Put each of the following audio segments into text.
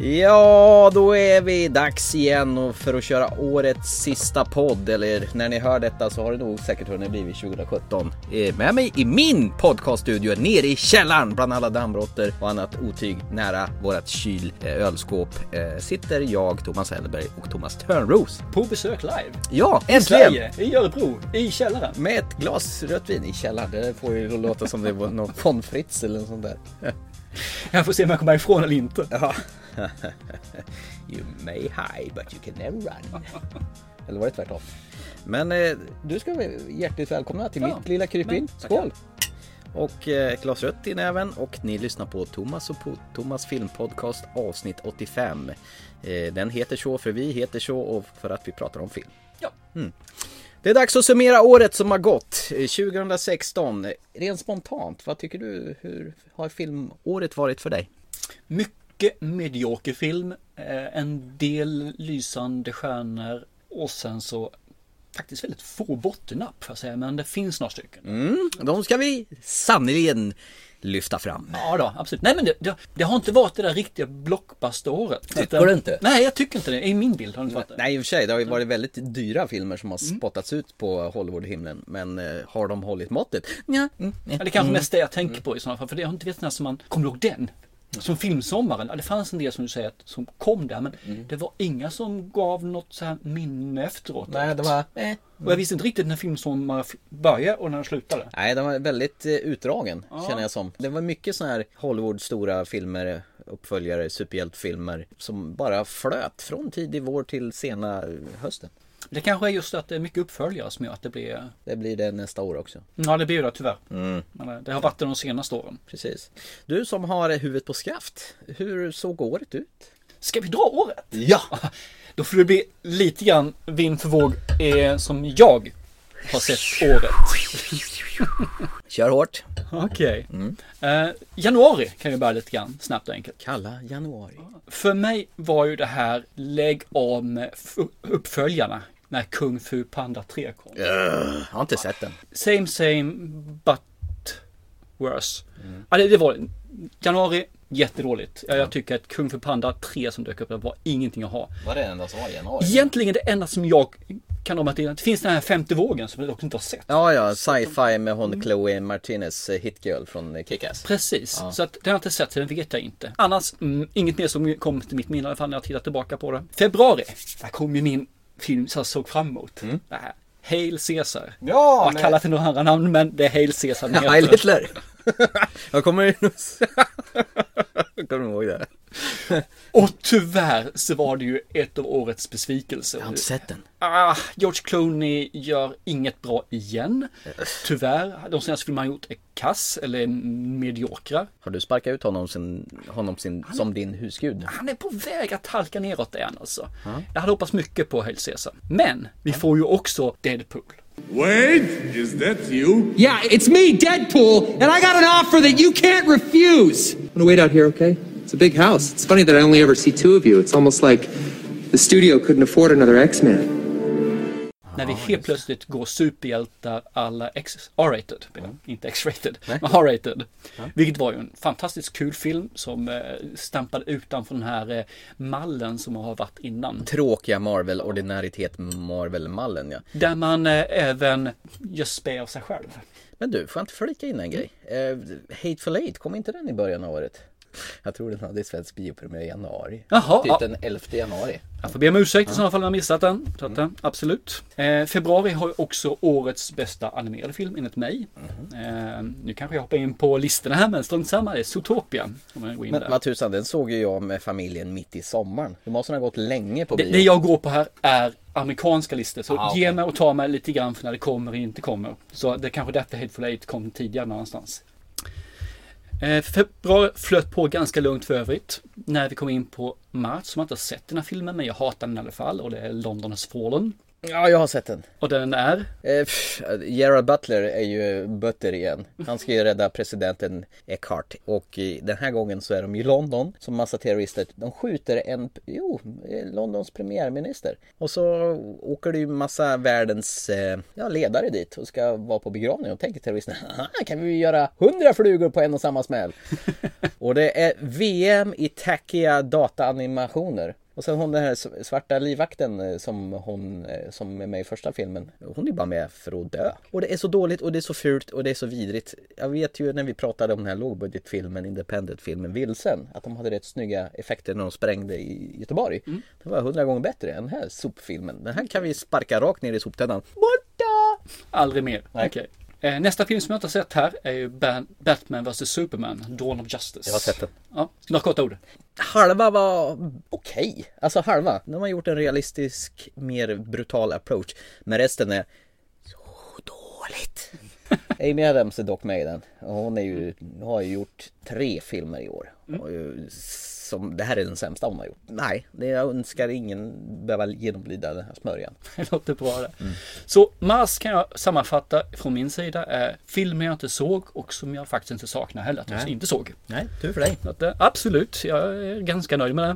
Ja, då är vi dags igen och för att köra årets sista podd. Eller när ni hör detta så har det nog säkert hunnit blivit 2017. Eh, Med mig i min podcaststudio nere i källaren bland alla dammråttor och annat otyg nära vårat kyl, eh, ölskåp eh, sitter jag, Thomas Hellberg och Thomas Törnros. På besök live. Ja, äntligen! Sverige, i Örebro, i källaren. Med ett glas rött vin i källaren. Det får ju låta som det var någon von Fritz eller något sånt där. Jag får se om jag kommer ifrån eller inte. Ja. you may hide but you can never run. Eller var det tvärtom? Men eh, du ska vara hjärtligt välkomna till Ja, mitt lilla krypin. men tackar. Skål! Och eh, ett glas rött i näven och ni lyssnar på Thomas och po- Thomas filmpodcast avsnitt 85. Eh, den heter så för vi heter så och för att vi pratar om film. Ja. Det är dags att summera året som har gått, eh, 2016. Rent spontant, vad tycker du? Hur har filmåret varit för dig? Mycket medioker film. eh, En del lysande stjärnor. Och sen så faktiskt väldigt få bottennapp får jag säga. Men det finns några stycken. Mm, de ska vi sannerligen lyfta fram. Ja då, absolut. Nej men det, det, det har inte varit det där riktiga blockbusteråret. eh, Tycker du inte? Nej, jag tycker inte det. I min bild har det inte varit det. Nej i och för sig, det har ju varit väldigt dyra filmer som har spottats ut på Hollywoodhimlen. Men eh, har de hållit måttet? Ja. Mm. Ja, det är kanske mest det jag tänker på i sådana fall. För det har inte vet när som man kommer ihåg den. Som filmsommaren. Ja, det fanns en del som du säger att- som kom där. Men Mm. det var inga som gav något så här minne efteråt. Nej, det var... Eh. Och jag visste inte riktigt när filmsommaren f- började och när den slutade. Nej, den var väldigt eh, utdragen känner jag som. Det var mycket sådana här Hollywood stora filmer, uppföljare, superhjältefilmer som bara flöt från tidig vår till sena eh, hösten. Det kanske är just att det är mycket uppföljare som gör att det blir... Det blir det nästa år också. Ja, det blir det tyvärr. Mm. Men eh, det har varit det de senaste åren. Precis. Du som har huvudet på skaft, hur såg året ut? Ska vi dra året? Ja! Då får det bli lite grann vind för våg eh, som jag har sett året. Kör hårt! Okej. Mm. Eh, januari kan vi börja lite grann snabbt och enkelt. Kalla januari. För mig var ju det här lägg av med f- uppföljarna när Kung Fu Panda 3 kom. Jag har inte sett den. Same same but worse. Ja, det, det var januari jättedåligt. Ja, jag tycker att Kung Fu Panda 3 som dök upp där var ingenting att ha. Var det den enda som var i januari? Egentligen det enda som jag kan om att det finns den här femte vågen som jag dock inte har sett. Ja, ja, sci-fi med hon Chloe Martinez, eh, hit girl från eh, Kick-Ass. Precis, så att den har jag inte sett så den vet jag inte. Annars, mm, inget mer som kom till mitt minne i alla fall när jag tittar tillbaka på det. Februari, där kom ju min film som jag såg fram emot. Det här. Hail Caesar. Ja, Jag har men- kallat den några andra namn men det är Hail Caesar den Heil heter. Hitler! Jag kommer nog... Jag kommer ihåg det. Och tyvärr så var det ju ett av årets besvikelser. Jag har inte sett den. Ah, George Clooney gör inget bra igen. Tyvärr, de senaste filmerna han gjort är kass eller mediokra. Har du sparkat ut honom, sin, honom sin, som din husgud? Han är på väg att halka neråt igen alltså. Jag hade hoppats mycket på Hail Caesar. Men vi får ju också Deadpool. Wait, is that you? Yeah, it's me, Deadpool, and I got an offer that you can't refuse. I'm gonna wait out here, okay? It's a big house. It's funny that I only ever see two of you. It's almost like the studio couldn't afford another X-Man. när vi helt plötsligt går superhjältar alla X- R-rated. Inte X-rated, men R-rated. Vilket var ju en fantastiskt kul film som eh, stampade utanför den här eh, mallen som har varit innan. Tråkiga Marvel, ordinaritet Marvel-mallen ja. Där man eh, även gör spä av sig själv. Men du, får jag inte flika in en grej? Eh, Hateful Eight, kom inte den i början av året? Jag tror den hade svensk biopremiär i januari. Jaha, Typ ja. den 11 januari. Jag får be om ursäkt i sådana fall om jag missat den. Så att, eh, absolut. Eh, februari har ju också årets bästa animerade film enligt mig. Eh, nu kanske jag hoppar in på listorna här men strunt samma. Det är Zootopia. Om jag går in där. Men vad tusan, den såg ju jag med familjen mitt i sommaren. Det måste den ha gått länge på Det, bio. det jag går på här är amerikanska listor. Så Ah, ge okej. mig och ta mig lite grann för när det kommer och inte kommer. Så det är kanske därför Hateful Eight kom tidigare någonstans. Eh, februari flöt på ganska lugnt för övrigt. När vi kom in på mars, som jag inte har sett den här filmen, men jag hatar den i alla fall. Och det är Londonas Fallen. Ja, jag har sett den. Och den är? Eh, pff, Gerard Butler är ju Butter igen. Han ska ju rädda presidenten Eckhart. Och eh, den här gången så är de i London som massa terrorister. De skjuter en, jo, eh, Londons premiärminister. Och så åker det ju massa världens eh, ja, ledare dit och ska vara på begravning. Och tänker terroristerna, "Haha, kan vi göra hundra flugor på en och samma smäll? och det är VM i tackiga dataanimationer. Och sen hon den här s- svarta livvakten eh, som hon eh, som är med i första filmen. Hon är bara med för att dö. Och det är så dåligt och det är så fult och det är så vidrigt. Jag vet ju när vi pratade om den här lågbudgetfilmen, independent-filmen Vilsen. Att de hade rätt snygga effekter när de sprängde i Göteborg. Det var hundra gånger bättre än den här sopfilmen. Den här kan vi sparka rakt ner i soptunnan. Borta! Aldrig mer. Okej. Eh, Nästa film som jag inte har sett här är ju Ban- Batman vs Superman, Dawn of Justice. Jag har sett den. Ja, några korta ord. Halva var okej. Alltså halva. De har gjort en realistisk, mer brutal approach. Men resten är så dåligt. Amy Adams är dock med i den. Och Hon är ju, har ju gjort tre filmer i år. Och ju, som, det här är den sämsta hon har gjort. Nej, det- jag önskar ingen behöva genomlida den här smörjan. Det låter bra det. Mm. Så Mars kan jag sammanfatta från min sida är filmer jag inte såg och som jag faktiskt inte saknar heller att jag inte såg. Nej, tur för dig. Så att, eh, absolut, jag är ganska nöjd med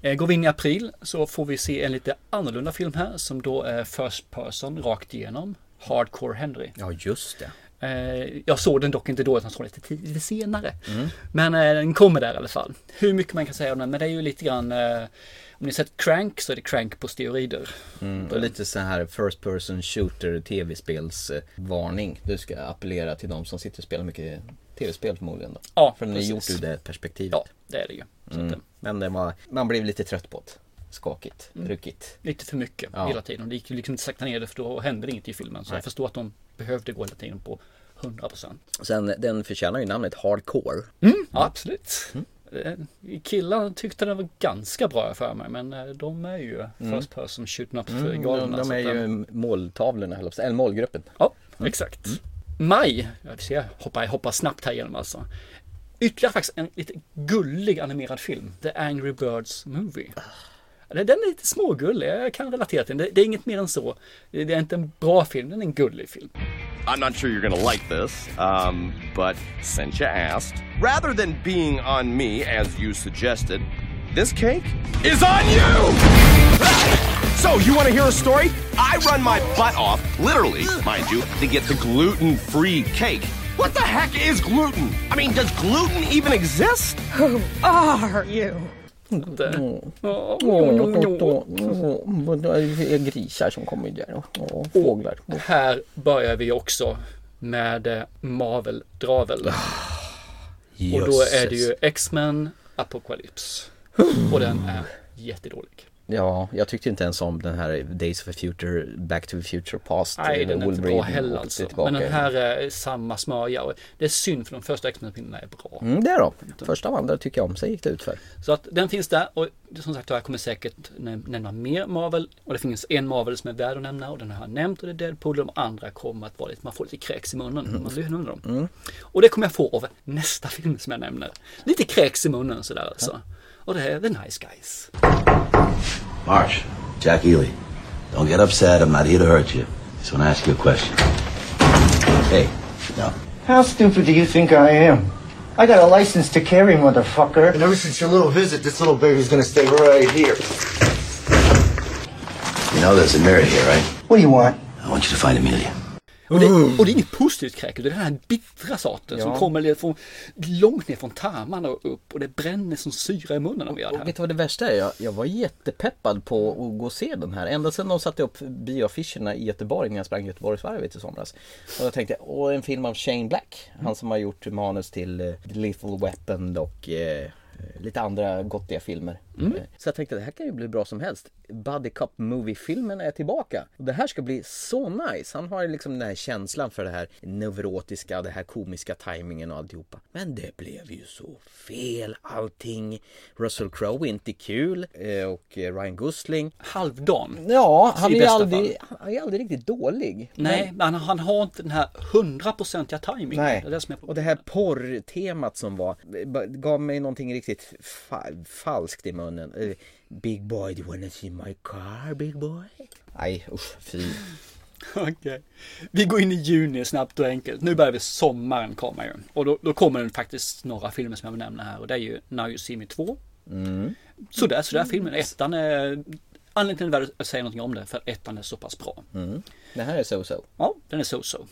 det. Eh, Går vi in i april så får vi se en lite annorlunda film här som då är First Person rakt igenom. Hardcore Henry. Ja, just det. Eh, jag såg den dock inte då, utan jag såg den lite, ti- lite senare. Mm. Men eh, den kommer där i alla fall. Hur mycket man kan säga om den, men det är ju lite grann eh, om ni sett Crank så är det Crank på steroider. Och lite så här first person shooter tv-spelsvarning. Du ska appellera till de som sitter och spelar mycket tv-spel förmodligen då. Ja, För den är precis. gjort ur det perspektivet. Ja, det är det ju. Så Mm. att, eh, Men det var, man blev lite trött på det. Skakigt, Mm. ryckigt. lite för mycket Ja. hela tiden. Det gick ju liksom inte sakta ner det för då hände det inget i filmen. Så jag förstår att de behövde gå hela tiden på 100%. Sen den förtjänar ju namnet Hardcore. Ja, absolut. Mm. Eh, Killarna tyckte den var ganska bra för mig men eh, de är ju first person shooting up mm, Mm. de, de är ju alltså, måltavlorna, höll jag på att säga. eller målgruppen. Ja, exakt. Maj, jag ser, hoppar, jag hoppar snabbt här igenom alltså. Ytterligare faktiskt en lite gullig animerad film. The Angry Birds Movie. Den den är lite smågullig, jag kan relatera till den. Det- Det är inget mer än så. Det det är inte en bra film, den är en gullig film. I'm not sure you're gonna like this, um, but since you asked, rather than being on me as you suggested, this cake is on you! So, you wanna hear a story? I run my butt off, literally, mind you, to get the gluten free cake. What the heck is gluten? I mean, does gluten even exist? Det- Åh, Grisar som kommer där och fåglar. Här börjar vi också med eh, Marvel Dravel. Och då är det ju X-Men Apocalypse. Och den är jättedålig. Ja, jag tyckte inte ens om den här Days of the Future, Back to the Future Past. Nej, den är inte bra Wolverine heller åkte alltså. tillbaka. Men den här är samma smörja. Och det är synd för de första X-Men-filmerna är bra. Mm, det är de. Första och andra tycker jag om, sen gick det utför. Så att den finns där och som sagt jag kommer säkert näm- nämna mer Marvel. Och det finns en Marvel som är värd att nämna och den har jag nämnt och det är Deadpool. De andra kommer att vara lite, man får lite kräks i munnen Mm. när man lyssnar under dem. Och det kommer jag få av nästa film som jag nämner. Lite kräks i munnen sådär alltså. Och det här är The Nice Guys. Marsh, Jack Ely. Don't get upset. I'm not here to hurt you. Just want to ask you a question. Hey, no. How stupid do you think I am? I got a license to carry, motherfucker. And ever since your little visit, this little baby's gonna stay right here. You know there's a mirror here, right? What do you want? I want you to find Amelia. Och det, och det är inget positivt kräk utan det är den här bittra sorten som kommer lite från, långt ner från tarmarna och upp och det bränner som syra i munnen när vi gör det Och här. vet du vad det värsta är? Jag, jag var jättepeppad på att gå och se den här. Ända sedan de satte upp bioaffischerna i Göteborg när jag sprang Göteborgsvarvet i somras. Och jag tänkte, åh en film av Shane Black. Mm. Han som har gjort manus till eh, Lethal Weapon och eh, lite andra gottiga filmer. Mm. Eh, Så jag tänkte, det här kan ju bli bra som helst. Buddy Cop Movie-filmen är tillbaka. Och det här ska bli så nice. Han har ju liksom den här känslan för det här neurotiska, det här komiska tajmingen och alltihopa. Men det blev ju så fel allting. Russell Crowe är inte kul eh, och eh, Ryan Gosling. Halvdan. Ja, han I är, ju bästa aldrig, han är aldrig riktigt dålig. Nej, men han, han har inte den här hundraprocentiga tajmingen. Nej, Det är det som är och det här porrtemat som var det eh, gav mig någonting riktigt riktigt fa- falskt i munnen. Eh, Big boy, do you wanna see my car, big boy? Nej, usch, fy. Okej. Vi går in i juni snabbt och enkelt. Nu börjar vi sommaren komma ju. Och då, då kommer det faktiskt några filmer som jag vill nämna här. Och det är ju Now You See Me 2. Mm. Sådär, sådär filmen. Ettan är... Anledningen till att det är värt att säga någonting om det, för att ettan är så pass bra. Det här är so-so. Ja, den är so-so.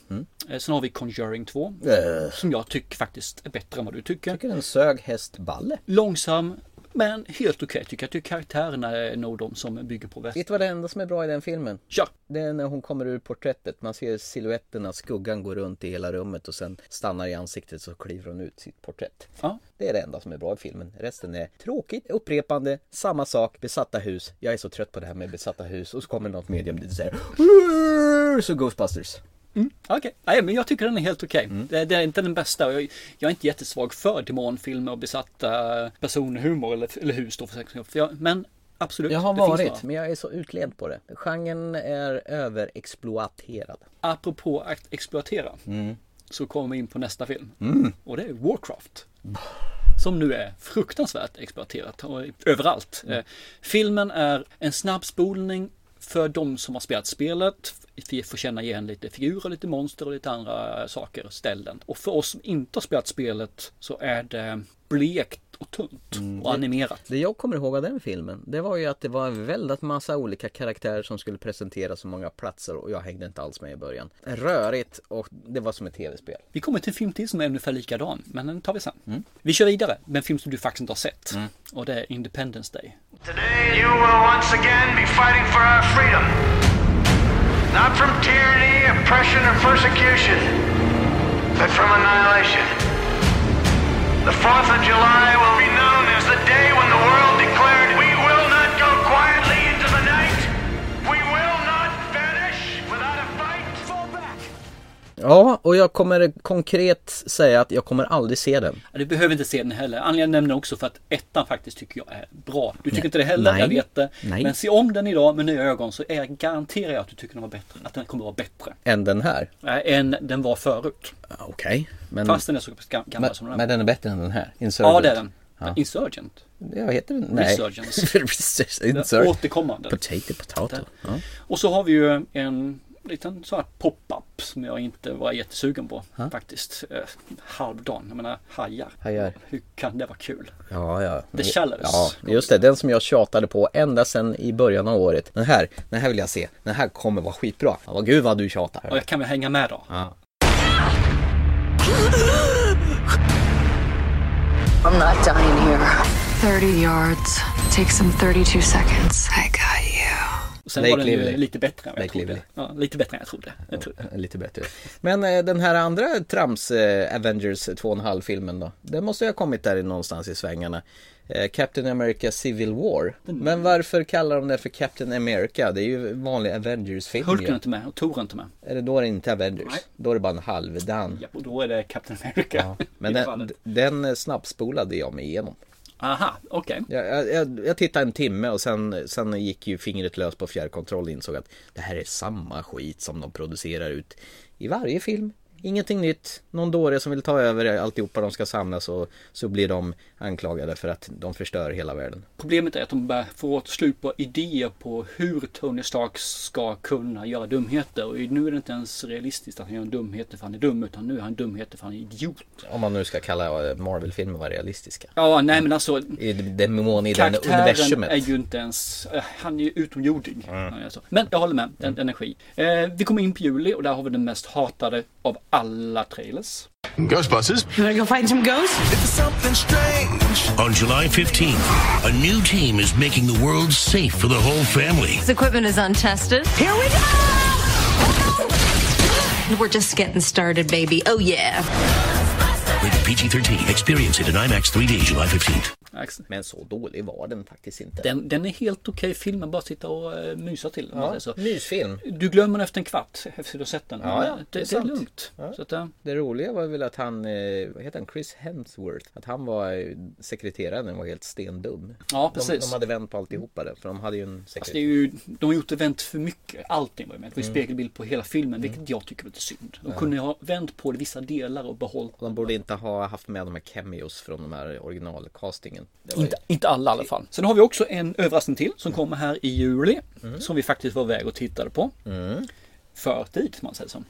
Eh, Sen har vi Conjuring 2. Eh. Som jag tycker faktiskt är bättre än vad du tycker. Tycker den sög hästballe. Långsam, men helt okej tycker jag. Jag tycker karaktärerna är nog de som bygger på väst. Vet du vad det enda som är bra i den filmen? Kör! Det är när hon kommer ur porträttet. Man ser silhuetterna, skuggan går runt i hela rummet och sen stannar i ansiktet så kliver hon ut sitt porträtt. Ja. Det är det enda som är bra i filmen. Resten är tråkigt, upprepande, samma sak, besatta hus. Jag är så trött på det här med besatta hus och så kommer något medium dit och säger "Urr", Så Ghostbusters. Mm. Okej, nej men jag tycker den är helt okej. Mm. Det, det är inte den bästa och jag, jag är inte jättesvag för demonfilmer och besatta personhumor eller, eller hus då för sex för jag, Men absolut. Jag har det finns varit, några. men jag är så utled på det. Genren är överexploaterad. Apropå att exploatera. Så kommer vi in på nästa film. Och det är Warcraft. Som nu är fruktansvärt exploaterat och överallt. Eh, filmen är en snabbspolning för de som har spelat spelet. Vi får känna igen lite figurer, lite monster och lite andra eh, saker och ställen. Och för oss som inte har spelat spelet så är det blekt och tunt och animerat. Det jag kommer ihåg av den filmen, det var ju att det var en väldigt massa olika karaktärer som skulle presenteras så många platser och jag hängde inte alls med i början. Rörigt och det var som ett tv-spel. Vi kommer till en film till som är ungefär likadan, men den tar vi sen. Vi kör vidare med en film som du faktiskt inte har sett. Och det är Independence Day. Today, you will once again be fighting for our freedom. Not from tyranny, oppression, or persecution, but from annihilation. The 4th of July will be known as the day when the world declared we will not go quietly into the night. We will not vanish without a fight. Fall back. Ja, och jag kommer konkret säga att jag kommer aldrig se den. Ja, Du behöver inte se den heller. Anledningen nämner också för att ettan faktiskt tycker jag är bra. Du tycker inte det heller, Nej. jag vet det. Nej. Men se om den idag med nya ögon så är jag garanterar jag att du tycker den var bättre. Att den kommer att vara bättre. Än den här. Äh, än den var förut. Ja, Okej. Men, Fast den är så pass gam- gammal men, som den men är. den är bättre än den här. Insurgent. Ja, det är den. Insurgent. Ja, heter den? Nej. Resurgence. Resurgence. Den Insurgent. Återkommande. Potato, potato. Ja. Och så har vi ju en liten sån här pop-up som jag inte var jättesugen på faktiskt. Eh, halvdan, jag menar hajar. Hajar. Hur kan det vara kul? Ja, ja. The Shallows. Ja, just det. Den som jag tjatade på ända sedan i början av året. Den här, den här vill jag se. Den här kommer vara skitbra. Ja, vad gud vad du tjatar. Och jag kan väl hänga med då? I'm not dying here. 30 yards. Takes them 32 seconds. I got you. Sen Lake var den ju Lively. lite bättre än vad jag Lake trodde. Lively. Ja, lite bättre än jag trodde. Jag trodde. Lite bättre. Men eh, den här andra Trams eh, Avengers 2,5 filmen då? Den måste ju ha kommit där i- någonstans i svängarna. Eh, Captain America Civil War. Mm. Men varför kallar de det för Captain America? Det är ju vanlig Avengers-film Hulken är ju. inte med och Thor är inte med. Är det då är det inte Avengers? Nej. Då är det bara en halvdan. Ja, och då är det Captain America. Men I det den, fallet. den eh, snabbspolade jag mig igenom. Aha, okej. Jag, jag- jag, jag tittade en timme och sen, sen gick ju fingret lös på fjärrkontroll och insåg att det här är samma skit som de producerar ut i varje film. Ingenting nytt, någon dåre som vill ta över alltihopa, de ska samlas och så blir de anklagade för att de förstör hela världen. Problemet är att de börjar få slut på idéer på hur Tony Stark ska kunna göra dumheter. Och nu är det inte ens realistiskt att han gör en dumhet för han är dum. Utan nu är han dumheter för han är idiot. Om man nu ska kalla eh, Marvel-filmer vara realistiska. Ja, nej men alltså. I demon i den Karaktären universumet. Mm. är ju inte ens, eh, han är ju utomjordig. Alltså. Men jag håller med, den energi. Eh, vi kommer in på juli och där har vi den mest hatade av alla trailers. Ghostbusters. You wanna go find some ghosts? On July 15th, a new team is making the world safe for the whole family. This equipment is untested. Here we go! We're just getting started, baby. Oh, yeah. Rated PG 13. Experience it in IMAX 3D July 15th. Axel. Men så dålig var den faktiskt inte. Den, den är helt okej film, man bara sitta och eh, mysa till. om man säger så. Mysfilm. Du glömmer den efter en kvart efter du har sett den. Ja, ja, det det, är det, är sant. lugnt. Så att, eh, Det roliga var väl att han, eh, vad heter han, Chris Hemsworth, att han var eh, sekreteraren var helt stendum. ja, De, precis. de hade vänt på alltihopa där, för de hade ju en Alltså, det är sekreterare. ju, de har gjort det vänt för mycket. Allting var ju med. Mm. Det var ju spegelbild på hela filmen, vilket jag tycker var lite synd. De kunde ju ha vänt på det i vissa delar och behållit De borde inte ha haft med de här cameos från de här originalcastingen. Det var Mm. Inte, inte alla i alla fall. Sen har vi också en överraskning till som kommer här i juli. Som vi faktiskt var väg och tittade på. Mm. Förtid, man säger så.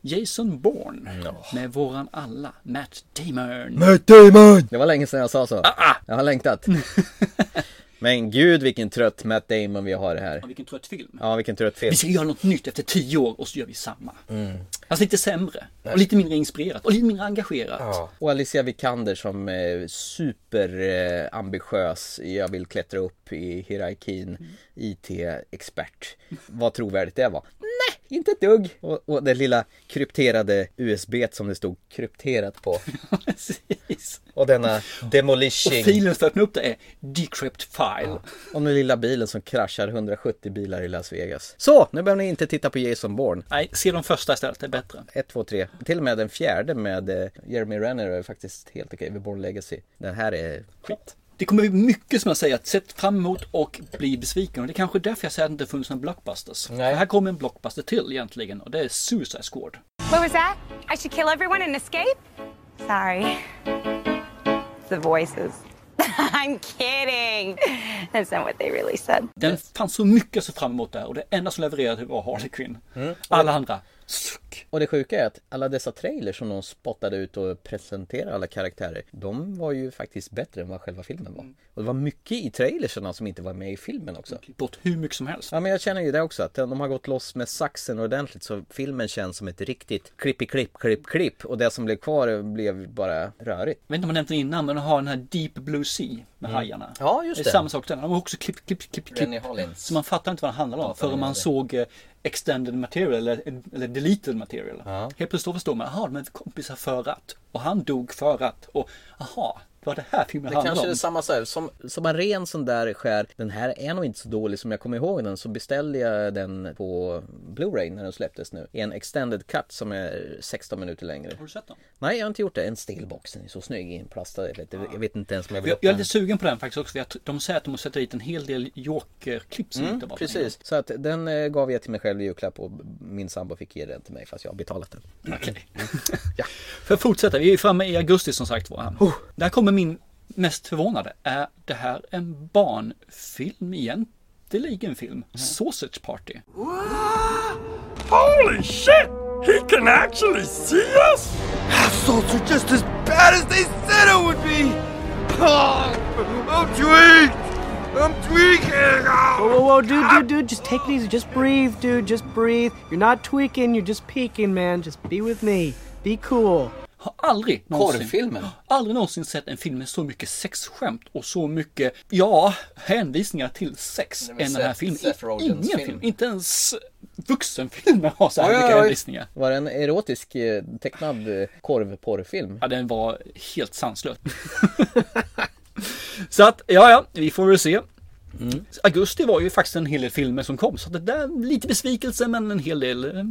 Jason Bourne. Med våran alla, Matt Damon. Matt Damon! Det var länge sedan jag sa så. Ah, Jag har längtat. Men gud vilken trött Matt Damon vi har här. Ja, Vilken trött film. Ja, vilken trött film. Vi ska göra något nytt efter tio år och så gör vi samma. Fast lite sämre. Och lite mindre inspirerat. Och lite mindre engagerat. Och Alicia Vikander som är superambitiös, eh, ambitiös. jag vill klättra upp i hierarkin, Mm. IT-expert. Vad trovärdigt det var. Nej, inte ett dugg! Och, och det lilla krypterade USB t som det stod krypterat på. Precis. Och denna Och demolishing. filen för att öppna upp det är decrypt file. Och den lilla bilen som kraschar 170 bilar i Las Vegas. Så, nu behöver ni inte titta på Jason Bourne. Nej, se de första istället, det är bättre. 1, 2, 3. Till och med den fjärde med eh, Jeremy Renner är faktiskt helt okej. Okay. Born Legacy. Den här är Skit. Det kommer bli mycket som jag säger att sett fram emot och bli besviken. Och det är kanske är därför jag säger att det inte funnits några blockbusters. För här kommer en blockbuster till egentligen och det är Suicide Squad. What was that? I should kill everyone and escape? Sorry. It's The voices. I'm kidding. That's not what they really said. Den fanns så mycket att se fram emot där och det enda som levererade var Harley Quinn. Alla andra, suck. Och det sjuka är att alla dessa trailers som de spottade ut och presenterade alla karaktärer De var ju faktiskt bättre än vad själva filmen var Och det var mycket i trailersarna som inte var med i filmen också Klipp bort hur mycket som helst. Ja men jag känner ju det också att de har gått loss med saxen ordentligt så filmen känns som ett riktigt klippi klipp klipp klipp Och det som blev kvar blev bara rörigt Jag vet inte om jag nämnt det innan men de har den här Deep Blue Sea med hajarna. Mm. Ja, just Det det. är samma sak där. De har också klipp, klipp, klipp, klipp. Så man fattar inte vad det handlar om förrän man såg eh, extended material eller, eller deleted material. Helt plötsligt då förstår man, jaha, de är kompisar för att. Och han dog för att. Och jaha, det var det här filmen Det handlade kanske om. är samma så här, som, som en ren sån där skär Den här är nog inte så dålig som jag kommer ihåg den Så beställde jag den på Blu-ray när den släpptes nu I en extended cut som är 16 minuter längre Har du sett den? Nej jag har inte gjort det, en stillbox, den är så snygg inplastad jag vet, jag vet inte ens om jag vill Jag, upp jag är den lite sugen på den faktiskt också. För jag, tr- de säger att de måste sätta dit en hel del Joker-klipp som inte var på den. Mm, Precis, så att den eh, gav jag till mig själv i julklapp och min sambo fick ge den till mig fast jag har betalat den Okej. ja. Mm. För att fortsätta, vi är framme i augusti som sagt var. här. Oh. Där kommer min mest förvånade. Är det här en barnfilm egentligen? film? Sausage Party. Holy shit! He can actually see us? Assholes are just as bad as they said it would be! I'm tweaked! I'm tweaking! Whoa, whoa, whoa, dude, dude, dude, just take it easy. Just breathe, dude, just breathe. You're not tweaking, you're just peeking, man. Just be with me. Be cool. Har aldrig någonsin, Porrfilmen? aldrig någonsin sett en film med så mycket sexskämt och så mycket, ja, hänvisningar till sex än den här Seth- filmen. Seth Ingen Rogens film. film. inte ens vuxenfilmer har så här Oj, oj, mycket oj. hänvisningar. Var det en erotisk eh, tecknad eh, korvporrfilm? Ja, den var helt sanslös. så att, ja, ja, vi får väl se. Mm. Augusti var ju faktiskt en hel del filmer som kom, så det där lite besvikelse, men en hel del eh,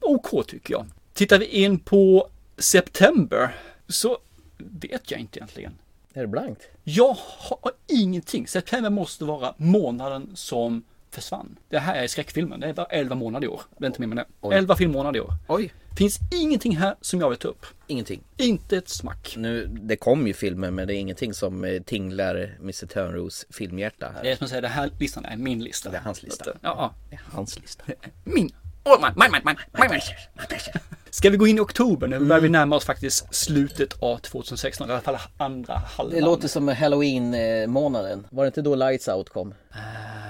OK tycker jag. Tittar vi in på September så vet jag inte egentligen. Är det blankt? Jag har ingenting. September måste vara månaden som försvann. Det här är skräckfilmen. Det är bara 11 månader i år. Det är inte mer med det. 11 filmmånader i år. Oj Finns ingenting här som jag vill ta upp. Ingenting Inte ett smack. Nu, det kom ju filmer men det är ingenting som eh, tinglar Mr Törnros filmhjärta Det är som att säga, den här listan är min lista. Det är hans lista. Ja, ja. Det är hans lista Min. Oh, my, my, my, my, my, my. Ska vi gå in i oktober? Nu börjar vi Mm. närma oss faktiskt slutet av 2016, i alla fall andra halvan. Det låter som halloween-månaden Var det inte då Lights Out kom?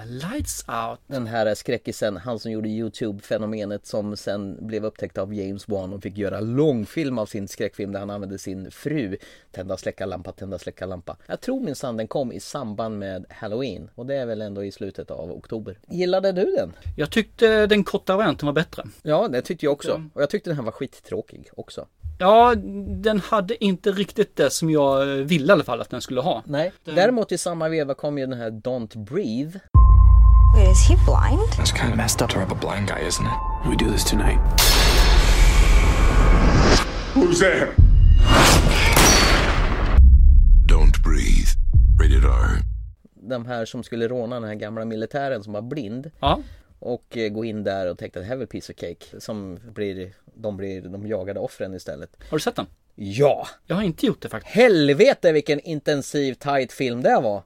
Lights out. Den här skräckisen, han som gjorde Youtube-fenomenet som sen blev upptäckt av James Wan och fick göra långfilm av sin skräckfilm där han använde sin fru Tända, släcka, lampa, tända, släcka, lampa Jag tror minsann den kom i samband med Halloween och det är väl ändå i slutet av oktober Gillade du den? Jag tyckte den korta varianten var bättre. Ja, det tyckte jag också och jag tyckte den här var skittråkig också Ja, den hade inte riktigt det som jag ville i alla fall att den skulle ha. Nej, däremot i samma veva kom ju den här Don't Breathe Wait, is he blind? That's kind of messed up to rob a blind guy, isn't it? We do this tonight. Who's there? Don't breathe. Rated R. De här som skulle råna den här gamla militären som var blind Ja, Och eh, gå in där och tänkte att det här är väl piece of cake Som blir, de blir de jagade offren istället har du sett den? Ja! Jag har inte gjort det faktiskt. Helvete vilken intensiv tight film det var!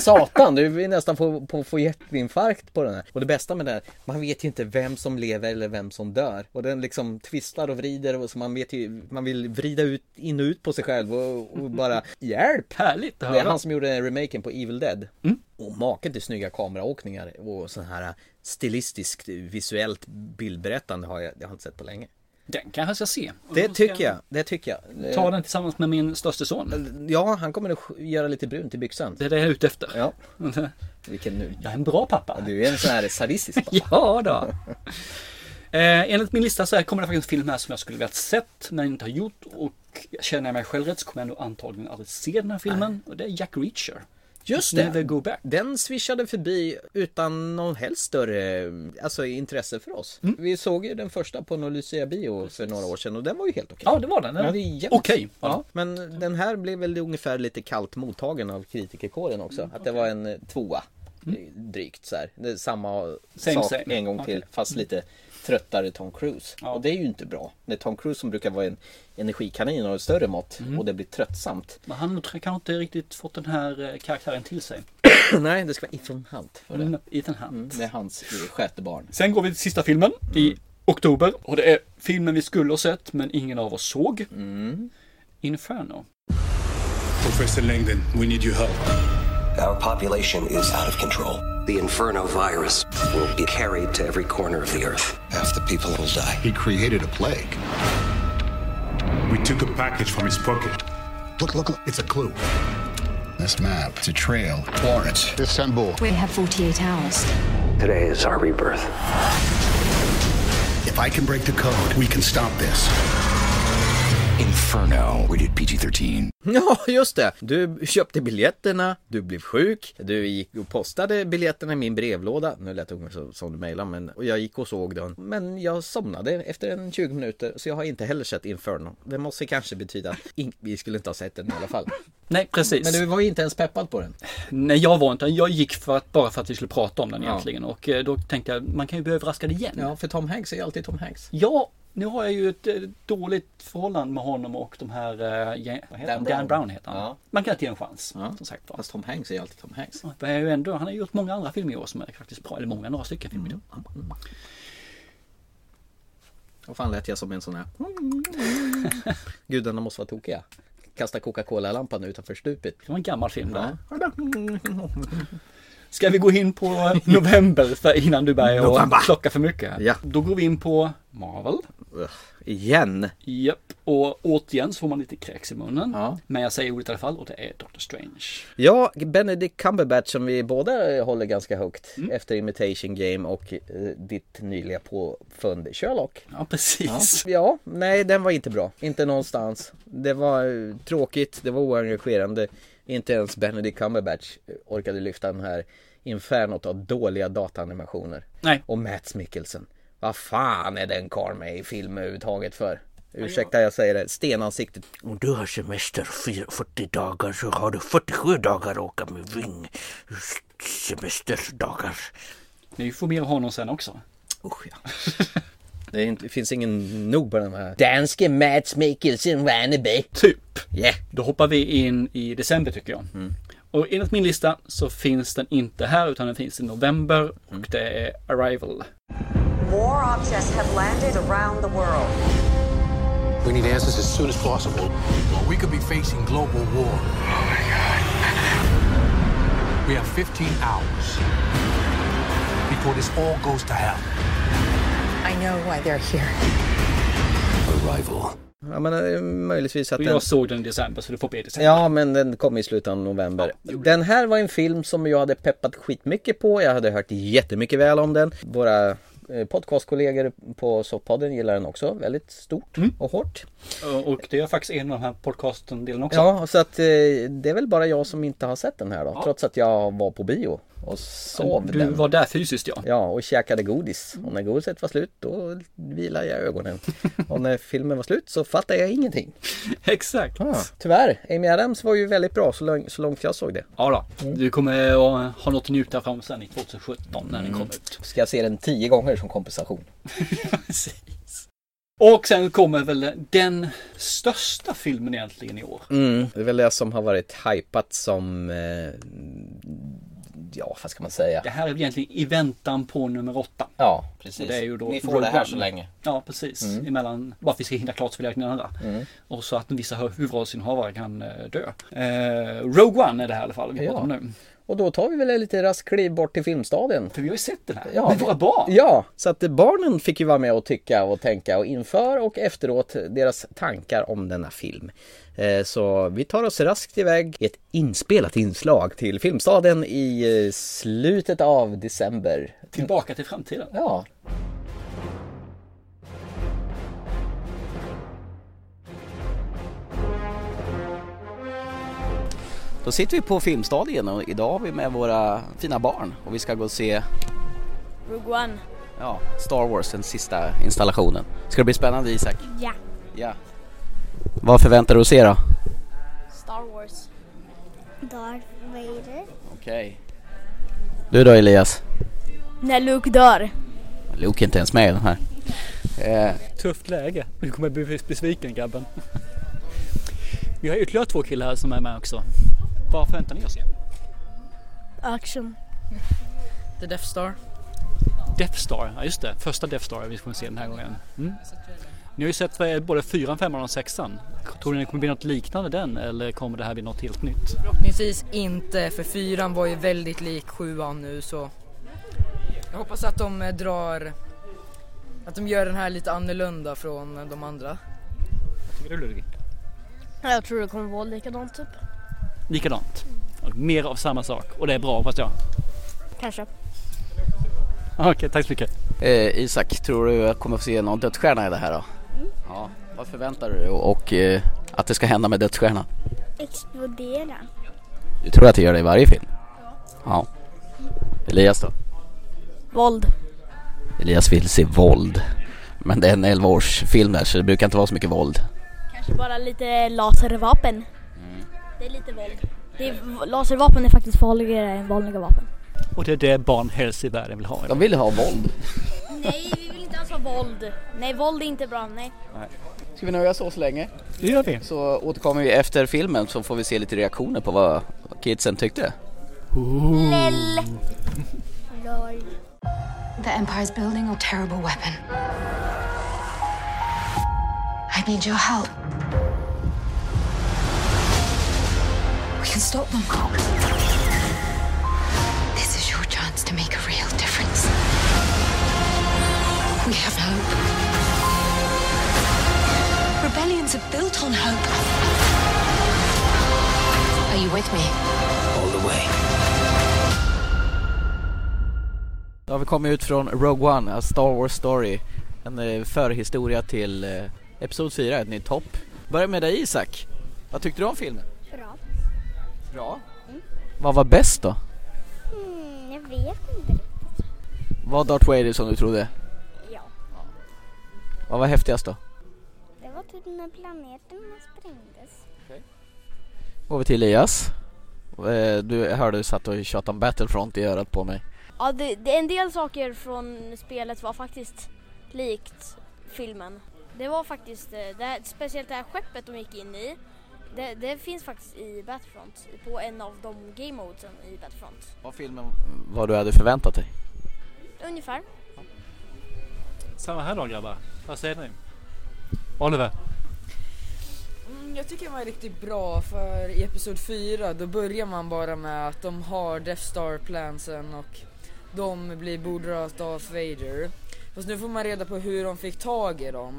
Satan, du vill nästan få, på, få hjärtinfarkt på den här. Och det bästa med det här, man vet ju inte vem som lever eller vem som dör. Och den liksom twistar och vrider och så man vet ju, man vill vrida ut, in och ut på sig själv och, och bara hjälp! Härligt Det är han som gjorde remaken på Evil Dead. Och maken till snygga kameraåkningar och sån här stilistiskt visuellt bildberättande har jag, jag har inte sett på länge. Den kanske jag ska se. Det tycker jag, det tycker jag. Ta den tillsammans med min störste son. Ja, han kommer nog göra lite brunt i byxan. Det är det jag är ute efter. Ja. Vilken nu. Jag är en bra pappa. Du är en sån här sadistisk pappa. ja då. Eh, enligt min lista så här kommer det faktiskt en film här som jag skulle velat sett men inte har gjort. Och känner jag mig själv rätt så kommer jag ändå antagligen aldrig se den här filmen. Och det är Jack Reacher. Just det. Never Go Back. Den swishade förbi utan någon helst större alltså, intresse för oss. Vi såg ju den första på någon Lucia bio för några år sedan och den var ju helt okej. Ja, det var den. Den Ja, det är var jämnt. okej. Ja. Ja. Men den här blev väl ungefär lite kallt mottagen av kritikerkåren också. Att det var en eh, tvåa eh, drygt så här. Det är samma Mm. Same, sak same. en gång till Okej. Mm. fast lite tröttare Tom Cruise. Och det är ju inte bra. När Tom Cruise som brukar vara en energikanin av större mått Mm. och det blir tröttsamt. Men han tror jag kanske inte riktigt fått den här eh, karaktären till sig. Nej, det ska vara Ethan Hunt. för det. Mm, Ethan Hunt. Det är hans eh, skötebarn. Sen går vi till sista filmen Mm. i oktober. Och det är filmen vi skulle ha sett men ingen av oss såg. Mm. Inferno. Professor Langdon, we need your help. Our population is out of control. The Inferno virus will be carried to every corner of the earth. Half the people will die. He created a plague. We took a package from his pocket. Look, look, look. It's a clue. This map, it's a trail. Florence. Istanbul. We have 48 hours. Today is our rebirth. If I can break the code, we can stop this. Inferno. We did PG 13. Ja, just det. Du köpte biljetterna, du blev sjuk, du gick och postade biljetterna i min brevlåda. Nu lät det ungefär så- som du mejlade, men och jag gick och såg den. Men jag somnade efter en 20 minuter, så jag har inte heller sett Inferno. Det måste kanske betyda att in- vi skulle inte ha sett den i alla fall. Nej, precis. Men du var ju inte ens peppad på den. Nej, jag var inte. Jag gick för att, bara för att vi skulle prata om den Ja. egentligen. Och eh, då tänkte jag, man kan ju bli överraskad igen. Ja, för Tom Hanks är ju alltid Tom Hanks. Ja, nu har jag ju ett eh, dåligt förhållande med honom och de här... eh, ja, Vad heter Dan Brown. Dan, Brown. Dan Brown heter han. Man kan inte ge en chans. Som sagt var. Fast Tom Hanks är ju alltid Tom Hanks. Men jag är ju ändå, han har gjort många andra filmer i år som är faktiskt bra. Eller många, några stycken filmer. Mm. Vad fan lät jag som en sån här... Gudarna måste vara tokiga. Kasta Coca-Cola-lampan utanför stupet. Det var en gammal film där. Ja. Ska vi gå in på eh, november för innan du börjar November. och plocka för mycket? Ja. Då går vi in på Marvel. Igen. Japp, och återigen så får man lite kräks i munnen. Ja. Men jag säger ordet i alla fall och det är Doctor Strange. Ja, Benedict Cumberbatch som vi båda håller ganska högt efter Imitation Game och eh, ditt nyliga påfund Sherlock. Ja, precis. Ja. ja, nej den var inte bra. Inte någonstans. Det var eh, tråkigt, det var oengagerande. Inte ens Benedict Cumberbatch eh, orkade lyfta den här infernot av dåliga dataanimationer. Nej. Och Mats Mikkelsen. Vad fan är den karln med i film överhuvudtaget för? Ursäkta jag säger det, stenansiktet. Om du har semester fyra- 40 dagar så har du 47 dagar att åka med Ving. Semesterdagar. Ni får mer av honom sen också. Usch ja. Det, är inte, det finns ingen nog på den här. Danske Mats Mikkelsen Werneby. Typ. Yeah. Då hoppar vi in i december tycker jag. Och enligt min lista så finns den inte här utan den finns i november och det är Arrival. War objects have landed around the world. We need answers as soon as possible, or we could be facing global war. Oh my god. We have 15 hours before this all goes to hell. I know why they're here. Arrival. Ja men eh, möjligtvis att Och den... jag såg den i december så du får be i december. Ja men den kom i slutet av november. Den här var en film som jag hade peppat skitmycket på. Jag hade hört jättemycket väl om den. Våra eh, podcastkollegor på Soppodden gillar den också väldigt stort Mm. och hårt. Och- Och det är faktiskt en av de här podcasten-delen också. Ja, så att eh, det är väl bara jag som inte har sett den här då. Trots att jag var på bio och sov Du den. var där fysiskt ja. Ja, och käkade godis. Och när godiset var slut då vilade jag ögonen. Och när filmen var slut så fattade jag ingenting. Exakt. Ah, tyvärr, Amy Adams var ju väldigt bra så, lång, så långt jag såg det. Ja då. Du kommer att ha något att njuta fram sen i Mm. 2017 när den kommer ut. Ska jag se den tio gånger som kompensation. Precis. Och sen kommer väl den största filmen egentligen i år. Mm, det är väl det som har varit hypat som, eh, ja vad ska man säga? Det här är egentligen i väntan på nummer åtta. Ja, precis. Och det är ju då Ni får Rogue det här One. så länge. Ja, precis. Mm. Emellan, bara för att vi ska hinna klart så vill jag andra. Mm. Och så att vissa hu- huvudrollsinnehavare kan eh, dö. Eh, Rogue One är det här i alla fall vi Ja. pratar om nu. Och då tar vi väl en lite rask kliv bort till Filmstaden. För vi har ju sett den här ja, med våra barn. Ja, så att eh, barnen fick ju vara med och tycka och tänka och inför och efteråt deras tankar om denna film. Eh, Så vi tar oss raskt iväg i ett inspelat inslag till Filmstaden i eh, slutet av december. Tillbaka till framtiden. Ja. Då sitter vi på Filmstadien och idag har vi med våra fina barn och vi ska gå och se Rogue One. ja, Star Wars, den sista installationen. Ska det bli spännande Isak? Ja. Ja. Vad förväntar du dig att se då? Star Wars. Darth Vader. Okej. Du då Elias? När Luke dör. Luke är inte ens med i den här. Eh, Tufft läge. Du kommer bli besviken grabben. Vi har ytterligare två killar här som är med också. Vad förväntar ni oss? Action. The Death Star. Death Star, ja just det. Första Death Star vi får se den här gången. Mm. Ni har ju sett eh, både fyran, femman och sexan. Tror ni det kommer bli något liknande den eller kommer det här bli något helt nytt? Förhoppningsvis inte, för fyran var ju väldigt lik sjuan nu så jag hoppas att de eh, drar, att de gör den här lite annorlunda från eh, de andra. Jag tror det kommer vara likadant typ. Likadant. Mer av samma sak och det är bra hoppas jag. Kanske. Okej, tack så mycket. eh, Isak, tror du jag kommer få se någon dödsstjärna i det här då? Ja, vad förväntar du dig? Och, och eh, att det ska hända med dödsstjärnan? Explodera. Du tror att det gör det i varje film? Ja. Elias då? Våld. Elias vill se våld. Men det är en 11-årsfilm där så det brukar inte vara så mycket våld. Kanske bara lite laservapen. Det är lite våld. Det är, laservapen är faktiskt farligare än vanliga vapen. Och det är det barn helst i världen vill ha. De vill ha våld. Nej, vi vill inte alls ha våld. Nej, våld är inte bra. Nej. Ska vi nöja oss så, så länge? Det gör vi. Så återkommer vi efter filmen så får vi se lite reaktioner på vad kidsen tyckte. Lol. The Empire's building a terrible weapon. I need your help. We can stop them. This is your chance to make a real difference. We have hope. Rebellions are built on hope. Are you with me? all the way. Då har vi kommit ut från Rogue One, A Star Wars Story. En eh, förhistoria till eh, Episod 4, ett nytt hopp. Börjar med dig Isak. Vad tyckte du om filmen? Bra. Bra. Vad var bäst då? Mm, jag vet inte. Var Darth Vader som du trodde? Ja. Vad var häftigast då? Det var typ när planeterna sprängdes. Går vi till Elias. Eh, Du hörde du satt och tjatade om Battlefront i örat på mig. Ja, det, det, en del saker från spelet var faktiskt likt filmen. Det var faktiskt, eh, det här, speciellt det här skeppet de gick in i, det, det finns faktiskt i Battlefront, på en av de game modesen i Battlefront. Var filmen... Vad du hade förväntat dig. Ungefär. Samma här då grabbar. Vad säger ni? Oliver? Mm, jag tycker den var riktigt bra för i Episod 4 då börjar man bara med att de har Death Star plansen och de blir beordrade av Darth Vader. Fast nu får man reda på hur de fick tag i dem.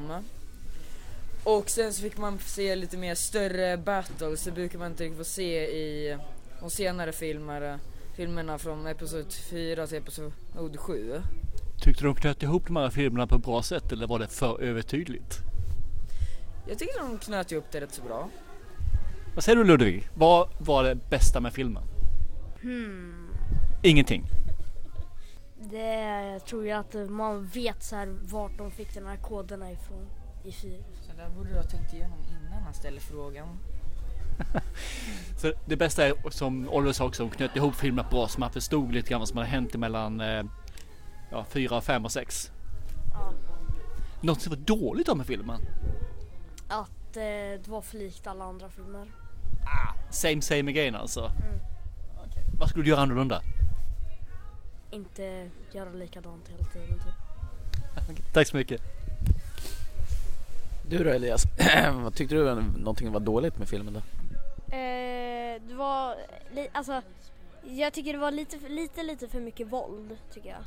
Och sen så fick man se lite mer större battles, det brukar man inte riktigt få se i de senare eh, filmer, filmerna från Episod 4 till Episod 7. Tyckte du de knöt ihop de här filmerna på ett bra sätt eller var det för övertydligt? Jag tycker de knöt ihop det rätt så bra. Vad säger du Ludvig? Vad var det bästa med filmen? Hmm. Ingenting. Det tror jag att man vet så här vart de fick de här koderna ifrån i fyr. Så där borde du ha tänkt igenom innan han ställer frågan. Så det bästa är som Oliver sa också, de knöt ihop filmen bra så man förstod lite grann vad som hade hänt mellan eh, ja, 4, 5 och 6. Något som var dåligt om med filmen? Att eh, det var för likt alla andra filmer. Same same again alltså. Vad skulle du göra annorlunda? Inte göra likadant hela tiden typ. Tack så mycket. Du då Elias, vad tyckte du om någonting var dåligt med filmen då? Eh, det var, li- alltså, jag tycker det var lite, för- lite, lite för mycket våld tycker jag.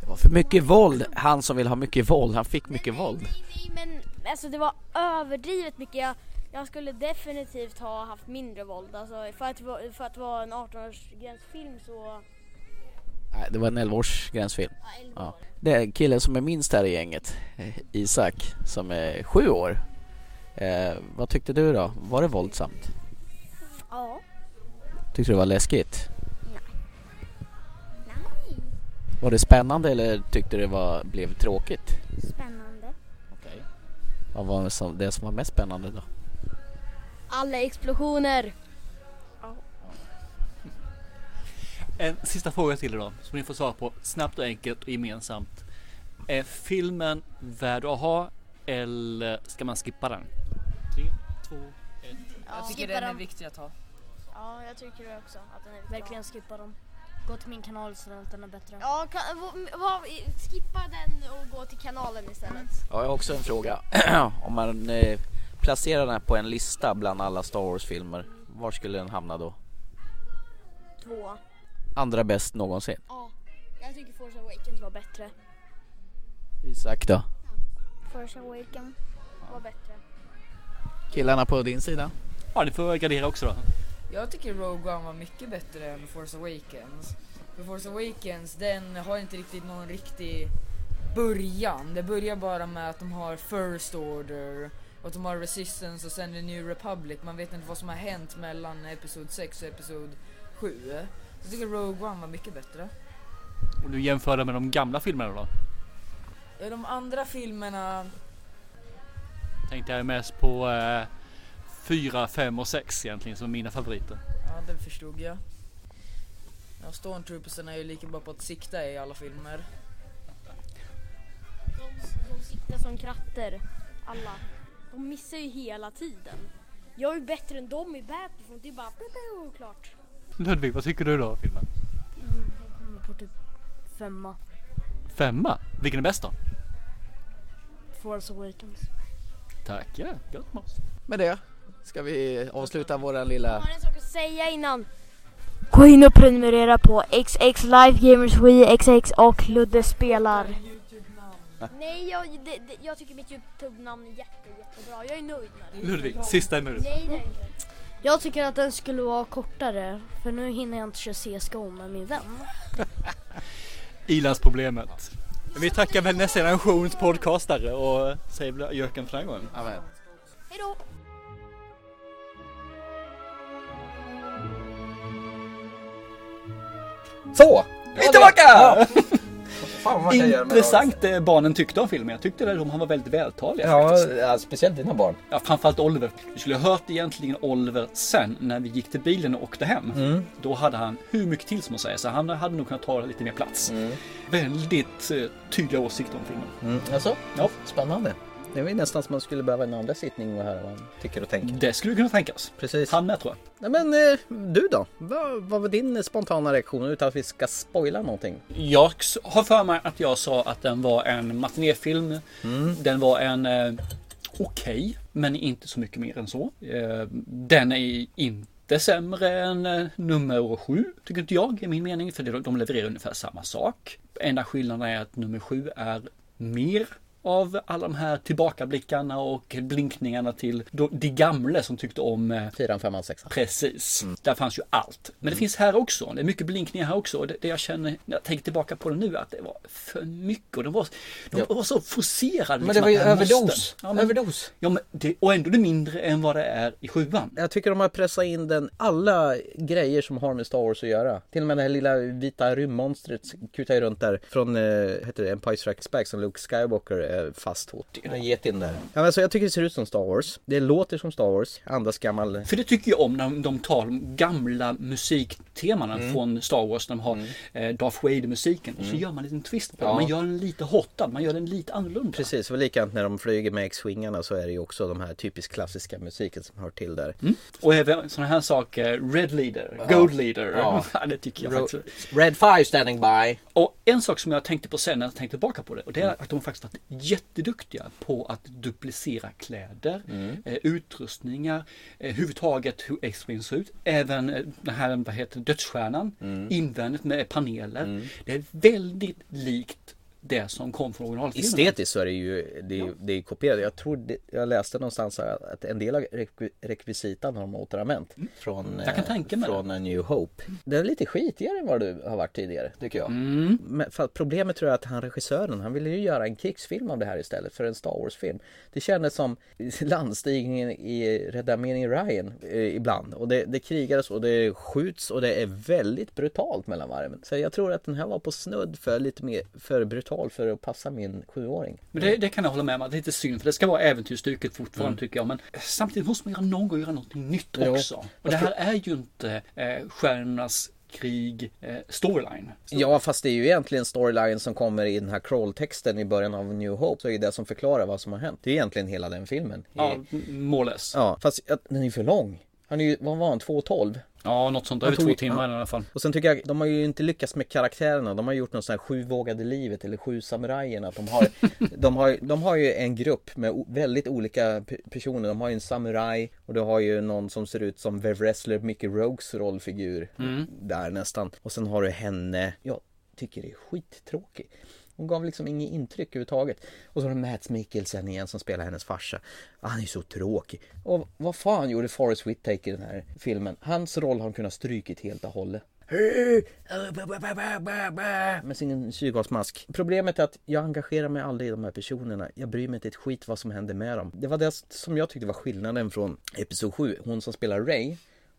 Det var för mycket våld, han som vill ha mycket våld, han fick mycket våld. Men alltså det var överdrivet mycket. Jag, jag skulle definitivt ha haft mindre våld. Alltså, för, att, det var- för att det var en 18-årsgränsfilm så... Nej, det var en 11-års gränsfilm. Ja, 11 Ja. Det är killen som är minst här i gänget, eh, Isak, som är sju år. Eh, vad tyckte du då? Var det våldsamt? Ja. Tyckte du det var läskigt? Nej. Var det spännande eller tyckte du det var, blev tråkigt? Spännande. Vad var det som, det som var mest spännande då? Alla explosioner! En sista fråga till er då, som ni får svara på snabbt och enkelt och gemensamt. Är filmen värd att ha eller ska man skippa den? Tre, två, ett. Jag tycker den är viktig att ha. Ja, jag tycker det också. Att den är Verkligen skippa dem. Gå till min kanal så att den är bättre. Ja, kan, v- vad- skippa den och gå till kanalen istället. Ja, jag har också en fråga. Om man eh, placerar den här på en lista bland alla Star Wars-filmer, var skulle den hamna då? Två. Andra bäst någonsin? Ja. Jag tycker Force Awakens var bättre. Isak då? Force Awakens. Var bättre. Killarna på din sida? Ja, ni får gardera också då. Jag tycker Rogue One var mycket bättre än Force Awakens. För Force Awakens, den har inte riktigt någon riktig början. Det börjar bara med att de har First Order och att de har Resistance och sen The New Republic. Man vet inte vad som har hänt mellan Episod 6 och Episod 7. Jag tycker Rogue One var mycket bättre. Och du jämför den med de gamla filmerna då? Ja, de andra filmerna, Tänkte jag mest på eh, fyra, fem och sex egentligen som är mina favoriter. ja den förstod jag. Ja, Stormtroopersen är ju lika bra på att sikta i alla filmer. De, de siktar som kratter. Alla. De missar ju hela tiden. Jag är ju bättre än dem i Battlefront. Det är bara boom, klart. Ludvig, vad tycker du då om filmen? Mm, jag kommer på typ femma. Femma? Vilken är bäst då? Force Awakens. Tackar, gött mos. Med det ska vi avsluta våran lilla... Har ni en sak att säga innan? Gå in och prenumerera på XX Live Gamers Wii XX och Ludde spelar. Nej, jag, det, det, jag tycker mitt Youtube-namn är jätte, jättebra. Jag är nöjd med det. Ludvig, sista emot. Nej, det är inte. Jag tycker att den skulle vara kortare för nu hinner jag inte köra CSGO med min vän. I-landsproblemet. Vi tackar väl nästa generations podcastare och säger väl göken för den här gången. Amen. Hejdå! Så! Vi är tillbaka! fan vad jag gör med Intressant det barnen tyckte om filmen. Jag tyckte att de han var väldigt vältaliga Ja, faktiskt. ja, speciellt dina barn. Ja, framförallt Oliver. Du skulle ha hört egentligen Oliver sen när vi gick till bilen och åkte hem. Mm. Då hade han hur mycket till som att säga så han hade nog kunnat ta lite mer plats. Väldigt eh, tydliga åsikter om filmen. Mm. Alltså, ja. spännande. Det var ju nästan som man skulle behöva en andra sittning och höra vad han tycker och tänker. Det skulle kunna tänkas. Mm. Precis. Han med tror jag. Nej, men eh, du då? Vad, vad var din eh, spontana reaktion utan att vi ska spoila någonting? Jag s- har för mig att jag sa att den var en matinéfilm. Den var en eh, okej, men inte så mycket mer än så. Eh, den är inte sämre än eh, nummer sju, tycker inte jag i min mening, för det- de levererar ungefär samma sak. Enda skillnaden är att nummer sju är mer av alla de här tillbakablickarna och blinkningarna till då- de gamle som tyckte om... eh, Fyran, femman, sexan. Precis. Där fanns ju allt. Men det finns här också. Det är mycket blinkningar här också. Och Det, det jag känner när jag tänker tillbaka på det nu att det var för mycket. Och de var, de Ja. var så fokuserade. Men det var ju att här måste- överdos. Ja, men, Överdos. Ja, men det, och ändå det är mindre än vad det är i sjuan. Jag tycker de har pressat in den, alla grejer som har med Star Wars att göra. Till och med det här lilla vita rymdmonstret kutar ju runt där från, eh, heter det, Empire Strikes Back som Luke Skywalker är fast hos. En getin där. Ja, men alltså, jag tycker det ser ut som Star Wars. Det låter som Star Wars, andas gammal... För det tycker jag om när de tar de gamla musik teman Mm. från Star Wars. När de har eh, Darth Vader-musiken. Och så Mm. gör man en liten twist på Ja. den. Man gör den lite hottad. Man gör den lite annorlunda. Precis, och likadant när de flyger med X-wingarna så är det ju också de här typiskt klassiska musiken som hör till där. Och även sådana här saker. Red Leader, Ja. Gold Leader. Ja. Ja. det tycker jag Ro- faktiskt. Red Five standing by. Och en sak som jag tänkte på sen när jag tänkte tillbaka på det. Och det Mm. är att de faktiskt varit jätteduktiga på att duplicera kläder, Mm. eh, utrustningar, eh, överhuvudtaget hur X-Wing ser ut. Även eh, den här vad heter det, dödsstjärnan, Mm. invändigt med paneler. Det är väldigt likt det som kom från originalfilmen. Estetiskt så är det ju, det är, det är kopierat. Jag tror det, jag läste någonstans här att en del av rekvi- rekvisitan har de återanvänt. Från, Mm. Jag kan eh, tänka mig det. från A New Hope. Det är lite skitigare än vad du har varit tidigare, tycker jag. Mm. Men för att problemet tror jag att han regissören, han ville ju göra en krigsfilm av det här istället för en Star Wars-film. Det kändes som landstigningen i Red Armenian Ryan eh, ibland. Och det, det krigades och det skjuts och det är väldigt brutalt mellan varven. Så jag tror att den här var på snudd för lite mer för brutal för att passa min sjuåring. Men det, det kan jag hålla med om att det är lite synd för det ska vara äventyrsstycket fortfarande Mm. tycker jag. Men samtidigt måste man göra någon gång göra någonting nytt Ja. också. Och det här är ju inte eh, Stjärnornas krig eh, storyline. Ja fast det är ju egentligen storylinen som kommer i den här crawl-texten i början av New Hope. Så är det som förklarar vad som har hänt. Det är egentligen hela den filmen. Ja, more or less. Ja, fast jag- den är ju för lång. Han är ju, vad var han, 2.12? Ja, något sånt. Han Över tog två ju- timmar ja. i alla fall. Och sen tycker jag, de har ju inte lyckats med karaktärerna. De har gjort något sånt här Sju vågade livet eller Sju samurajerna. Att De har, de, har, de har ju en grupp med o- väldigt olika pe- personer. De har ju en samuraj och du har ju någon som ser ut som The Wrestler, Mickey Rogues rollfigur. Mm. Där nästan. Och sen har du henne. Jag tycker det är skittråkig. Hon gav liksom inget intryck överhuvudtaget. Och så har du Mats Mikkelsen igen som spelar hennes farsa. Han är ju så tråkig. Och vad fan gjorde Forrest Whitaker i den här filmen? Hans roll har de kunnat strykit helt och hållet. Med sin syrgasmask. Problemet är att jag engagerar mig aldrig i de här personerna. Jag bryr mig inte ett skit vad som händer med dem. Det var det som jag tyckte var skillnaden från Episod 7. Hon som spelar Ray,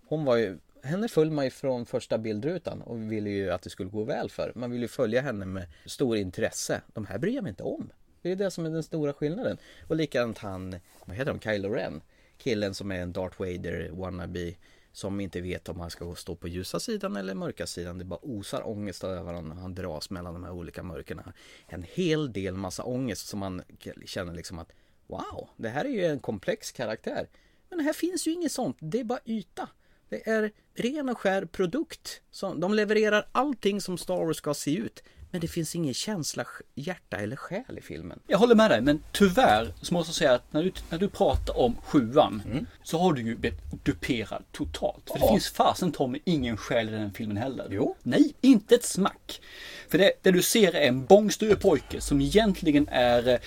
hon var ju henne föll man ju från första bildrutan och ville ju att det skulle gå väl för. Man ville ju följa henne med stor intresse. De här bryr jag mig inte om. Det är det som är den stora skillnaden. Och likadant han, vad heter de, Kylo Ren? Killen som är en Darth Vader wannabe som inte vet om han ska gå- stå på ljusa sidan eller mörka sidan. Det bara osar ångest över honom när han dras mellan de här olika mörkerna. En hel del massa ångest som man känner liksom att wow, det här är ju en komplex karaktär. Men här finns ju inget sånt, det är bara yta. Det är ren och skär produkt. Som, de levererar allting som Star Wars ska se ut. Men det finns ingen känsla, sj- hjärta eller själ i filmen. Jag håller med dig, men tyvärr så måste jag säga att när du, när du pratar om sjuan så har du ju blivit duperad totalt. För Mm. Ja. det finns fasen ta mig ingen själ i den filmen heller. Jo. Nej, inte ett smack. För det, det du ser är en bångstyrig pojke som egentligen är eh,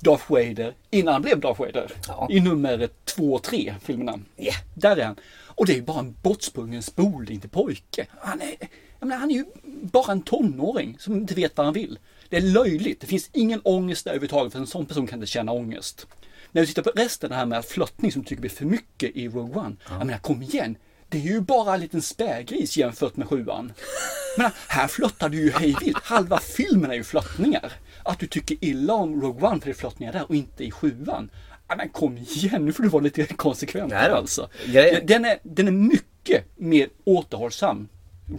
Darth Vader innan han blev Darth Vader. I nummer två och tre filmerna. Yeah. Där är han. Och det är ju bara en bortsprungen spol, det är inte pojke. Han är, jag menar, han är ju bara en tonåring som inte vet vad han vill. Det är löjligt. Det finns ingen ångest där överhuvudtaget för en sån person kan inte känna ångest. När vi tittar på resten, det här med flottning som du tycker blir för mycket i Rogue One. Jag menar, kom igen. Det är ju bara en liten spädgris jämfört med sjuan. Men här flottar du ju hejvilt. Halva filmen är ju flottningar. Att du tycker illa om Rogue One för det är flottningar där och inte i sjuan. Ja, Men kom igen, nu får du vara lite konsekvent här alltså. Grejen- Den är, den är mycket mer återhållsam,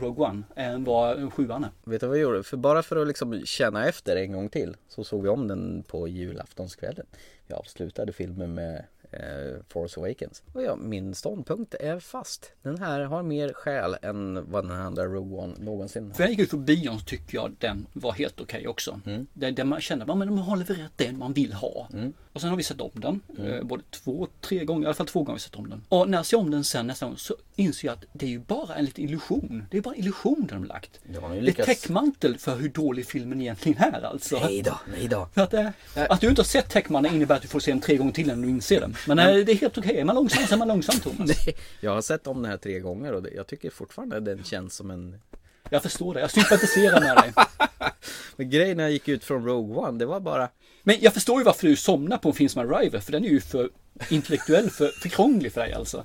Rogue One, än vad sjuan är. Vet du vad jag gjorde? För bara för att liksom känna efter en gång till så såg vi om den på julaftonskvällen. Jag avslutade filmen med eh, Force Awakens. Och ja, min ståndpunkt är fast. Den här har mer själ än vad den andra Rogue One någonsin För jag gick ut på bion så tycker jag den var helt okej också. Mm. Där, där man kände att de har levererat den man vill ha. Och sen har vi sett om den. Mm. Eh, både två, tre gånger, i alla fall två gånger har vi sett om den. Och när jag ser om den sen nästa gång så inser jag att det är ju bara en liten illusion. Det är bara en illusion de har lagt. Det var Det är täckmantel för hur dålig filmen egentligen är alltså. Nej då, nej då. För att, eh, att du inte har sett Täckmannen innebär att du får se den tre gånger till innan du inser den. Men eh, det är helt okej. Är man långsam så är man långsam Thomas. Jag har sett om den här tre gånger och det- jag tycker fortfarande den känns som en Jag förstår det. Jag sympatiserar med dig. Men grejen när jag gick ut från Rogue One, det var bara... Men jag förstår ju varför du somnar på en film som Arrival, för den är ju för intellektuell, för, för krånglig för dig alltså.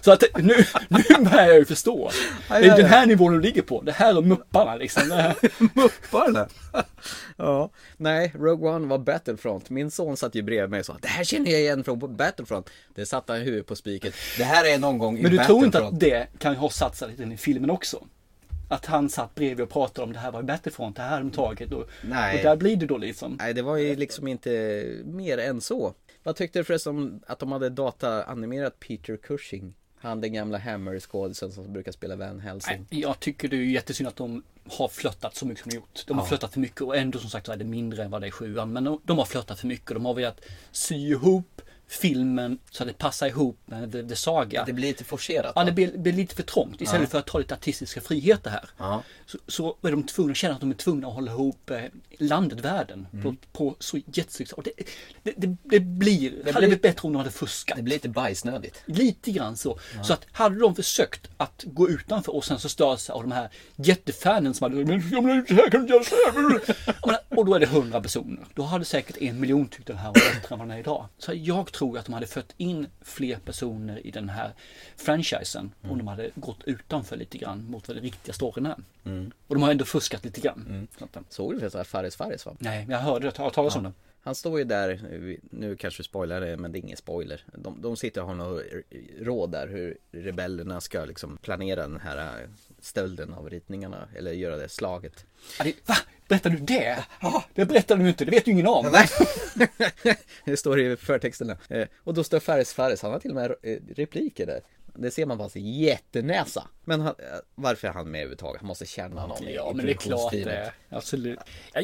Så att nu, nu börjar jag ju förstå. Det ja, ja. är den här nivån du ligger på. Det här och mupparna liksom. Det här. Mupparna? ja, nej, Rogue One var Battlefront. Min son satt ju bredvid mig och sa det här känner jag igen från Battlefront. Det satte han huvudet på spiken. Det här är någon gång i Men du tror Battlefront. inte att det kan ha satt sig lite in i filmen också? att han satt bredvid och pratade om det här var ju Battlefront, det här har de tagit. Och, Nej. och där blir det då liksom. Nej, det var ju liksom inte mer än så. Vad tyckte du förresten om att de hade dataanimerat Peter Cushing? Han den gamla Hammer-skådisen som brukar spela Van Helsing. Jag tycker det är ju jättesynd att de har flörtat så mycket som de gjort. De har Ja. flörtat för mycket och ändå som sagt så är det mindre än vad det är i sjuan. Men de, de har flörtat för mycket. De har velat sy ihop filmen så att det passar ihop med The, the Saga. Det blir lite forcerat. Ja, det blir, blir lite för trångt. Istället Ja. för att ta lite artistiska friheter här. Ja. Så, så är de tvungna att känna att de är tvungna att hålla ihop eh, landet, världen. På, Mm. på så jättesnyggt Och det, det, det, det blir... Det hade blir- blivit bättre om de hade fuskat. Det blir lite bajsnödigt. Lite grann så. Ja. Så att hade de försökt att gå utanför och sen så störs av de här jättefanen som hade men, jag menar, så här kan du göra så här. Jag menar, Och då är det hundra personer. Då hade säkert en miljon tyckt den här var bättre än vad den är idag. Så jag tror att de hade fött in fler personer i den här franchisen om de hade gått utanför lite grann mot vad den riktiga storyn är. Mm. Och de har ändå fuskat lite grann. Så att, eh, Såg du förresten att Fares Fares var? Nej, jag hörde det. Jag har hört talas om det. Han står ju där, nu kanske spoilar det men det är ingen spoiler. De, de sitter och har något råd där hur rebellerna ska liksom planera den här äh, stölden av ritningarna eller göra det slaget. Ja, det, va? Berättar du det? Ja, det berättar du inte. Det vet ju ingen om. Nej. Det står i förtexterna. Eh, Och då står Fares Fares, han har till och med eh, repliker där. Det ser man på hans jättenäsa. Men han, eh, varför är han med överhuvudtaget? Han måste känna någon i- Ja, i men det är klart det. produktionsteamet. är. Absolut.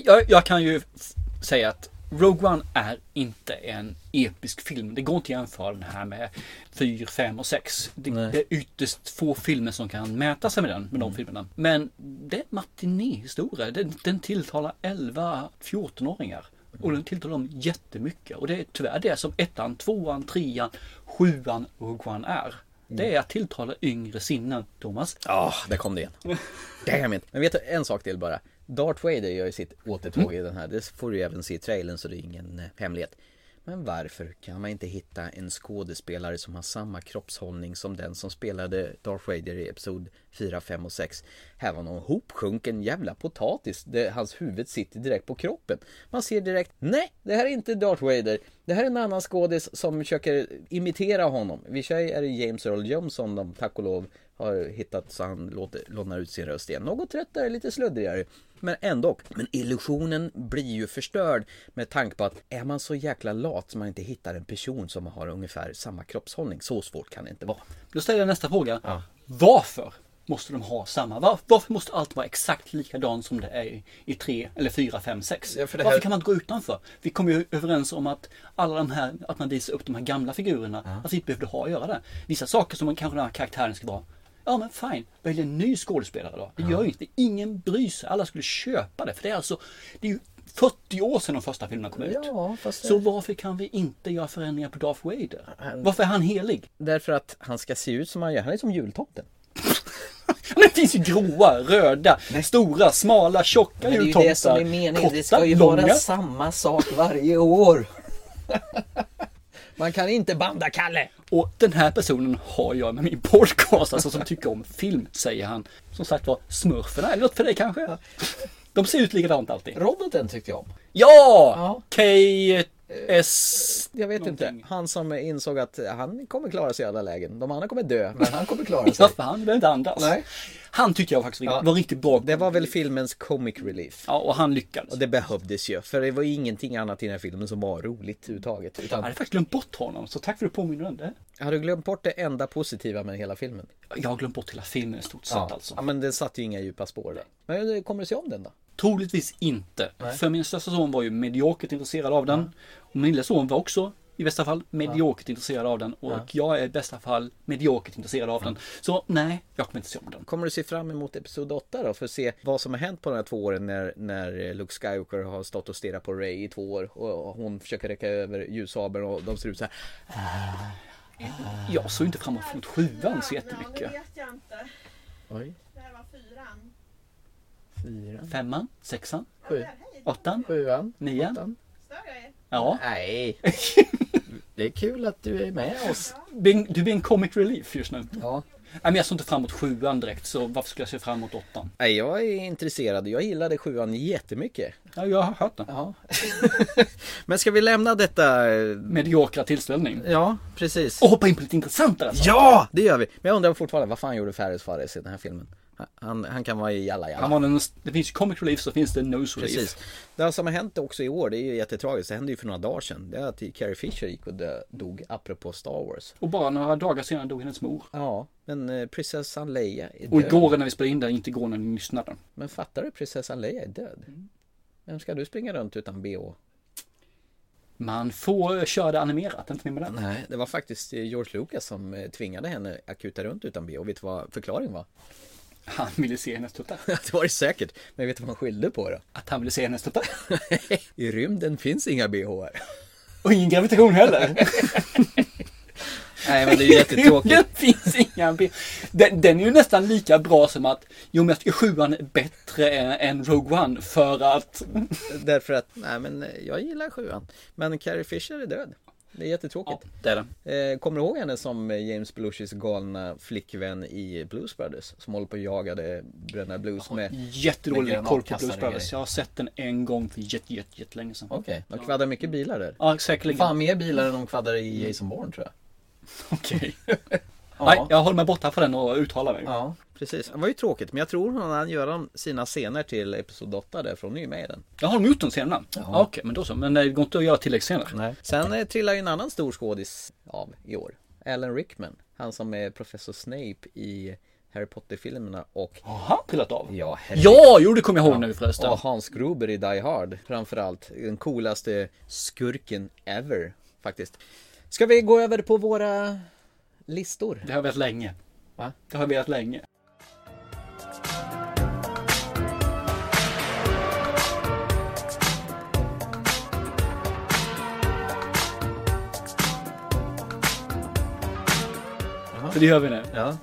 Jag, jag kan ju f- säga att Rogue One är inte en episk film. Det går inte att jämföra den här med 4, 5 och 6. Det, Nej. Mm. det är ytterst få filmer som kan mäta sig med den, med de filmerna. Men det är en matinéhistoria. Den, den tilltalar 11-14-åringar. Och den tilltalar dem jättemycket. Och det är tyvärr det som ettan, tvåan, trean, sjuan och Rogue One är. Mm. Det är att tilltala yngre sinnen, Thomas. Ja, där kom det igen. Damn it. Men vet du en sak till bara. Darth Vader gör ju sitt återtåg i den här. Det får du ju även se i trailern så det är ingen eh, hemlighet. Men varför kan man inte hitta en skådespelare som har samma kroppshållning som den som spelade Darth Vader i Episod 4, 5 och 6? Här var någon hopsjunken jävla potatis. Det, hans huvud sitter direkt på kroppen. Man ser direkt, nej, det här är inte Darth Vader. Det här är en annan skådis som försöker imitera honom. I och för sig är det James Earl Jones som de tack och lov har hittat så han låter, lånar ut sin röst igen. Något tröttare, lite sluddrigare. Men ändå. Men illusionen blir ju förstörd med tanke på att är man så jäkla lat som man inte hittar en person som har ungefär samma kroppshållning. Så svårt kan det inte vara. Då ställer jag nästa fråga. Varför måste de ha samma? Var, varför måste allt vara exakt likadant som det är i- i 3 eller 4, 5, 6? det här- Varför kan man inte gå utanför? Vi kom ju överens om att alla de här, att man visar upp de här gamla figurerna, att vi inte behövde ha att göra det. Vissa saker som man kanske den här karaktären ska vara Ja men fine, välj en ny skådespelare då. Det gör ju inte, ingen bryr sig, alla skulle köpa det. För det är alltså, det är ju 40 år sedan de första filmerna kom ut. Ja, fast det- Så varför kan vi inte göra förändringar på Darth Vader? Varför är han helig? Därför att han ska se ut som han gör. Han är som jultomten. Men det finns ju gråa, röda, stora, smala, tjocka Men det är ju jultomtar. det som är meningen. Det ska Korta, ju vara långa. samma sak varje år. Man kan inte banda Kalle. Och den här personen har jag med min podcast, alltså som tycker om film, säger han. Som sagt var, smurferna eller något för dig kanske? De ser ut likadant alltid. Roboten tyckte jag om. Ja! K.S. Jag vet inte. Han som insåg att han kommer klara sig i alla lägen. De andra kommer dö, men han kommer klara sig. Ja, för han behöver inte andas. Nej. Han tyckte jag faktiskt var riktigt bra. Det var väl filmens comic relief. Ja, och han lyckades. Och det behövdes ju. För det var ju ingenting annat i den här filmen som var roligt överhuvudtaget. Jag hade faktiskt glömt bort honom, så tack för att du påminner om det. Har du glömt bort det enda positiva med hela filmen? Jag har glömt bort hela filmen i stort sett Ja. alltså. ja, men den satte ju inga djupa spår där. Men eh, kommer du se om den då? Troligtvis inte. Nej. För min största son var ju mediokert intresserad av den. Och min lilla son var också i bästa fall mediokert intresserad av den. Och Ja. jag är i bästa fall mediokert intresserad av den. Så nej, jag kommer inte se om den. Kommer du se fram emot Episod 8 då? För att se vad som har hänt på de här två åren när, när eh, Luke Skywalker har stått och stirrat på Ray i två år och hon försöker räcka över ljussabeln och de ser ut så här. Jag såg inte fram emot sjuan så jättemycket. jag inte. Oj. Det här var fyran. Fyran. Femman, sexan, Sju. åttan, Sjuan, nian. Stör jag er? Ja. Nej. Det är kul att du är med oss. Du är en comic relief just nu. Ja. Nej, men jag såg inte fram emot sjuan direkt så varför skulle jag se fram emot åttan? Nej, jag är intresserad. Jag gillade sjuan jättemycket. Ja, jag har hört det. Ja. Men ska vi lämna detta... Mediokra tillställning. Ja, precis. Och hoppa in på lite intressantare. saker. Ja, det gör vi. Men jag undrar fortfarande, vad fan gjorde Fares Fares i den här filmen? Han, han kan vara i Jalla Jalla. Han var den, det finns ju Comic Relief så finns det Nose Relief. Precis. Det som har hänt också i år, det är ju jättetragiskt. Det hände ju för några dagar sedan. Det är att Carrie Fisher gick och dö, dog apropå Star Wars. Och bara några dagar senare dog hennes mor. Ja, men eh, prinsessan Leia är Och död. igår när vi spelade in det, inte igår när ni lyssnade. Men fattar du? Prinsessan Leia är död. Vem ska du springa runt utan bh? Man får köra det animerat, inte mer med det. Nej, det var faktiskt eh, George Lucas som eh, tvingade henne att kuta runt utan bh. Vet du vad förklaringen var? Han ville se hennes tuttar. det var det säkert. Men vet du vad han skyllde på då? Att han ville se hennes tuttar. I rymden finns inga bh. Och ingen gravitation heller. Nej, men det är ju jättetråkigt. det finns inga ben. Den, den är ju nästan lika bra som att, jo men jag tycker sjuan är bättre än, än Rogue One för att... Därför att, nej men eh, jag gillar sjuan. Men Carrie Fisher är död. Det är jättetråkigt. det är Eh, kommer du ihåg henne som eh, James Belushis galna flickvän i Blues Brothers? Som håller på och jagade Bröderna Blues med med Jättedålig koll på granatkastare Blues och Brothers. grejer. Jag har sett den en gång för jätte, jätte, jättelänge sedan. Okej, de kvaddar mycket bilar där. Ja, säkerligen. Fan mer bilar än de kvaddar i Jason Bourne tror jag. Okej. Ja. Nej, jag håller mig borta från den och uttalar mig. Ja, precis. Det var ju tråkigt, men jag tror hon hann göra sina scener till Episod 8 där, för hon är ju med i den. Jag har de gjort den senare? Ja. Okej, men då så. Men eh, det går inte att göra tilläggsscener. Nej. Sen eh, trillar ju en annan stor skådis av i år. Alan Rickman. Han som är professor Snape i Harry Potter-filmerna och... Har han trillat av? Ja, herregud. Ja, jo det kommer jag ihåg nu förresten. Och Hans Gruber i Die Hard framförallt. Den coolaste skurken ever faktiskt. Ska vi gå över på våra listor? Det har jag velat länge. Va? Det har jag velat länge. Så det gör vi nu. Ja.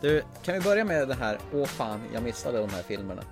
Du, kan vi börja med det här? Åh fan, jag missade de här filmerna.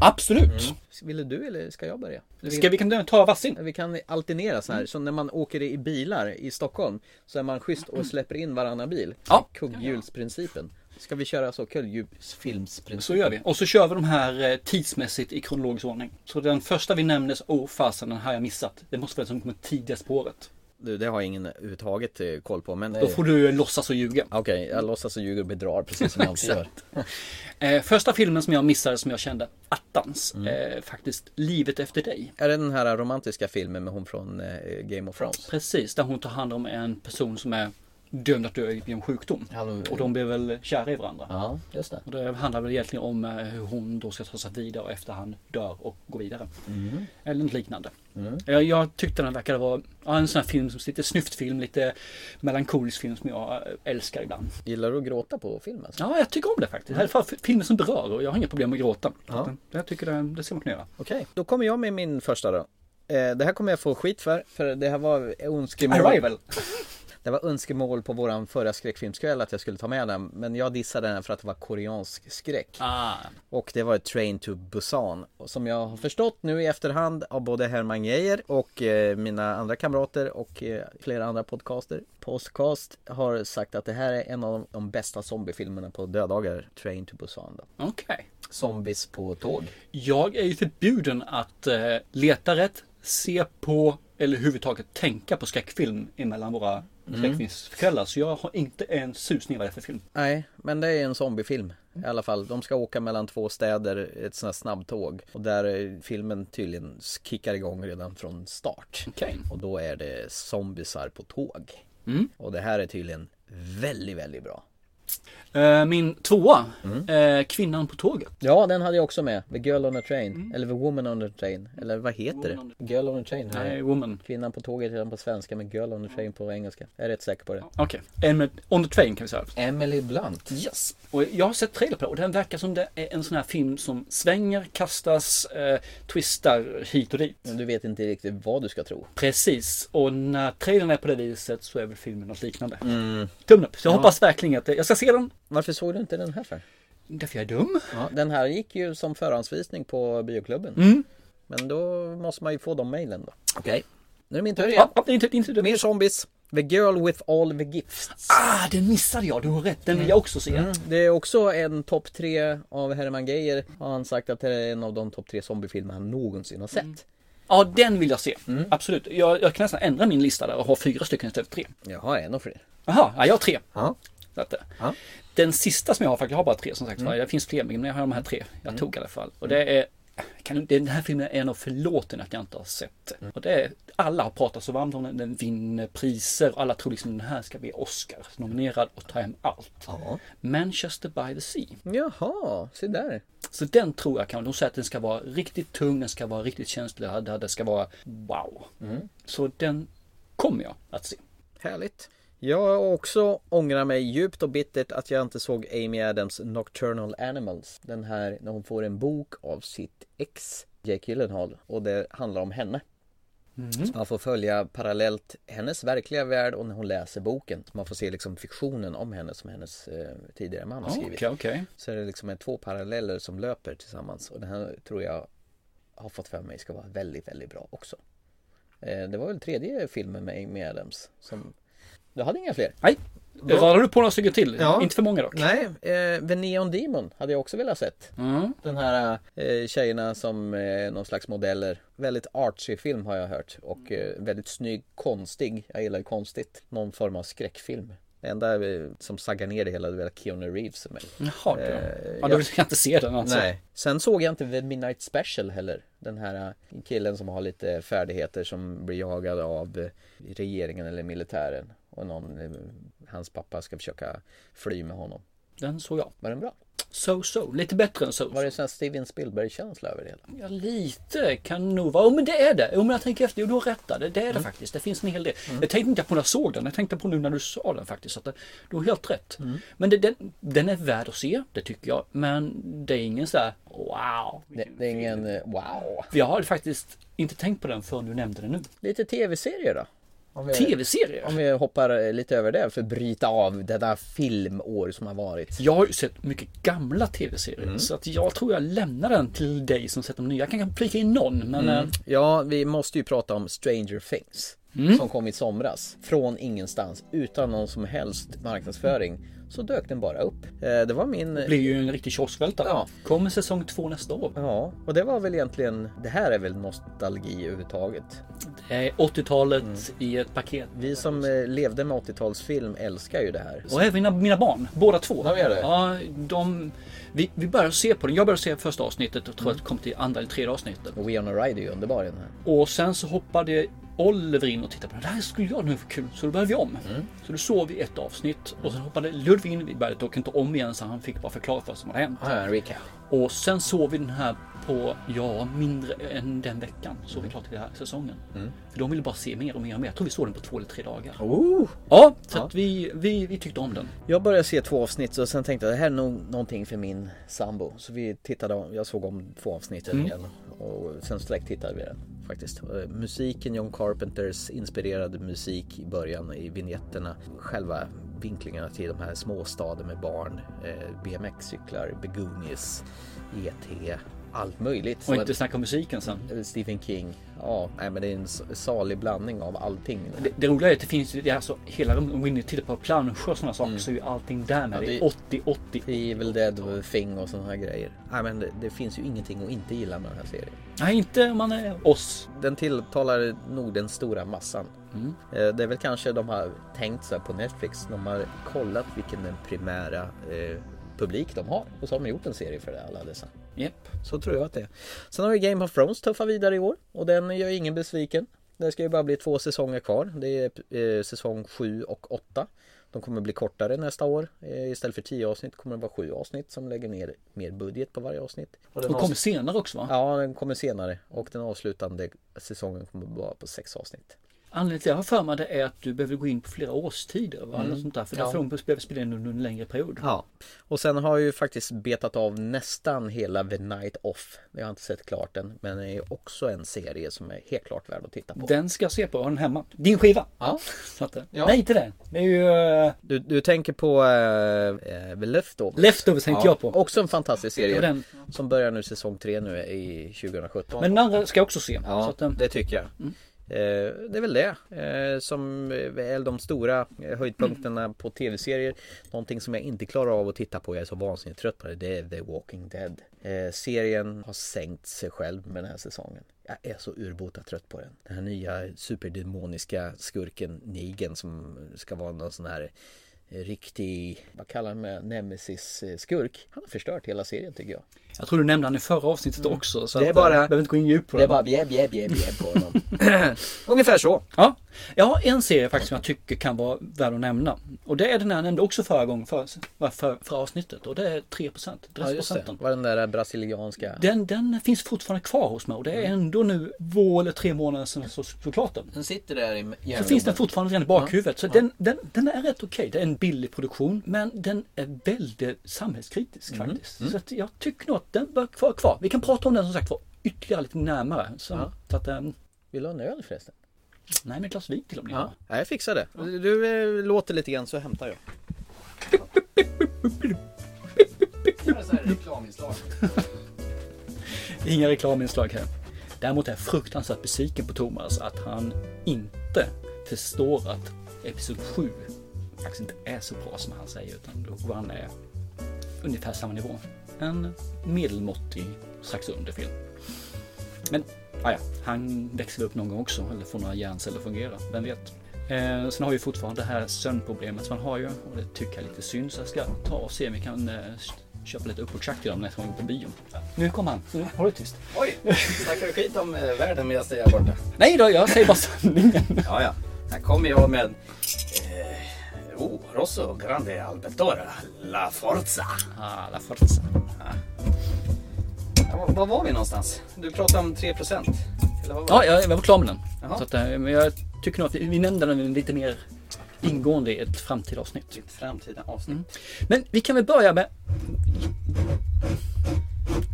Absolut! Ville du eller ska jag börja? Ska vi kan ta varsin? Vi kan alternera så här, så när man åker i bilar i Stockholm så är man schysst och släpper in varannan bil. Ja. Kugghjulsprincipen. Ska vi köra så? Kugghjulsfilmsprincipen. Så gör vi. Och så kör vi de här eh, tidsmässigt i kronologisk ordning. Så den första vi nämnde, så, åh fasen den här har jag missat. Det måste vara den som kommer tidigast på året. Du, det har jag ingen överhuvudtaget eh, koll på men... Då får du eh, låtsas och ljuga. Okej, jag låtsas och ljuger och bedrar precis som jag alltid gör. Exakt. Eh, första filmen som jag missade som jag kände attans, eh, faktiskt Livet efter dig. Är det den här romantiska filmen med hon från eh, Game of Thrones? Precis, där hon tar hand om en person som är dömd att dö i en sjukdom. Och de blir väl kära i varandra. Ja, just det. Och det handlar väl egentligen om eh, hur hon då ska ta sig vidare efter han dör och går vidare. Mm. Eller något liknande. Mm. Jag, jag tyckte den verkade vara ja, en sån här film som lite snyftfilm, lite melankolisk film som jag eh, älskar ibland. Gillar du att gråta på filmen? Ja, jag tycker om det faktiskt. I alla Mm. fall filmer som berör och jag har inga problem med att gråta. Utan Jag tycker det, det ska man kunna göra. Okej, då kommer jag med min första då. Eh, det här kommer jag få skit för, för det här var önskemål. Arrival. Det var önskemål på våran förra skräckfilmskväll att jag skulle ta med den, men jag dissade den för att det var koreansk skräck. Ah. Och det var Train to Busan. Och som jag har förstått nu i efterhand av både Herman Geijer och eh, mina andra kamrater och eh, flera andra podcaster. Podcast har sagt att det här är en av de bästa zombiefilmerna på dödagar. Train to Busan då. Okej. Zombies på tåg. Jag är ju förbjuden att eh, leta rätt, se på eller överhuvudtaget tänka på skräckfilm emellan våra Mm. skräckfilmskvällar. Så jag har inte en susning vad det är för film. Nej, men det är en zombiefilm Mm. i alla fall. De ska åka mellan två städer, ett sånt här snabbtåg. Och där eh, filmen tydligen kickar igång redan från start. Okej. Och då är det zombisar på tåg. Mm. Och det här är tydligen väldigt, väldigt bra. Eh, min tvåa, Mm. eh, Kvinnan på tåget. Ja, den hade jag också med. The Girl on a Train. Eller The Woman on a Train. Eller vad heter Mm. Woman det? Girl on a Train. Nej, Eh, Woman. Kvinnan på tåget heter den på svenska, men Girl on a Train på engelska. Jag är rätt säker på det. Okej, Em- On the Train kan vi säga. Emily Blunt. Yes. Och jag har sett trailer på det och den verkar som det är en sån här film som svänger, kastas, eh, twistar hit och dit. Men du vet inte riktigt vad du ska tro. Precis, och när trailern är på det viset så är väl filmen något liknande. Tummen upp, så jag Mm. Ja. hoppas verkligen att det- jag ska se den. Varför såg du inte den här för? Därför jag är dum. Ja, den här gick ju som förhandsvisning på bioklubben. Mm. Men då måste man ju få de mejlen då. Okej. Nu är det min tur igen. Ja, ja, inte, inte, Mer zombies. The Girl with all the gifts. Ah, den missade jag, du har rätt, den vill jag också se. Mm. Det är också en topp tre av Herman Geijer. Har han sagt att det är en av de topp tre zombiefilmer han någonsin har sett. Mm. Ja, den vill jag se. Mm. Absolut, jag, jag kan nästan ändra min lista där och ha fyra stycken istället för tre. Jag har en och fler. Jaha, ja, jag har tre. Ja. Så att, eh, Den sista som jag har faktiskt, jag har bara tre som sagt mm. Det finns fler men jag har de här tre. Jag Mm. tog i alla fall. Och det är kan, den här filmen är en av förlåten att jag inte har sett. Mm. Och det är, alla har pratat så varmt om den, den vinner priser. Alla tror liksom den här ska bli Oscar nominerad och ta hem allt. Manchester by the Sea. Jaha, se där. Så den tror jag kan, de säger att den ska vara riktigt tung, den ska vara riktigt känsloladdad, det ska vara wow. Mm. Så den kommer jag att se. Härligt. Jag också ångrar mig djupt och bittert att jag inte såg Amy Adams Nocturnal Animals. Den här när hon får en bok av sitt ex Jake Gyllenhaal och det handlar om henne. Så man får följa parallellt hennes verkliga värld och när hon läser boken. Så man får se liksom fiktionen om henne som hennes eh, tidigare man har Ja, skrivit. okej, okej. Så är det liksom är två paralleller som löper tillsammans och den här tror jag har fått för mig ska vara väldigt, väldigt bra också. Eh, det var väl tredje filmen med Amy Adams som... Du hade inga fler? Nej, Då radar du på några stycken till. Inte för många dock. Nej, eh, Mm. The Neon Demon hade jag också velat sett. Den här eh, tjejerna som eh, någon slags modeller. Väldigt artsy film har jag hört och eh, väldigt snygg, konstig. Jag gillar ju konstigt. Någon form av skräckfilm. Det enda eh, som saggar ner det hela det var Keanu Reeves för mig. Jaha, Eh, ja. Ja, då vill jag inte se den alltså. Nej. Sen såg jag inte The Midnight Special heller. Den här eh, killen som har lite färdigheter som blir jagad av eh, regeringen eller militären. Och någon, eh, hans pappa ska försöka fly med honom. Den såg jag. Var den bra? So-so, lite bättre än so, Var det sån här Steven Spielberg-känsla över det hela? Ja, lite kan nog vara. Jo, men det är det. Jo, men jag tänker efter. Jo, du har rätt där. Det, det är det Mm. faktiskt. Det finns en hel del. Mm. Jag tänkte inte på när jag såg den. Jag tänkte på nu när du sa den faktiskt. Så att det, du har helt rätt. Mm. Men det, den, den är värd att se. Det tycker jag. Men det är ingen så här wow. Det, det är ingen eh, wow. Jag har faktiskt inte tänkt på den förrän du nämnde den nu. Lite tv-serier då? Om vi- TV-serier? Om vi hoppar eh, lite över det för att bryta av det där filmår som har varit. Jag har ju sett mycket gamla tv-serier. Mm. Så att jag tror jag lämnar den till dig som sett de nya. Jag kan kanske flika in någon. Men Mm. eh, Ja, vi måste ju prata om Stranger Things som kom i somras från ingenstans utan någon som helst marknadsföring så dök den bara upp. Eh, Det var min... Det blir ju en riktig kioskvältare. Ja. Kommer säsong två nästa år? Ja, och det var väl egentligen, det här är väl nostalgi överhuvudtaget. det är 80-talet Eh, Mm. i ett paket. Vi som eh, levde med 80-talsfilm älskar ju det här. Och även mina, mina barn, båda två. De gör det? Ja, de, vi, vi började se på den. Jag började se första avsnittet Mm. och tror att det kom till andra eller tredje avsnittet. Och We on a Ride är ju underbar i den här. Och sen så hoppade Oliver in och tittade på den. Det här skulle jag nu få kul. Så då började vi om. Mm. Så då såg vi ett avsnitt och sen hoppade Ludvig in. Vi började dock inte om igen så han fick bara förklara för oss vad som hade hänt. Ja, en recap. Och sen såg vi den här på, ja, mindre än den veckan såg Mm. vi klart den här säsongen. För de ville bara se mer och mer och mer. Jag tror vi såg den på två eller tre dagar. Oh. Ja, så Att vi, vi, vi tyckte om den. Jag började se två avsnitt och sen tänkte jag det här är nog någonting för min sambo. Så vi tittade, om- jag såg om två avsnitt Mm. igen och sen direkt tittade vi den faktiskt. Eh, Musiken, John Carpenters inspirerade musik i början i vignetterna. Själva vinklingarna till de här småstaden med barn, eh, BMX-cyklar, Begonias, ET, E allt möjligt. Och inte snacka om musiken sen. Eh, Stephen King. Ja, nej, men det är en s- salig blandning av allting. Det, det roliga är att det finns ju, det är alltså hela rummet, om vi nu tittar på planscher och sådana saker så är ju allting där med. Mm. Ja, det det- är 80, 80. Evil Dead och Thing och sådana här grejer. Nej, men det, det finns ju ingenting att inte gilla med den här serien. Nej, inte om man är oss. Den tilltalar nog den stora massan. Mm. Eh, Det är väl kanske de har tänkt så här på Netflix. De har kollat vilken den primära eh, publik de har. Och så har de gjort en serie för det, alla dessa. Japp. Så tror jag att det är. Sen har vi Game of Thrones tuffar vidare i år. Och den gör ingen besviken. Det ska ju bara bli två säsonger kvar. Det är eh, säsong 7 och 8. De kommer bli kortare nästa år. Eh, istället för 10 avsnitt kommer det vara 7 avsnitt som lägger ner mer budget på varje avsnitt. Och kommer senare också va? Ja, den kommer senare och den avslutande säsongen kommer vara på sex avsnitt. Anledningen till att jag har för mig det är att du behöver gå in på flera årstider va? Mm. Eller sånt där. För Ja. därför de behöver spela in under en längre period. Ja. Och sen har jag ju faktiskt betat av nästan hela The Night Off. Jag har inte sett klart den, men det är också en serie som är helt klart värd att titta på. Den ska jag se på, jag har den hemma. Din skiva! Ja. Så att, eh, Nej, inte den. Det är ju... eh, Du, du tänker på äh, The Leftovers? Leftovers tänkte jag på. Också en fantastisk serie. Det var den. Som börjar nu säsong tre nu i 2017. Men den andra ska jag också se. Ja, Så att, eh, det tycker jag. Eh, Det är väl det eh, som eh, är de stora eh, höjdpunkterna Mm. på tv-serier. Någonting som jag inte klarar av att titta på, jag är så vansinnigt trött på det, det är The Walking Dead. Eh, Serien har sänkt sig själv med den här säsongen. Jag är så urbota trött på den. Den här nya superdemoniska skurken Negan som ska vara någon sån här eh, riktig, vad kallar man nemesis-skurk. Han har förstört hela serien tycker jag. Jag tror du nämnde han i förra avsnittet också. Så Mm. Det är att, bara- eh, behöver inte gå in djupt på Det är det. bara bjäbb, bjäbb, bjäbb, bjäbb på honom. Ungefär så. Ja. Jag har en serie faktiskt som jag tycker kan vara värd att nämna. Och det är den här jag nämnde också förra gången, för, för, för, för avsnittet. Och det är 3%. Ja, just det. Dressprocenten. Var den där brasilianska. Den, den finns fortfarande kvar hos mig och det är Mm. ändå nu två eller tre månader sedan så, såklart den. Den sitter där i Så finns den fortfarande redan i bakhuvudet. Så den, den, den är rätt okej. Det är en billig produktion men den är väldigt samhällskritisk Mhm. faktiskt. Mm. Så att jag tycker nog att den bör vara kvar. Vi kan prata om den som sagt var ytterligare lite närmare. Så, Ja. så att, ehm, Vill du ha en öl förresten? nej men ett glas vin till och med. Ja, ja jag fixar det. Du eh, låter lite grann så hämtar jag. Inga reklaminslag här. Däremot är jag fruktansvärt besviken på Thomas att han inte förstår att Episod 7 faktiskt inte är så bra som han säger utan då han är ungefär samma nivå. En medelmåttig, strax under film. Men ah ja, han växer väl upp någon gång också eller får några hjärnceller fungera, vem vet. Eh, sen har vi fortfarande det här sömnproblemet som han har ju och det tycker jag är lite synd så jag ska ta och se om vi kan eh, köpa lite uppåtschakt till dem nästa gång på bion. Nu kom han, så nu håller du tyst. Oj, snackar du skit om eh, världen medan jag är borta? Nej då, jag säger bara sanningen. Ja, ja. Här kommer jag med... Eh, oh, Rosso Grande Albertora. La Forza. Ah, la forza. Ja, var- var var vi någonstans? Du pratade om 3 procent. Ja, jag jag var klar med den. Jaha. Så att, eh, men jag tycker nog att vi, vi nämnde den lite mer ingående i ett framtida avsnitt. Framtida avsnitt. Men vi kan väl börja med...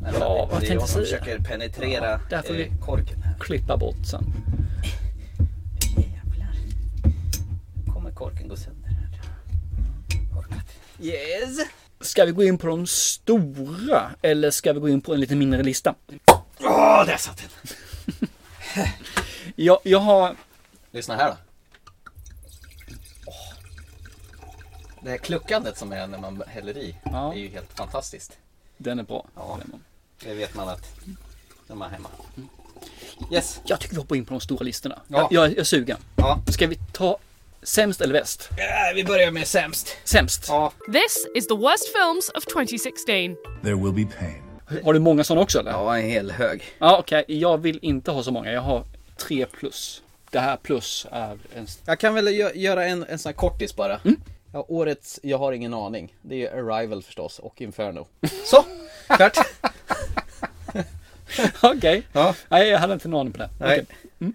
Vänta, Ja, vad det är jag tänkte som säga? försöker penetrera Där får eh, vi korken. klippa bort sen. Nu kommer korken gå sönder här. Yes! Ska vi gå in på de stora eller ska vi gå in på en lite mindre lista? Åh, där satt den! Jag, jag har... Lyssna här då. Åh. Det här kluckandet som är när man häller i är ju helt fantastiskt. Den är bra. Det vet man att när man är hemma. Yes. Jag tycker vi hoppar in på de stora listorna. Ja. Jag, jag är sugen. Ska vi ta sämst eller bäst? vi börjar med sämst. Sämst? Ja. This is the worst films of 2016. There will be pain. Har du många sådana också eller? Ja, en hel hög. Ja, okej. Jag vill inte ha så många. Jag har tre plus. Det här plus är en... Jag kan väl gö- göra en, en sån här kortis bara. Mm. Ja, årets Jag har ingen aning. Det är ju Arrival förstås och Inferno. Så! Klart! Okej. Nej, jag hade inte en aning på det. Nej. Okej. Mm.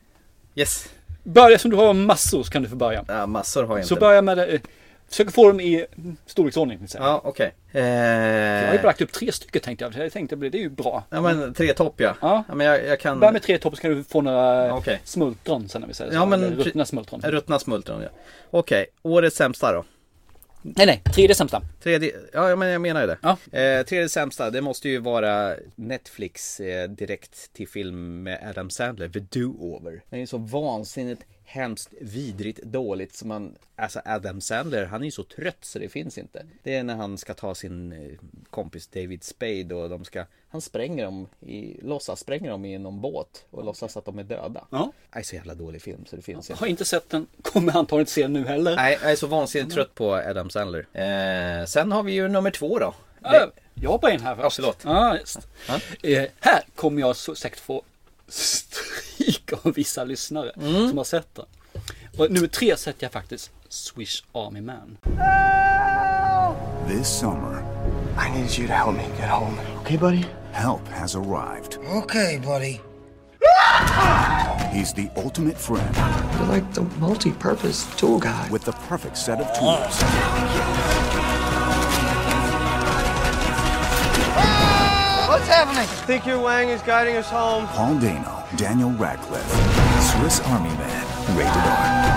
Yes. Börja som du har massor så kan du få börja. Ja, massor har jag Så inte. börja med det. eh, Försök få dem i storleksordning. Så. Ja, okej. Eh, Jag har ju bara lagt upp tre stycken tänkte jag. Jag tänkte det är ju bra. Ja men tre topp ja. Ja. men jag, jag kan... Börja med tre topp så kan du få några Okej. smultron sen när vi säger så. Ja, men Eller pre- ruttna smultron. Ruttna smultron ja. Okej, årets sämsta då? Nej nej, tredje sämsta. Tredje, ja ja, men jag menar ju det. Eh, tredje sämsta, det måste ju vara Netflix eh, direkt till film med Adam Sandler, The Do-Over. Den är ju så vansinnigt hemskt vidrigt dåligt som man, alltså Adam Sandler han är ju så trött så det finns inte. Det är när han ska ta sin eh, kompis David Spade och de ska, han spränger dem i, låtsas spränger dem i någon båt och låtsas att de är döda. Ja. Nej, så jävla dålig film så det finns Jag har inte sett den. Kommer antagligen inte se den nu heller. Nej, jag är så vansinnigt trött på Adam Sandler. Eh, sen har vi ju nummer två då. Ja, Jag hoppar in här först. Ja, förlåt. Ja, just. Eh, här kommer jag så säkert få stryk av vissa lyssnare Mm. som har sett den. Och nummer tre sätter jag faktiskt Swish Army Man. This summer, I need you to help me get home. Okay, buddy? Help has arrived. Okay, buddy. He's the ultimate friend. You're like the multi purpose tool guy. With the perfect set of tools. What's happening? I think your Wang is guiding us home. Paul Dano, Daniel Radcliffe, Swiss Army Man, rated R.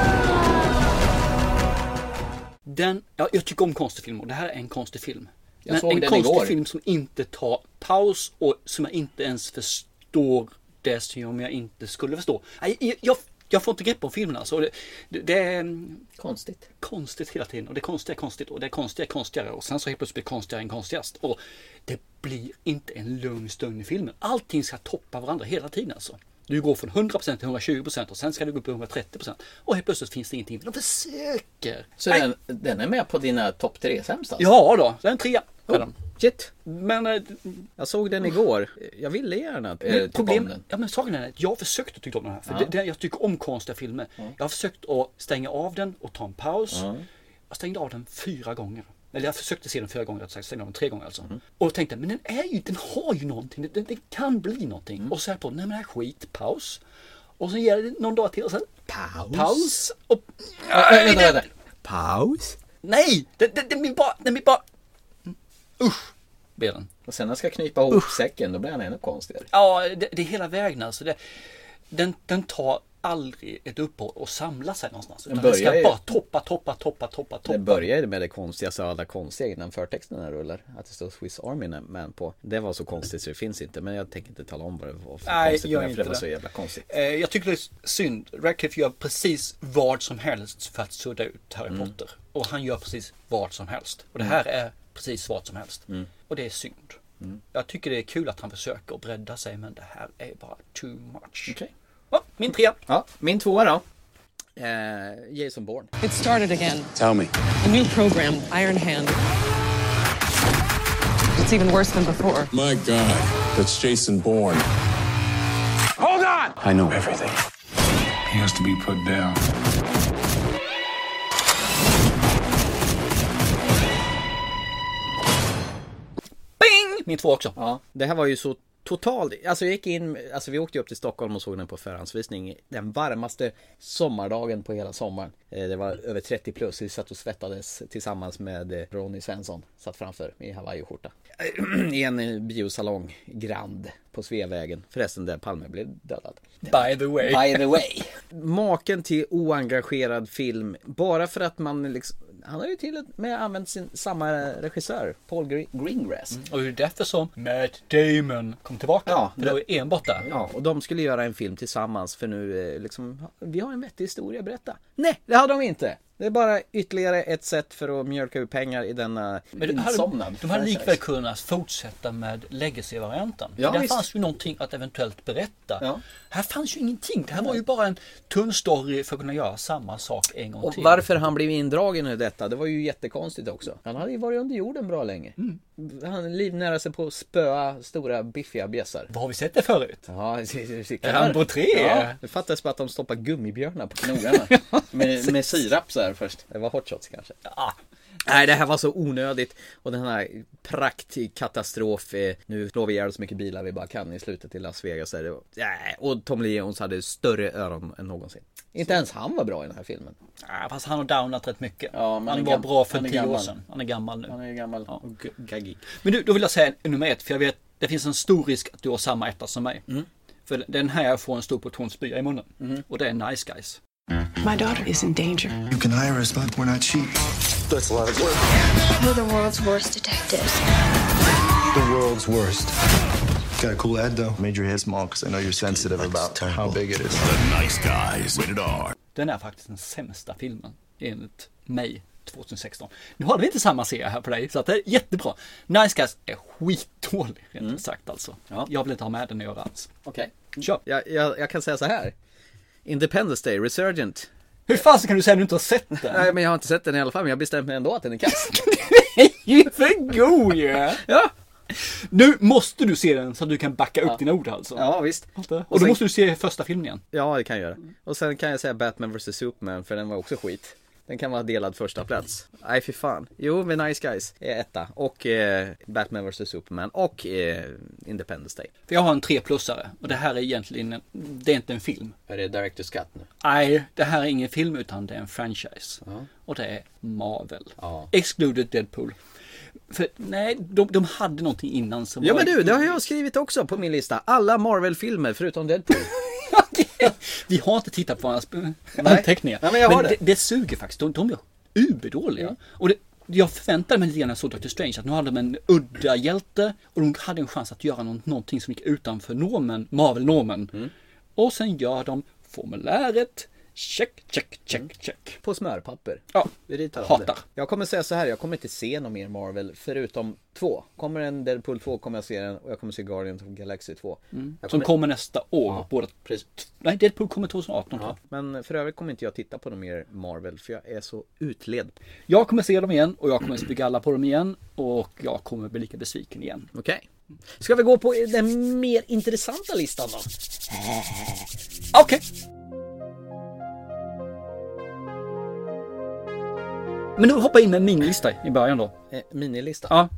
Den, ja, jag tycker om konstig film och det här är en konstig film. Jag Men såg en den konstig igår. film som inte tar paus och som jag inte ens förstår det som jag inte skulle förstå. Nej, Jag, jag, jag får inte grepp om filmen alltså. Det, det, det är mm, konstigt. konstigt hela tiden och det konstiga är konstigt och det konstiga är konstigare och sen så helt plötsligt blir det konstigare än konstigast. Och det blir inte en lugn stund i filmen. Allting ska toppa varandra hela tiden alltså. Du går från 100% till 120% och sen ska du gå upp till 130% och helt plötsligt finns det ingenting. För de försöker. Så Nej. den, den är med på dina topp tre sämsta? alltså? Ja då, den är trea. är Oh, den. shit! Men eh, Jag såg den igår. Jag ville gärna eh, Men tycka problem, om den. Ja, men saken är att jag försökte tycka om den här. För Ja. det, det, jag tycker om konstiga filmer. Jag har försökt att stänga av den och ta en paus. Ja. Jag stängde av den fyra gånger. Eller jag försökte se den fyra gånger, rätt sagt. Stängde av den tre gånger alltså. Mm. Och tänkte, men den, är ju, den har ju någonting. Den, den, den kan bli någonting. Mm. Och så här på, nej men det här är skit, paus. Och sen ger jag det någon dag till och sen paus. Paus. Och, Äh, äh, vänta, vänta. Paus? Nej, den, den, den blir bara, den blir bara... Mm. Usch, blir den. Och sen när jag ska knypa ihop säcken då blir han ännu konstigare. Ja, det, det är hela vägen alltså. Det, den, den tar aldrig ett uppehåll och samlar sig någonstans. Den Utan den börjar ska ju- bara toppa, toppa, toppa, toppa, Det toppa. börjar ju med det konstigaste av alla konstiga innan förtexterna rullar. Att det står Swiss Army Man på. Det var så konstigt så det finns inte. Men jag tänker inte tala om vad det var för Nej, konstigt. gör men inte det. var det. så jävla konstigt. Eh, Jag tycker det är synd. Radcliffe gör precis vad som helst för att sudda ut Harry Mm. Potter. Och han gör precis vad som helst. Och det här är precis vad som helst. Mm. Och det är synd. Mm. Jag tycker det är kul att han försöker att bredda sig men det här är bara too much. Ja, min trea. Ja, min tvåa då. Eh, Jason Bourne. It started again. Tell me. A new program, Iron Hand. It's even worse than before. My God, that's Jason Bourne. Hold on! I know everything. He has to be put down. Bing! Min två också. Ja, det här var ju så totalt. Alltså jag gick in, alltså vi åkte upp till Stockholm och såg den på förhandsvisning. Den varmaste sommardagen på hela sommaren. Eh, Det var över 30 plus. Vi satt och svettades tillsammans med eh, Ronny Svensson. Satt framför i hawaiiskjorta. I en eh, biosalong, Grand, på Sveavägen. Förresten där Palme blev dödad. By the way. By the way. Maken till oengagerad film bara för att man liksom Han har ju till och med använt sin, samma regissör, Paul Gre- Greengrass. Och det är därför som Matt Damon kom tillbaka. Ja, för det var ju enbart där. Ja, och de skulle göra en film tillsammans för nu eh, liksom, vi har en vettig historia att berätta. Nej, det hade de inte! Det är bara ytterligare ett sätt för att mjölka ur pengar i denna Men de hade, insomnad de hade franchise. likväl kunnat fortsätta med legacy-varianten. Ja, Ja, där visst. fanns ju någonting att eventuellt berätta. Ja. Här fanns ju ingenting. Det här var ju bara en tunn story för att kunna göra samma sak en gång Och till. varför han blev indragen i detta, det var ju jättekonstigt också. Han hade ju varit under jorden bra länge. Mm. Han livnära sig på att spöa stora biffiga bjässar. Vad har vi sett det förut? Ja, se- se- se- Är han på tre? Ja, det fattades bara att de stoppar gummibjörnar på knogarna. med, med sirap så här först. Det var hot shots kanske. Nej, det här var så onödigt. Och den här praktkatastrof. eh, Nu slår vi ihjäl så mycket bilar vi bara kan i slutet i Las Vegas. Är det, nej, och Tom Lee Jones hade större öron än någonsin. Inte ens han var bra i den här filmen. Ja, Ah, fast han har downat rätt mycket. men han är han var gam- bra för han är tio år gammal. sedan. Han är gammal nu. Han är gammal och g- gaggig. Men du, då vill jag säga nummer ett, för jag vet det finns en stor risk att du har samma etta som mig. För den här får en stor portion spya i munnen. Och det är Nice Guys. My daughter is in danger. You can hire us, but we're not cheap. That's a lot of work. We're the world's worst detectives. The world's worst. Got a cool ad though. Made your head small because I know you're sensitive about how big it is. The nice guys. Rated R. Den är faktiskt den sämsta filmen enligt mig 2016. Nu har vi inte samma serie här på dig så att det är jättebra. Nice Guys är skitdålig rent ut sagt alltså. Jag vill inte ha med den att göra alls. Okej. Kör. Jag, jag, jag kan säga så här. Independence Day, Resurgent. Hur fan kan du säga att du inte har sett den? Nej, men jag har inte sett den i alla fall, men jag har bestämt mig ändå att den är kass. ju för god ju! Ja. Nu måste du se den så att du kan backa upp dina ord alltså. Ja, visst. Och, då sen- måste du se första filmen igen. Ja, det kan jag göra. Och sen kan jag säga Batman vs Superman, för den var också skit. Den kan vara delad första plats. Nej, fy fan. Jo, men Nice Guys är etta. Och eh, Batman vs Superman och eh, Independence Day. För jag har en treplussare och det här är egentligen, en, det är inte en film. Är det Director's Cut nu? Nej, det här är ingen film utan det är en franchise. Och det är Marvel. Ja. Excluded Deadpool. För nej, de, de hade någonting innan som Ja var- men du, det har jag skrivit också på min lista. Alla Marvel-filmer förutom Deadpool. Vi har inte tittat på hans anteckningar. Nej, men jag har det. det. Mm. det. suger faktiskt. De, de är uberdåliga. Och det, jag förväntade mig lite grann när jag såg Doctor Strange att nu hade de en udda hjälte och de hade en chans att göra någon, någonting Mm. som gick utanför normen, Marvel-normen. Och sen gör de formuläret, Check, check, check, check. På smörpapper. Ja. Mm. Ritar av Hatar. det. Jag kommer säga så här, jag kommer inte se någon mer Marvel förutom två. Kommer en Deadpool 2 kommer jag se den och jag kommer se Guardians of the Galaxy 2. Mm. Jag Som kommer nästa år. Ja. Båda... Nej, Deadpool kommer 2018 tror jag. Men för övrigt kommer inte jag titta på någon mer Marvel för jag är så utled. Jag kommer se dem igen och jag kommer spy alla på dem igen och jag kommer bli lika besviken igen. Okej. Ska vi gå på den mer intressanta listan då? Okej. Men nu hoppar jag in med en minilista i början då. Eh, minilista?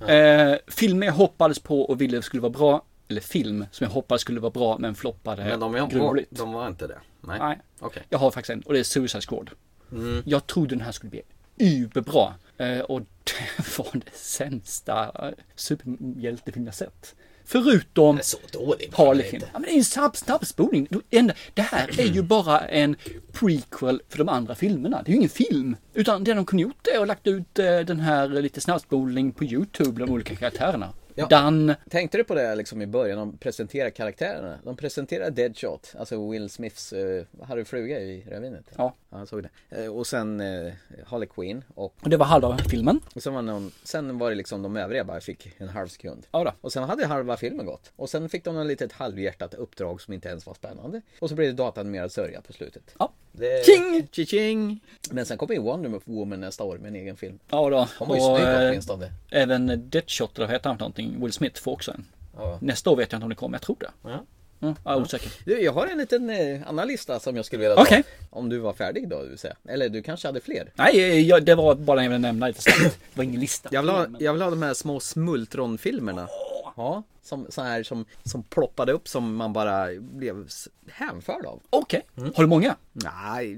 Ja. Eh, filmer jag hoppades på och ville skulle vara bra. Eller film som jag hoppades skulle vara bra men floppade Men de, var, gruvligt. de var inte det? Nej. Nej. Okej. Jag har faktiskt en och det är Suicide Squad. Mm. Jag trodde den här skulle bli überbra. Eh, och det var den sämsta eh, superhjältefilm jag sett. Förutom så dålig Harlequin. Ja, men det är ju en snabb, snabbspolning. Du- en- Det här är ju bara en prequel för de andra filmerna. Det är ju ingen film. Utan det de kunde gjort är att lagt ut eh, den här lite snabbspolning på YouTube, de olika karaktärerna. Ja. Dan. Tänkte du på det liksom i början, de presenterar karaktärerna? De presenterar Deadshot, alltså Will Smiths eh, Harry Fruga i Rödvinet. Ja. jag såg det. Eh, och sen eh, Harley Quinn och... Och det var halva filmen. Och sen, var någon, sen var det liksom de övriga bara fick en halv sekund. Ja då. Och sen hade halva filmen gått. Och sen fick de något litet halvhjärtat uppdrag som inte ens var spännande. Och så blev det dataanimerad sörja på slutet. Ja. Det... Ching! Ching! Men sen kommer ju Wonder Woman nästa år med en egen film. Ja då. De var ju snygga eh, åtminstone. Även Deadshot, eller vad heter han för någonting? Will Smith får också en. Ja. Nästa år vet jag inte om det kommer, jag tror det. Ja. Mm, jag är osäker. Du, jag har en liten eh, annan lista som jag skulle vilja ta. Okej. Om du var färdig då, vill säga. Eller du kanske hade fler? Nej, eh, jag, det var bara en jag ville nämna lite snabbt. Det var ingen lista. Jag vill ha, jag vill ha de här små smultronfilmerna. Ja, som, så här, som, som ploppade upp som man bara blev s- hänförd av. Okej, Mm. har du många? Nej,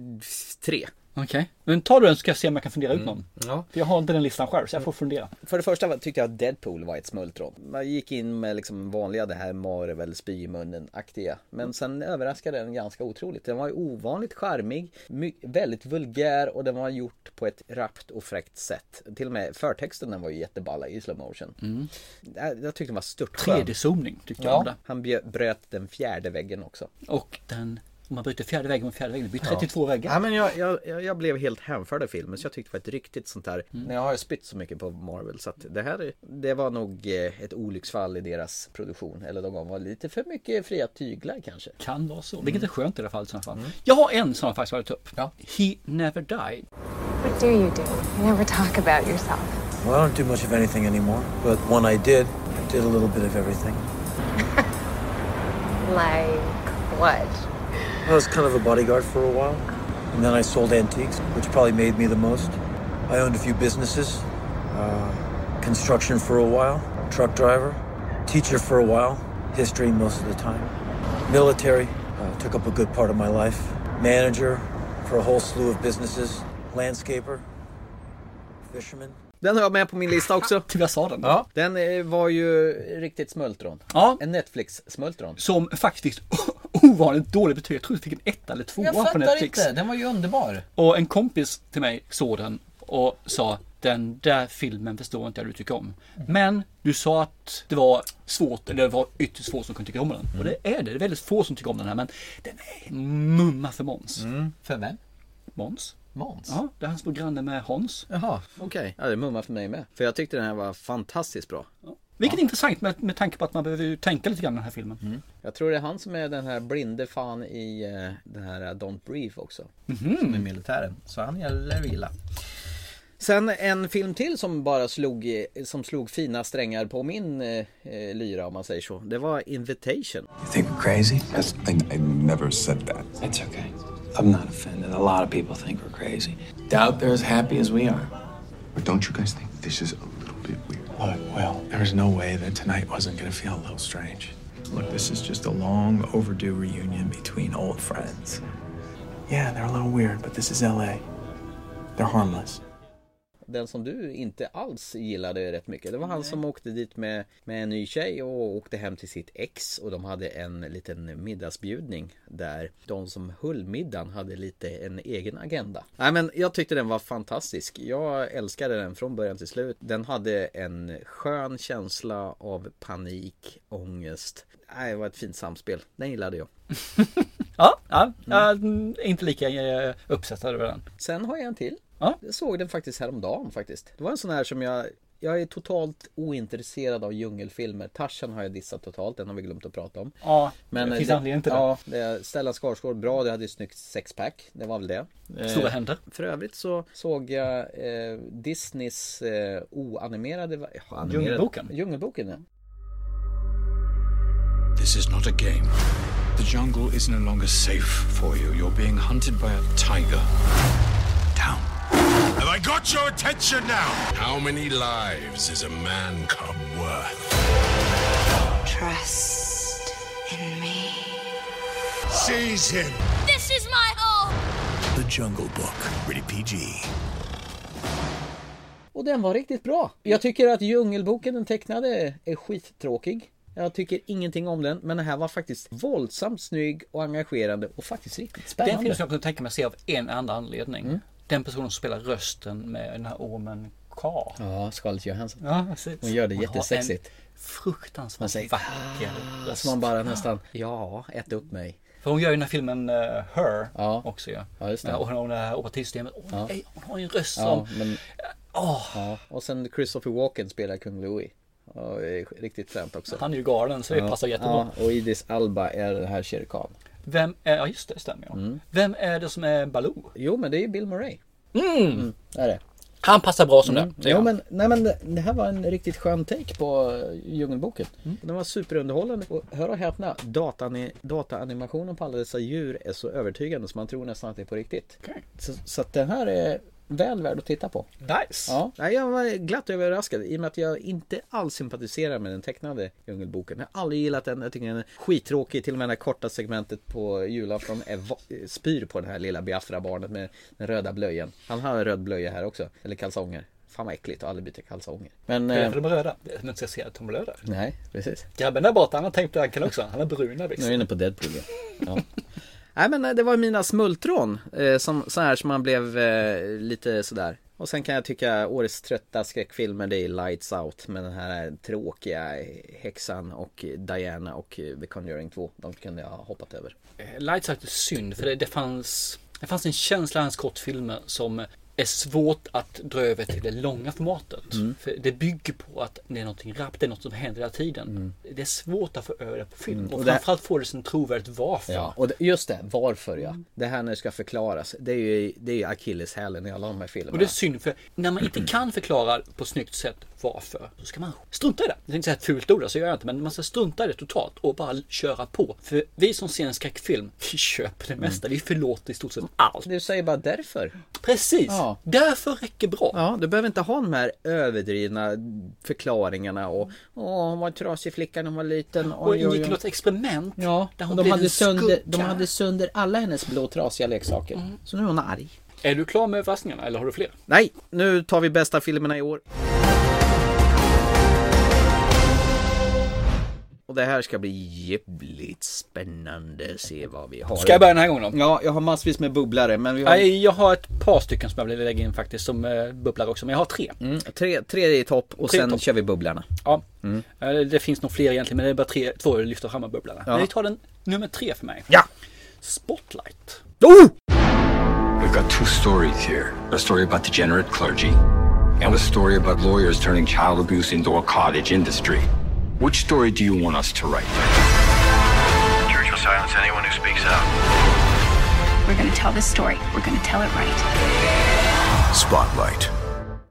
tre. Okej, men tar du den så ska jag se om jag kan fundera ut någon. Mm. Ja. Mm. För jag har inte den listan själv så jag får fundera. För det första var- tyckte jag att Deadpool var ett smultron. Man gick in med liksom vanliga det här Marvel spy i munnen-aktiga. Men sen överraskade den ganska otroligt. Den var ju ovanligt charmig, my- väldigt vulgär och den var gjort på ett rappt och fräckt sätt. Till och med förtexten den var ju jätteballa i slow motion. Jag, jag tyckte den var störtskön. 3D-zoomning tyckte jag om Ja, det. han bjö- bröt den fjärde väggen också. Och den, om man bryter fjärde väggen mot fjärde väggen, det blir 32 väggar. Ja, men jag, jag, jag- jag blev helt hänförd av filmen så jag tyckte det var ett riktigt sånt här. Jag har spytt så mycket på Marvel så att det här är- det var nog eh, ett olycksfall i deras produktion. Eller de var lite för mycket fria tyglar kanske. Kan vara så, Mm. vilket är skönt i alla fall i sådana fall. Jag har en som jag faktiskt varit upp. He Never Died. What do you do? You never talk about yourself. Well, I don't do much of anything anymore, but when I did, I did a little bit of everything. Like what? I was kind of a bodyguard for a while, and then I sold antiques, which probably made me the most. I owned a few businesses uh, construction for a while, truck driver, teacher for a while, history most of the time, military uh, took up a good part of my life, manager for a whole slew of businesses, landscaper, fisherman. Den har jag med på min lista också. Till jag sa den. Ja. Den eh, var ju riktigt smultron. Ja. En Netflix-smultron. Som faktiskt ovanligt dåligt betyg. Jag tror det fick en etta eller tvåa Jag på fattar Netflix. inte, den var ju underbar. Och en kompis till mig såg den och sa den där filmen förstår inte jag du tycker om. Men du sa att det var svårt, eller det var ytterst få som kunde tycka om den. Och det Mm. är det. Det är väldigt få som tycker om den här men den är mumma för Måns. Mm. För vem? Måns. Måns? Ja, det är hans på granne med Hans. Jaha, okej. Ja, det mummar för mig med. För jag tyckte den här var fantastiskt bra. Vilket är intressant med, med tanke på att man behöver ju tänka lite grann i den här filmen. Jag tror det är han som är den här blinde fan i eh, den här eh, Don't Breathe också. Mhm. Som är militären. Så han gäller illa. Sen en film till som bara slog, eh, som slog fina strängar på min eh, eh, lyra om man säger så. Det var Invitation. think we're crazy? Yes, I, I never said that. It's okay. I'm not offended. A lot of people think we're crazy. Doubt they're as happy as we are. But don't you guys think this is a little bit weird? Look, Will, there was no way that tonight wasn't going to feel a little strange. Look, this is just a long overdue reunion between old friends. Yeah, they're a little weird, but this is LA. They're harmless. den som du inte alls gillade rätt mycket. Det var han som åkte dit med, med en ny tjej och åkte hem till sitt ex och de hade en liten middagsbjudning där de som höll middagen hade lite en egen agenda. Nej men jag tyckte den var fantastisk. Jag älskade den från början till slut. Den hade en skön känsla av panik, ångest. Nej, det var ett fint samspel. Den gillade jag. Ja, Mm. ja, ja mm, inte lika eh, uppsatt över den. Sen har jag en till. Jag såg den faktiskt häromdagen faktiskt. Det var en sån här som jag jag är totalt ointresserad av djungelfilmer. Tarzan har jag dissat totalt, den har vi glömt att prata om. Ja, eh, det finns anledning till det. Ja, det Stellan Skarsgård, bra, det hade ett snyggt sexpack. Det var väl det. Stora Eh, händer. För övrigt så såg jag eh, Disneys eh, oanimerade... va- ja, animerade- Djungelboken. Djungelboken, ja. This is not a game. The jungle is no longer safe for you. You're being hunted by a tiger. Have I got your attention now? How many lives is a man cub worth? Trust in me. Seize him. This is my home! The Jungle Book. Rated PG. Och den var riktigt bra. Jag tycker att Djungelboken, den tecknade, är skittråkig. Jag tycker ingenting om den, men den här var faktiskt våldsamt snygg och engagerande och faktiskt riktigt spännande. Den filmen som jag kunde tänka mig se av en enda anledning. Mm. Den personen som spelar rösten med den här ormen K. Ja, Scarlett Johansson. Ja, precis. Hon gör det Hon har jättesexigt. en Fruktansvärt Man säger vacker "Ah", röst. Så man bara nästan, ja, ät upp mig. För hon gör ju den här filmen eh, Her Ja. också ju. Ja, just det. Och hon har det här operativsystemet. Åh, Ja. nej, hon har ju en röst Ja, som... men, Åh. ja. Och sen Christopher Walken spelar kung Louis. Ja, det är riktigt fränt också. Han är ju galen så det passar jättebra. Ja, och Idris Alba är den här Shere Khan. Vem är... Ja, just det, stämmer ja. Mm. Vem är det som är Baloo? Jo, men det är ju Bill Murray. Mm! Det är det. Han passar bra som det. säger Ja, jag. men, nej, men det- det här var en riktigt skön take på eh, Djungelboken. Den var superunderhållande och hör och häpna, datani- dataanimationen på alla dessa djur är så övertygande så man tror nästan att det är på riktigt. Så, så att den här är väl värd att titta på. Nice! Ja, nej, jag var glatt överraskad i och med att jag inte alls sympatiserar med den tecknade Djungelboken. Jag har aldrig gillat den. Jag tycker den är skittråkig. Till och med det här korta segmentet på julafton är va- spyr på det här lilla Biafra-barnet med den röda blöjan. Han har en röd blöja här också. Eller kalsonger. Fan vad äckligt att aldrig byta kalsonger. Men... Det är Eh, för de röda. Det är som inte ska se att de är röda. nej, precis. Grabben där borta, han har tänkt på det han kan också. Han har bruna Nu är jag byxor. inne på Deadpool igen. ja. Nej men eh, det var mina smultron. Eh, som, så här som man blev eh, lite sådär. Och sen kan jag tycka årets trötta skräckfilmer det är Lights Out med den här tråkiga häxan och Diana och eh, The Conjuring 2. De kunde jag ha hoppat över. Eh, Lights Out är synd för det, det, fanns, det fanns en känsla i hans kortfilmer som är svårt att dra över till det långa formatet. Mm. För det bygger på att det är någonting rappt, det är något som händer hela tiden. Det är svårt att få över det på film Mm, och och det- framförallt får det sin trovärdigt varför. Ja, och det, just det, varför ja. Det här när det ska förklaras. Det är ju, det är ju akilleshälen i alla de här filmerna. Och det är synd för när man inte kan förklara på ett snyggt sätt varför så ska man strunta i det. Jag tänkte säga ett fult ord, så gör jag inte men man ska strunta i det totalt och bara köra på. För vi som ser en skräckfilm, vi köper det mesta. Mm. Vi förlåter i stort sett allt. Du säger bara därför. Precis! Ja. Därför räcker bra. Ja, du behöver inte ha de här överdrivna förklaringarna och Åh, hon var en trasig flicka när hon var liten. Och ingick i något experiment Ja, där hon de blev hade, en sönder, de skugga. Mm. hade sönder alla hennes blå trasiga leksaker. Så nu är hon arg. Är du klar med överraskningarna eller har du fler? Nej, nu tar vi bästa filmerna i år. Och det här ska bli jävligt spännande se vad vi har. Ska jag börja den här gången då? Ja, jag har massvis med bubblare men vi har... Nej, jag har ett par stycken som jag vill lägga in faktiskt som eh, bubblar också, men jag har tre. Mm, tre, tre är i topp och Tre i sen topp. kör vi bubblarna. Ja, Eh, det finns nog fler egentligen, men det är bara tre, två jag lyfter fram av bubblarna. Ja. Men vi tar den nummer tre för mig. Ja! Spotlight. Oh! We've got two stories here a story about degenerate clergy, and a story about lawyers turning child abuse into a cottage industry. Which story do you want us to write? Church will silence anyone who speaks out. We're gonna tell this story. We're gonna tell it right. Spotlight.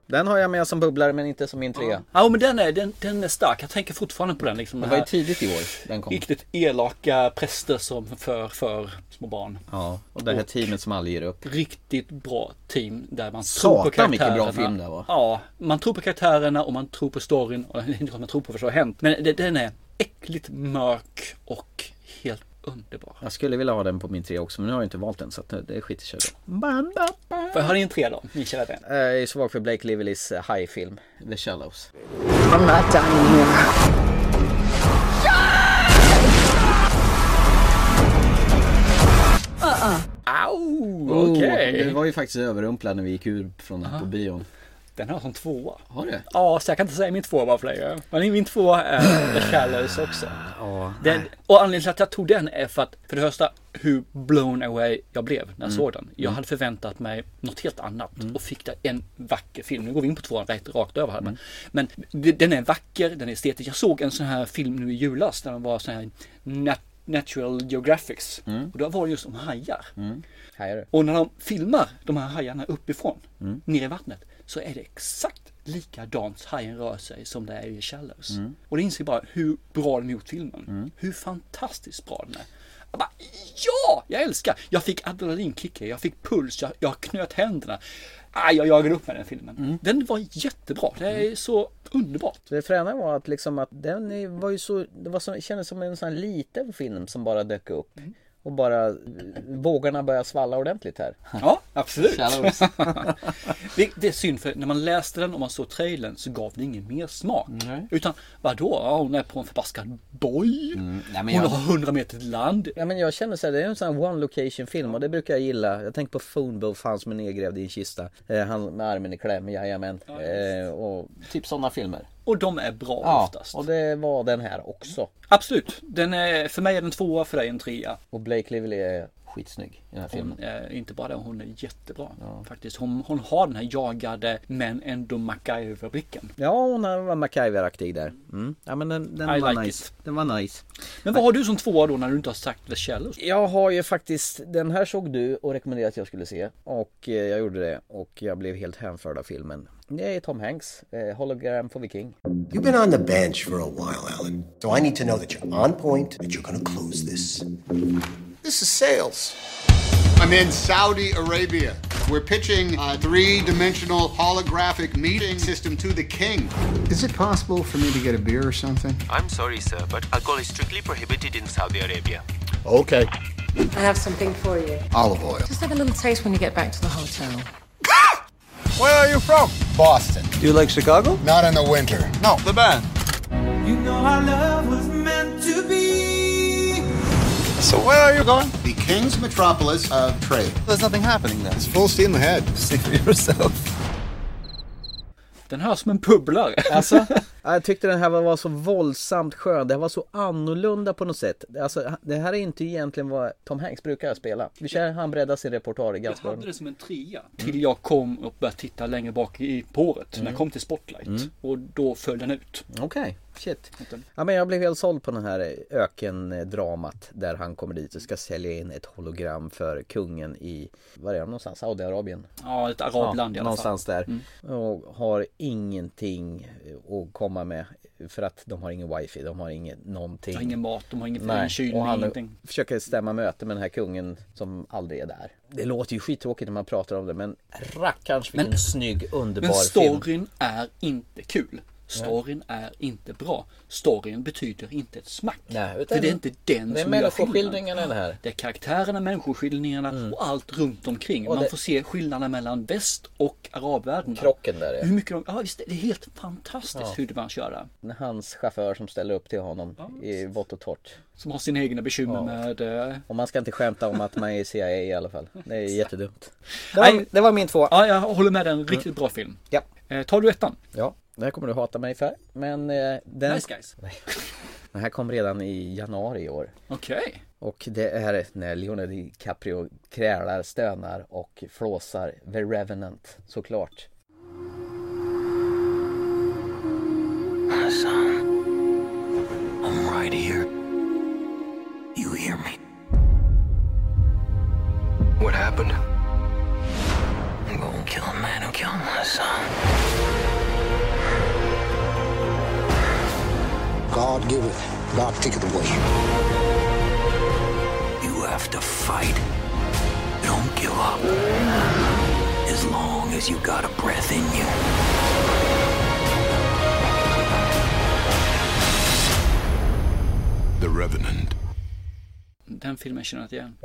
Den har jag med som bubblare men inte som min trea. Ja, men den är, den, den är stark. Jag tänker fortfarande på den. Liksom, Det den var ju här tidigt i år den kom. Riktigt elaka präster som för, för små barn. Ja, och det här teamet som aldrig ger upp. Riktigt bra team där man tror på Satan, vilken karaktärerna. bra film det var. Ja, man tror på karaktärerna och man tror på storyn. Och det är inte klart man tror på vad som har hänt. Men det, den är äckligt mörk och helt underbar. Jag skulle vilja ha den på min 3 också men nu har jag inte valt den så att eh, det skiter sig då. Får jag höra din trea då, min kära vän? Eh, Jag är svag för Blake Livelys eh, hajfilm The Shallows. I'm not dying here. Au! okej. Du Oh, var ju faktiskt överrumplad när vi gick ur från den på bion. Den har jag som tvåa. Har du? Ja, så jag kan inte säga min tvåa för dig. Men min tvåa är The Shallows också. Ja. Den, och anledningen till att jag tog den är för att, för det första, hur blown away jag blev när jag Mm. såg den. Jag Mm. hade förväntat mig något helt annat och fick där en vacker film. Nu går vi in på tvåan rätt rakt över här. men- Mm. Men d- den är vacker, den är estetisk. Jag såg en sån här film nu i julas när den var sån här nat- Natural Geographics. Mm. Och då var det just om hajar. Hajar du? Eh, Och när de filmar de här hajarna uppifrån, Mm. ner i vattnet, så är det exakt likadant hajen rör sig som det är i Shallows. Mm. Och det inser jag bara hur bra de gjort filmen. Hur fantastiskt bra den är. Jag bara, ja, jag älskar! Jag fick adrenalinkickar, jag fick puls, jag, jag knöt händerna. Ah, jag jagade upp med den filmen. Mm. Den var jättebra, det är så underbart. Så det fräna var att liksom att den är- var ju så, det var så, det kändes som en sån här liten film som bara dök upp. Och bara eh, vågorna började svalla ordentligt här. Ja, absolut. Shallows. det, det är synd för när man läste den och man såg trailern så gav det ingen mer smak. Utan vadå, ja, hon är på en förbaskad boj. Mm, Nej, hon har 100 meter till land. Ja men jag känner så här, det är en sån här one location film och det brukar jag gilla. Jag tänker på Phonebooth, han som är nedgrävd i en kista. Eh, han med armen i kläm, jajamän. eh, och typ sådana filmer. Och de är bra oftast. och det var den här också. Absolut, den är, för mig är den tvåa, för dig en trea. Och Blake Lively är skitsnygg i den här filmen. Hon är inte bara det, hon är jättebra faktiskt. Hon, hon har den här jagade men ändå MacGyver-blicken. Ja hon var MacGyver-aktig där. Mm. Ja men den, den I var like nice. Den var nice. Men vad har du som tvåa då när du inte har sagt The Shallows? Jag har ju faktiskt, den här såg du och rekommenderade att jag skulle se och eh, jag gjorde det och jag blev helt hänförd av filmen. Det är Tom Hanks, eh, Hologram for the King. You've been on the bench for a while, Alan. So I need to know that you're on point, that you're going to close this. This is sales. I'm in Saudi Arabia. We're pitching a three dimensional holographic meeting system to the king. Is it possible for me to get a beer or something? I'm sorry, sir, but alcohol is strictly prohibited in Saudi Arabia. Okay. I have something for you. Olive oil. Just have a little taste when you get back to the hotel. Where are you from? Boston. Do you like Chicago? Not in the winter. No, the band. You know our love was meant to be. So where are you going? The king's metropolis of trade. There's nothing happening there. It's full steam ahead. See for yourself. Den här som en pubblare. Alltså, jag tyckte den här var var så våldsamt skön. Det här var så annorlunda på något sätt. Alltså, det här är inte egentligen vad Tom Hanks brukar spela. Vi kör han breddar sin repertoar ganska Jag bra. hade det som en trea. Mm. Till jag kom och började titta längre bak i påret. När jag kom till Spotlight. Mm. Och då föll den ut. Okej, shit. Ja, men jag blev helt såld på den här eh, ökendramat där han kommer dit och ska sälja in ett hologram för kungen i, var är han någonstans? Saudiarabien? Ja, ett arabland i alla fall. Mm. Någonstans där. Och har ingenting eh, att komma med för att de har ingen wifi, de har ingen någonting. De har ingen mat, de har ingen- Nej, ingen kylning, och han ingenting. försöker stämma möte med den här kungen som aldrig är där. Det låter ju skittråkigt när man pratar om det men rackarns vilken Men- snygg underbar Men storyn film. är inte kul. Storyn är inte bra. Storyn betyder inte ett smack. Nej, utan För det är inte den det är som gör människoskildringarna skillnaden. det här. Mm. Det är karaktärerna, människoskildringarna och allt runt omkring. Och Man det- får se skillnaderna mellan väst och arabvärlden. Krocken där, ja. Hur mycket de... Ja, visst, det är helt fantastiskt Ja. hur det man köra. Hans chaufför som ställer upp till honom i vått och torrt. Som har sina egna bekymmer med... eh, Och man ska inte skämta om att man är i CIA i alla fall. Det är jättedumt. Det var, Nej. det var min två. Ja, jag håller med den. Riktigt bra film. Ja. Eh, tar du ettan? Ja, det här kommer du hata mig för. Men eh, den... Nice guys. Nej. Den här kom redan i januari i år. Okej. Och det är när Leonardo DiCaprio krälar, stönar och flåsar The Revenant såklart. Son, I'm right here. You hear me? What happened? I'm gonna kill a man who killed my son. God giveth, God taketh away. You have to fight. Don't give up. As long as you got a breath in you. The Revenant. den filmen känner jag inte igen.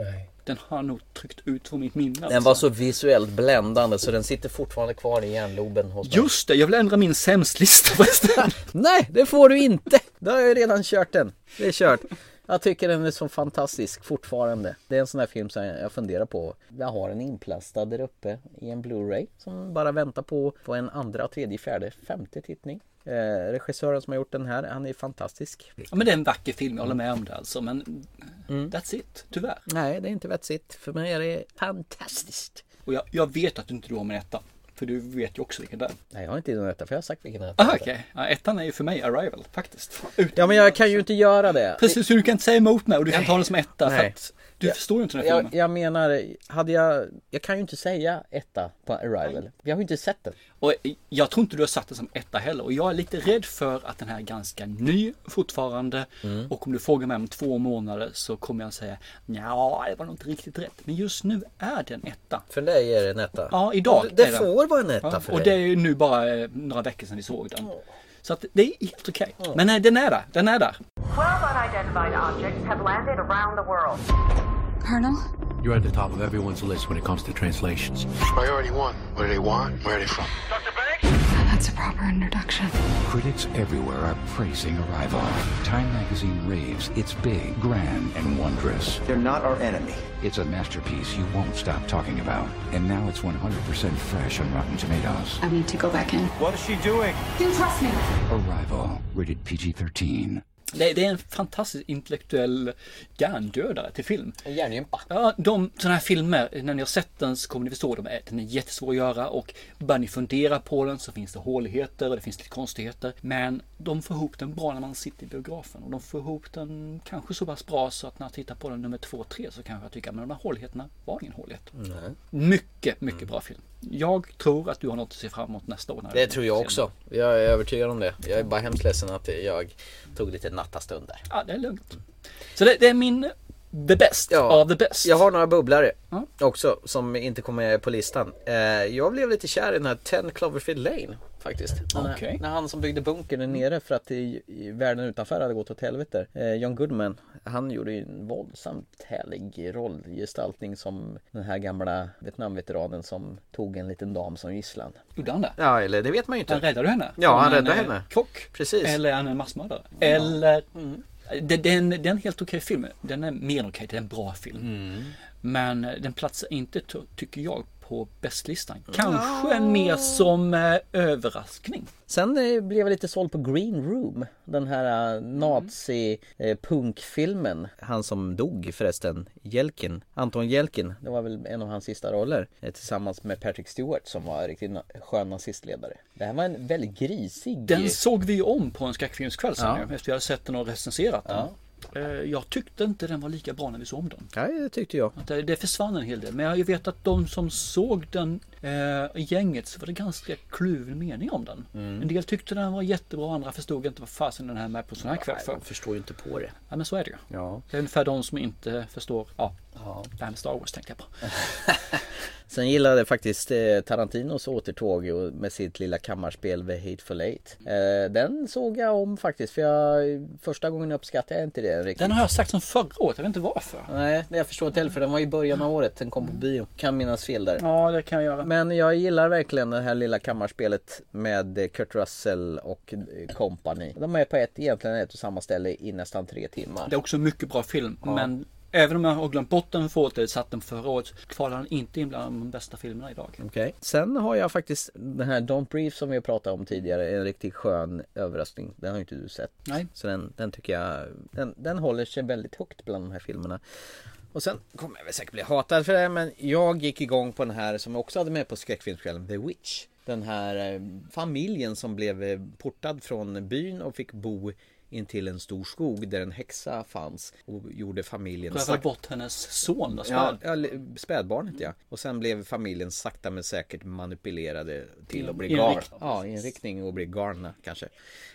Den har jag nog tryckt ut från mitt minne. alltså. Den var så visuellt bländande så den sitter fortfarande kvar i hjärnloben hos mig. Just det, jag vill ändra min sämstlista förresten. Nej, det får du inte! Då har jag ju redan kört den. Det är kört. Jag tycker den är så fantastisk fortfarande. Det är en sån här film som jag funderar på. Jag har den inplastad där uppe i en Blu-ray som bara väntar på, på en andra, tredje, fjärde, femte tittning. Eh, regissören som har gjort den här, han är fantastisk. Ja, men det är en vacker film, jag håller med om det alltså. Men Mm. that's it, tyvärr. Nej, det är inte vetsigt. För mig är det fantastiskt. Och jag, jag vet att du inte har med etta. För du vet ju också vilken det är. Nej, jag har inte den rätta för jag har sagt vilken den Aha, okej. Ja, ettan är ju för mig Arrival, faktiskt. Utan... Ja, men jag kan ju inte göra det. Precis, så du kan inte säga emot mig och du kan ta den som etta. För Nej. att du förstår ju inte den här Jag, filmen. jag menar, hade jag... Jag kan ju inte säga etta på Arrival. Jag har ju inte sett den. Och jag tror inte du har satt den som etta heller. Och jag är lite rädd för att den här är ganska ny fortfarande. Mm. Och om du frågar mig om två månader så kommer jag säga ja, det var nog inte riktigt rätt. Men just nu är den etta. För dig är det en etta? Ja, idag. Det, det är den. får vara en etta Ja, för Och dig. det är ju nu bara eh, några veckor sedan vi såg den. Så att det är helt okej. Men nej, den är där. Den är där. 12 unidentified objects have landed around the world. Colonel? You're at the top of everyone's list when it comes to translations. Priority one. What do they want? Where are they from? That's a proper introduction. Critics everywhere are praising Arrival. Time magazine raves it's big, grand, and wondrous. They're not our enemy. It's a masterpiece you won't stop talking about. And now it's 100% fresh on Rotten Tomatoes. I need to go back in. What is she doing? You trust me. Arrival, rated PG 13. Det, det är en fantastisk intellektuell hjärndödare till film. En hjärngympa. Ja, de sådana här filmer, när ni har sett den så kommer ni förstå dem. Den är jättesvår att göra och bara ni funderar på den så finns det håligheter och det finns lite konstigheter. Men de får ihop den bra när man sitter i biografen och de får ihop den kanske så pass bra så att när jag tittar på den nummer två och tre så kanske jag tycker att de här håligheterna var ingen hålighet. Nej. Mm. Mycket, mycket bra film. Jag tror att du har något att se fram emot nästa år. när Det vi tror jag ser också. Jag är övertygad om det. Jag är bara hemskt ledsen att jag tog lite nattastund där. Ja, det är lugnt. Så det, det är min the best av the best. Jag har några bubblare också som inte kommer med på listan. Eh, Jag blev lite kär i den här 10 Cloverfield Lane faktiskt. Den här- Okej. När han som byggde bunkern där nere för att i, i världen utanför hade gått åt helvete. Eh, John Goodman, han gjorde ju en våldsamt härlig rollgestaltning som den här gamla Vietnamveteranen som tog en liten dam som gisslan. Gjorde han det? Ja, eller det vet man ju inte. Han räddade henne. Ja, han Från en, räddade eh, henne. Kock. Precis. Mm. Eller han är en massmördare. Eller... Det, det, är en, det är en helt okej film. Den är mer än okej. Det är en bra film. Mm. Men eh, den platsar inte, ty- tycker jag, på bästlistan. Mm. Kanske mer som eh, överraskning. Sen eh, blev jag lite såld på Green Room, den här eh, nazi-punkfilmen. Han som dog förresten, Jelkin, Anton Jelkin, det var väl en av hans sista roller eh, tillsammans med Patrick Stewart som var en riktigt na- skön nazistledare. Det här var en väldigt grisig... Den såg vi ju om på en skräckfilmskväll sen Ja. ju, efter vi hade sett den och recenserat den. Eh, Jag tyckte inte den var lika bra när vi såg om den. Nej, det tyckte jag. Att Det, det försvann en hel del. Men jag vet att de som såg den eh, i gänget så var det ganska kluven mening om den. Mm. En del tyckte den var jättebra, andra förstod inte vad fasen den här är med på sån här kväll Nej, för. de förstår ju inte på det. Ja men så är det ju. Ja. Det är ungefär de som inte förstår. Ja, det här med Star Wars tänkte jag på. Sen gillade jag faktiskt eh, Tarantinos återtåg och- med sitt lilla kammarspel The Hateful Eight. Eh, Den såg jag om faktiskt för jag, första gången uppskattade jag inte det riktigt. Den har jag sagt som förra året, jag vet inte varför. Nej, det jag förstår inte heller för den var i början av året. Den kom på bio. Kan minnas fel där. Ja, det kan jag göra. Men jag gillar verkligen det här lilla kammarspelet med eh, Kurt Russell och eh, company. De är på ett, egentligen ett och samma ställe i nästan tre timmar. Det är också en mycket bra film. Ja. Men även om jag har glömt bort den för året, eller satt den förra året, så kvalar den inte in bland de bästa filmerna idag. Okej. Sen har jag faktiskt den här Don't Brief som vi pratade om tidigare. En riktigt skön överraskning. Den har ju inte du sett. Nej. Så den, den tycker jag, den, den håller sig väldigt högt bland de här filmerna. Och sen kommer jag väl säkert bli hatad för det här, men jag gick igång på den här som jag också hade med på skräckfilmskvällen, The Witch. Den här eh, familjen som blev eh, portad från byn och fick bo intill en stor skog där en häxa fanns och gjorde familjen Rövade bort hennes son där, Ja, späd. ja, li- spädbarnet ja. Och sen blev familjen sakta men säkert manipulerade till att bli I en garn. riktning. Ja, i en riktning och bli garna kanske.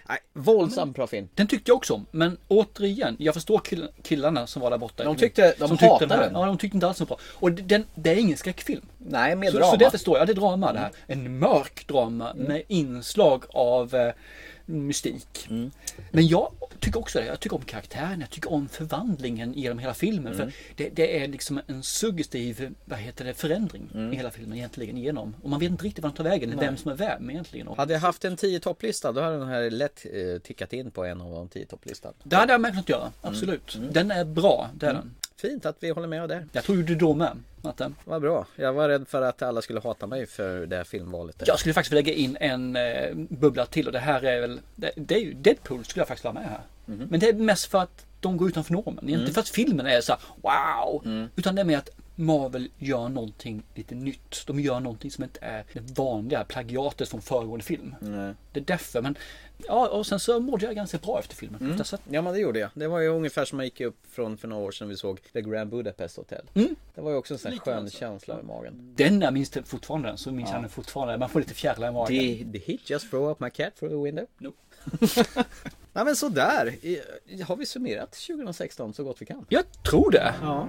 Nej, våldsamt bra film. Den tyckte jag också om, men återigen, jag förstår kill- killarna som var där borta. De tyckte- de som tyckte hatade här- den. Ja, de tyckte inte alls så bra. Och d- den, det är ingen skräckfilm. Nej, med så, drama. Mm. Så det förstår jag, det är drama det här. En mörk drama med inslag av eh, mystik. Mm. Men jag tycker också det, jag tycker om karaktären, jag tycker om förvandlingen genom hela filmen. Mm. För det, det är liksom en suggestiv, vad heter det, förändring i hela filmen egentligen igenom. Och man vet inte riktigt vart den tar vägen, Mm. Nej. vem som är vem egentligen. Och Hade jag haft en 10 topplista då hade den här lätt eh, tickat in på en av de 10 topplistan. Det hade jag med kunnat Mm. göra, absolut. Den är bra, det är den. Fint att vi håller med där. Jag tror ju du då med, Matte. Vad bra. Jag var rädd för att alla skulle hata mig för det här filmvalet. där. Jag skulle faktiskt vilja lägga in en eh, bubbla till och det här är väl, det, det är ju Deadpool skulle jag faktiskt vilja ha med här. Men det är mest för att de går utanför normen. Inte Mhm. Mm. för att filmen är så här, wow! Utan det är med att Marvel gör någonting lite nytt. De gör någonting som inte är det vanliga plagiatet från föregående film. Det är därför. Men ja, och sen så mådde jag ganska bra efter filmen. Mm. Efter så att, Ja men det gjorde jag. Det var ju ungefär som man gick upp från för några år sedan vi såg The Grand Budapest Hotel. Det var ju också en sån här Mm. Lite skön känsla i magen. den där minns jag fortfarande. den, Så minns Ja. jag den fortfarande. Man får lite fjärilar i magen. Did he just throw up my cat through the window? No. Nej men sådär. I- Har vi summerat 2016 så gott vi kan? Jag tror det. Ja.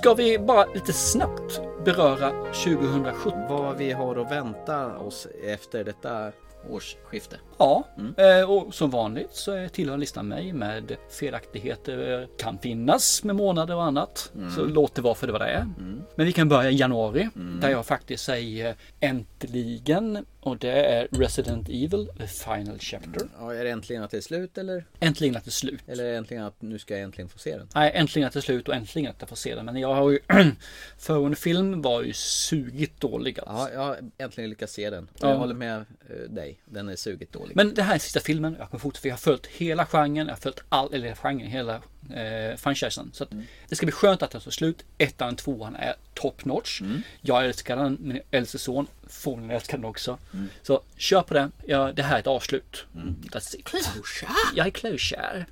Ska vi bara lite snabbt beröra 2017? Vad vi har att vänta oss efter detta årsskifte. Ja, eh, och som vanligt så eh, tillhör listan mig med felaktigheter eh, kan finnas med månader och annat. Mm. Så låt det vara för det vad det är. Men vi kan börja i januari Mm. där jag faktiskt säger eh, äntligen och det är Resident Evil, the final chapter. Ja, är det äntligen att det är slut eller? Äntligen att det är slut. Eller är det äntligen att nu ska jag äntligen få se den? Nej, äntligen att det är slut och äntligen att jag får se den. Men jag har ju... Föregående film var ju sugigt dålig alltså. Ja, jag har äntligen lyckats se den. Och Ja. Jag håller med eh, dig. Den är sugigt dålig. Men det här är sista filmen. Jag kommer fortsätta. för Jag har följt hela genren. Jag har följt all, eller genren, hela eh, franchisen. Så att det ska bli skönt att den tar slut. Ettan, tvåan är top notch. Jag älskar den. Min äldste son förmodligen älskar den också. Så kör på den. Ja, det här är ett avslut. That's it. Closure. Jag är closure.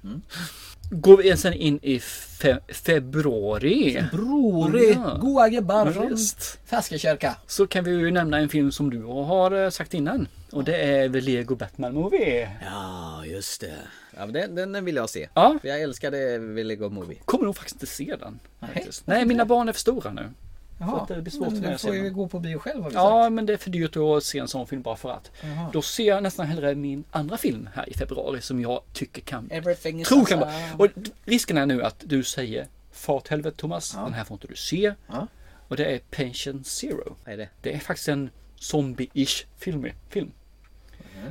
Går vi sen in i fe- februari. Februari. Goa gubbar. Färska kyrka. Så kan vi ju nämna en film som du har eh, sagt innan. Och det är väl Lego Batman Movie. Ja, just det. Ja, men den, den, den vill jag se. Ja. För jag älskade Willy Go Movie. Kommer nog faktiskt inte se den. faktiskt. Nej, mina barn är för stora nu. Så att det blir svårt men för mig du att se får ju den. gå på bio själv har vi sagt. Ja, men det är för dyrt att se en sån film bara för att. Jaha. Då ser jag nästan hellre min andra film här i februari som jag tycker kan... Everything is Tror kan vara... awesome. Och d- risken är nu att du säger Far åt helvete Thomas, den här får inte du se. Och det är Pension Zero. Vad är det? Det är faktiskt en zombie-ish film. film.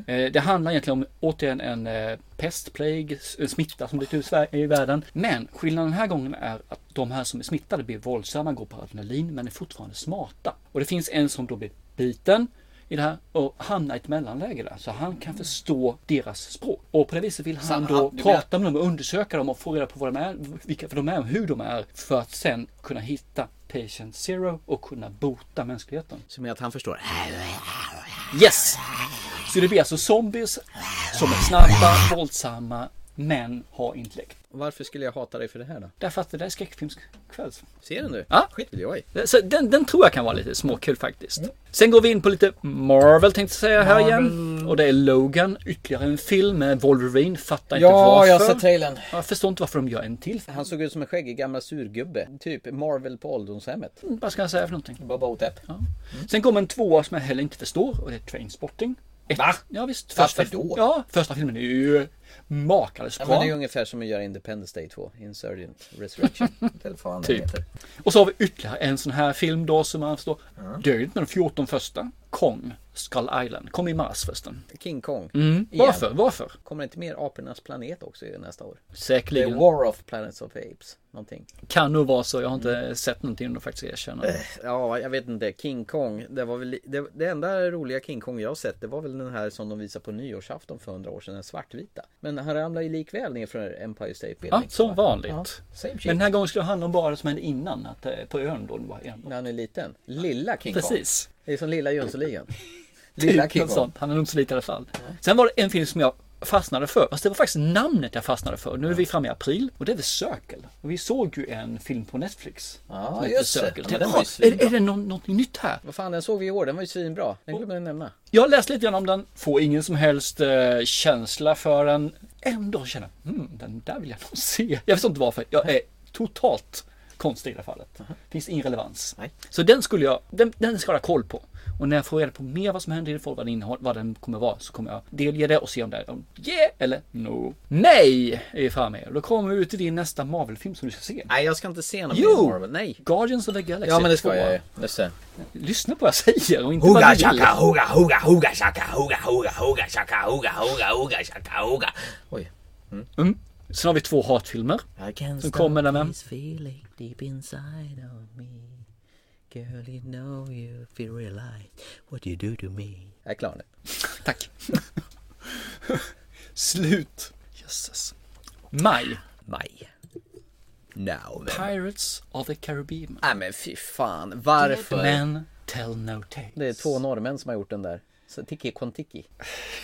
Eh, Det handlar egentligen om återigen en eh, pest, plague, s- en smitta som blivit ut i Sverige- i världen. Men skillnaden den här gången är att de här som är smittade blir våldsamma, går på adrenalin men är fortfarande smarta. Och det finns en som då blir biten i det här och hamnar i ett mellanläge där. Så han kan förstå deras språk. Och på det viset vill han Så Mm. han- då du menar- prata med dem och undersöka dem och få reda på vad de är, vilka för de är och hur de är. För att sen kunna hitta patient zero och kunna bota mänskligheten. Som är att han förstår. Äh, Yes! Så det blir alltså zombies som är snabba, våldsamma, men har intellekt. Varför skulle jag hata dig för det här då? Därför att det där är skräckfilmskväll. Ser den du? Ja. Skit vill jag i. Så den, den tror jag kan vara lite småkul faktiskt. Sen går vi in på lite Marvel tänkte jag säga här igen. Och det är Logan, ytterligare en film med Wolverine. Fattar inte varför. trailern. Jag förstår inte varför de gör en till. Han såg ut som en skäggig gammal surgubbe. Typ Marvel på ålderdomshemmet. Vad ska jag säga för någonting? Boba Otep. Sen kommer en tvåa som jag heller inte förstår och det är Trainspotting. Ett, Va? Ja visst. Varför Första, då? Ja, första filmen är ju makalöst Ja, bra. men det är ungefär som att göra Independence Day 2. Insurgent Resurrection. Eller vad Typ. Och så har vi ytterligare en sån här film då som man förstår. Det är ju inte de 14 första. Kong, Skull Island. Kom i mars förresten. King Kong. Mm. Igen. Varför? Varför? Kommer det inte mer Apornas planet också i nästa år? Säkerligen. The War of Planets of Apes. Någonting. Kan nog vara så. Jag har inte sett någonting då faktiskt erkänna. Eh, Ja, jag vet inte. King Kong. Det, var väl, det, det enda roliga King Kong jag har sett det var väl den här som de visade på nyårsafton för hundra år sedan, den svartvita. Men han ramlade ju likväl ner från Empire State Ja, Building. som vanligt. same shit. Men den här gången skulle det handla om bara det som hände innan. Att, eh, på ön då. det Var en. När han är liten. Lilla King Kong. Precis. Det är som lilla Jönssonligan. Typ något sånt. Han är nog så lite i alla fall. Sen var det en film som jag fastnade för. Fast det var faktiskt namnet jag fastnade för. Nu är vi framme i april och det är The Circle. Och vi såg ju en film på Netflix. Ja, som heter just det. Ja, men Circle. Tänkte, den var ju "Ah, svinbra." är, är det nå- någonting nytt här? Vad fan, den såg vi i år. Den var ju svinbra. Den glömde jag nämna. Jag har läst lite grann om den, får ingen som helst eh, känsla för den. ändå känna, mm, den där vill jag nog se. Jag förstår inte varför. Jag är totalt konstig i det här fallet. Finns ingen relevans. Så den skulle jag, den, den ska jag ha koll på. Och när jag får reda på mer vad som händer i det, får vad den innehåll, vad den kommer vara, så kommer jag delge det och se om det är om yeah eller no. Nej, är fan med. Då kommer vi ut till din nästa Marvel-film som du ska se. Nej, jag ska inte se någon Jo! mer Marvel. Nej. Guardians of the Galaxy. Ja, men det ska 2. jag ju. Just det. Lyssna på vad jag säger och inte Hugga vad du vill. shaka, hugga, hugga, hugga shaka, hugga, hugga, hugga, shaka, hugga, hugga, hugga, shaka, hugga. Oj. Mm. Sen har vi två hatfilmer. I can't Som stop kommer den här. this feeling deep inside of me Girl you know you feel realize what you do to me Jag är klar nu. Tack. Slut. Jösses. Maj. Maj. Now then. Pirates of the Caribbean. Nej men fy fan, varför? Men tell no tale. Det är två norrmän som har gjort den där. Så Tiki Kontiki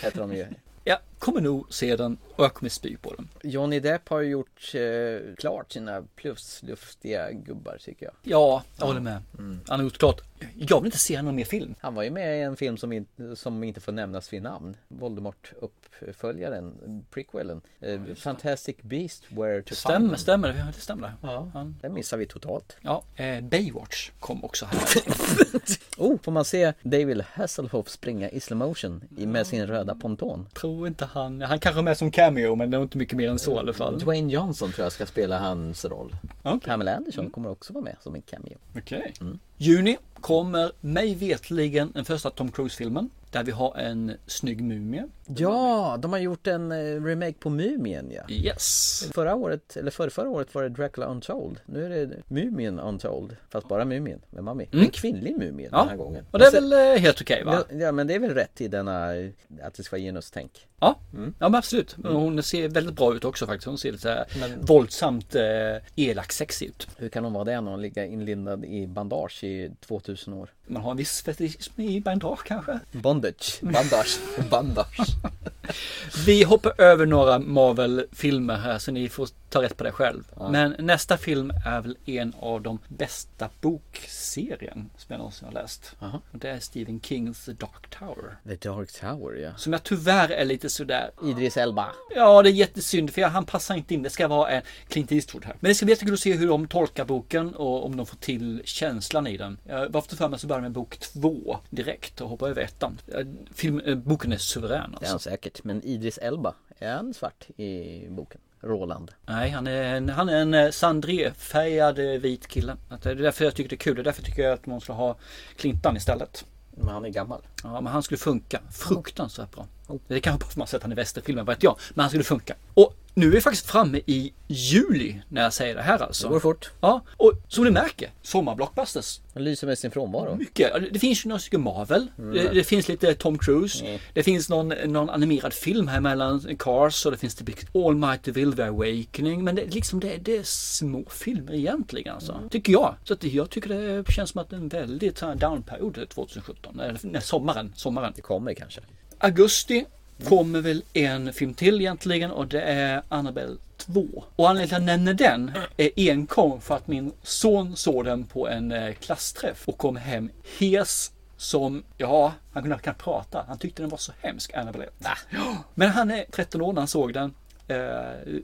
heter de ju. Jag kommer nog se den och jag kommer spy på den. Johnny Depp har ju gjort eh, klart sina plusluftiga gubbar tycker jag. Ja, jag håller med. Han har gjort klart. Jag vill inte se någon mer film. Han var ju med i en film som, in, som inte får nämnas vid namn. Voldemort-uppföljaren, prequelen. Eh, Fantastic Beast Where to Find Stämmer, Them. stämmer det? Det stämmer det. Ja, Han- den missar vi totalt. Ja, eh, Baywatch kom också här. Oh, får man se David Hasselhoff springa i slow motion i- med sin röda ponton? Tror inte han. Han kanske är med som cameo men det är inte mycket mer än så i alla fall. Dwayne Johnson tror jag ska spela hans roll. Mm. Okej. Pamela Anderson kommer också vara med som en cameo. Okej. Mm. Juni kommer mig vetligen den första Tom Cruise-filmen. Där vi har en snygg mumie. Ja, de har gjort en eh, remake på Mumien ja. Yes. Förra året, eller förra, förra året var det Dracula Untold. Nu är det Mumien Untold. Fast bara Mumien med Mummy. En kvinnlig Mumien Ja, den här gången. och det är Men väl eh, helt okej va? Ja, ja, men det är väl rätt i denna, eh, att det ska vara genustänk. Ja, Mm. ja men absolut. Men Hon ser väldigt bra ut också faktiskt. Hon ser lite så här våldsamt eh, elak sexig ut. Hur kan hon vara det när hon ligger inlindad i bandage i 2000 år? Man har en viss fetism i bandage kanske. Bondage, bandage, bandage. Vi hoppar över några Marvel-filmer här så ni får ta rätt på det själv. Men nästa film är väl en av de bästa bokserien som jag någonsin har läst. Och det är Stephen Kings The Dark Tower. The Dark Tower ja. Som jag tyvärr är lite sådär. Idris Elba. Ja, det är jättesynd för jag, han passar inte in. Det ska vara en Clint Eastwood här. Men det ska bli jättekul att se hur de tolkar boken och om de får till känslan i den. Jag var för mig så börjar jag med bok två direkt och hoppar över ettan. Eh, Film, eh, boken är suverän Det är han alltså. säkert. Men Idris Elba, är han svart i boken? Roland. Nej, han är en, han är en eh, sandré-färgad eh, vit kille. Att Det är därför jag tycker det är kul. Det är därför tycker jag att man skulle ha Clintan istället. Men han är gammal. Ja, men han skulle funka fruktansvärt bra. Det är kanske bara för att man har sett han i västerfilmen, vad vet jag. Men han skulle funka. Och nu är vi faktiskt framme i juli när jag säger det här alltså. Det går fort. Ja, och som ni märker, sommarblockbusters. Han lyser med sin frånvaro. Mycket. Ja, det- Det finns ju några stycken Marvel. Mm. Det, det finns lite Tom Cruise. Det finns någon, någon animerad film här mellan Cars och det finns typ All Might The Will The Awakening. Men det, är liksom, det, det är små filmer egentligen alltså. Tycker jag. Så att jag tycker det känns som att det är en väldigt så här down-period 2017. Eller nej, sommaren. sommaren. Det kommer kanske. Augusti kommer väl en film till egentligen och det är Annabelle 2. Och anledningen till att jag nämner den är enkom för att min son såg den på en eh, klassträff och kom hem hes som, ja, han kunde knappt prata. Han tyckte den var så hemsk, Annabelle 1. Men han är 13 år när han såg den. Eh,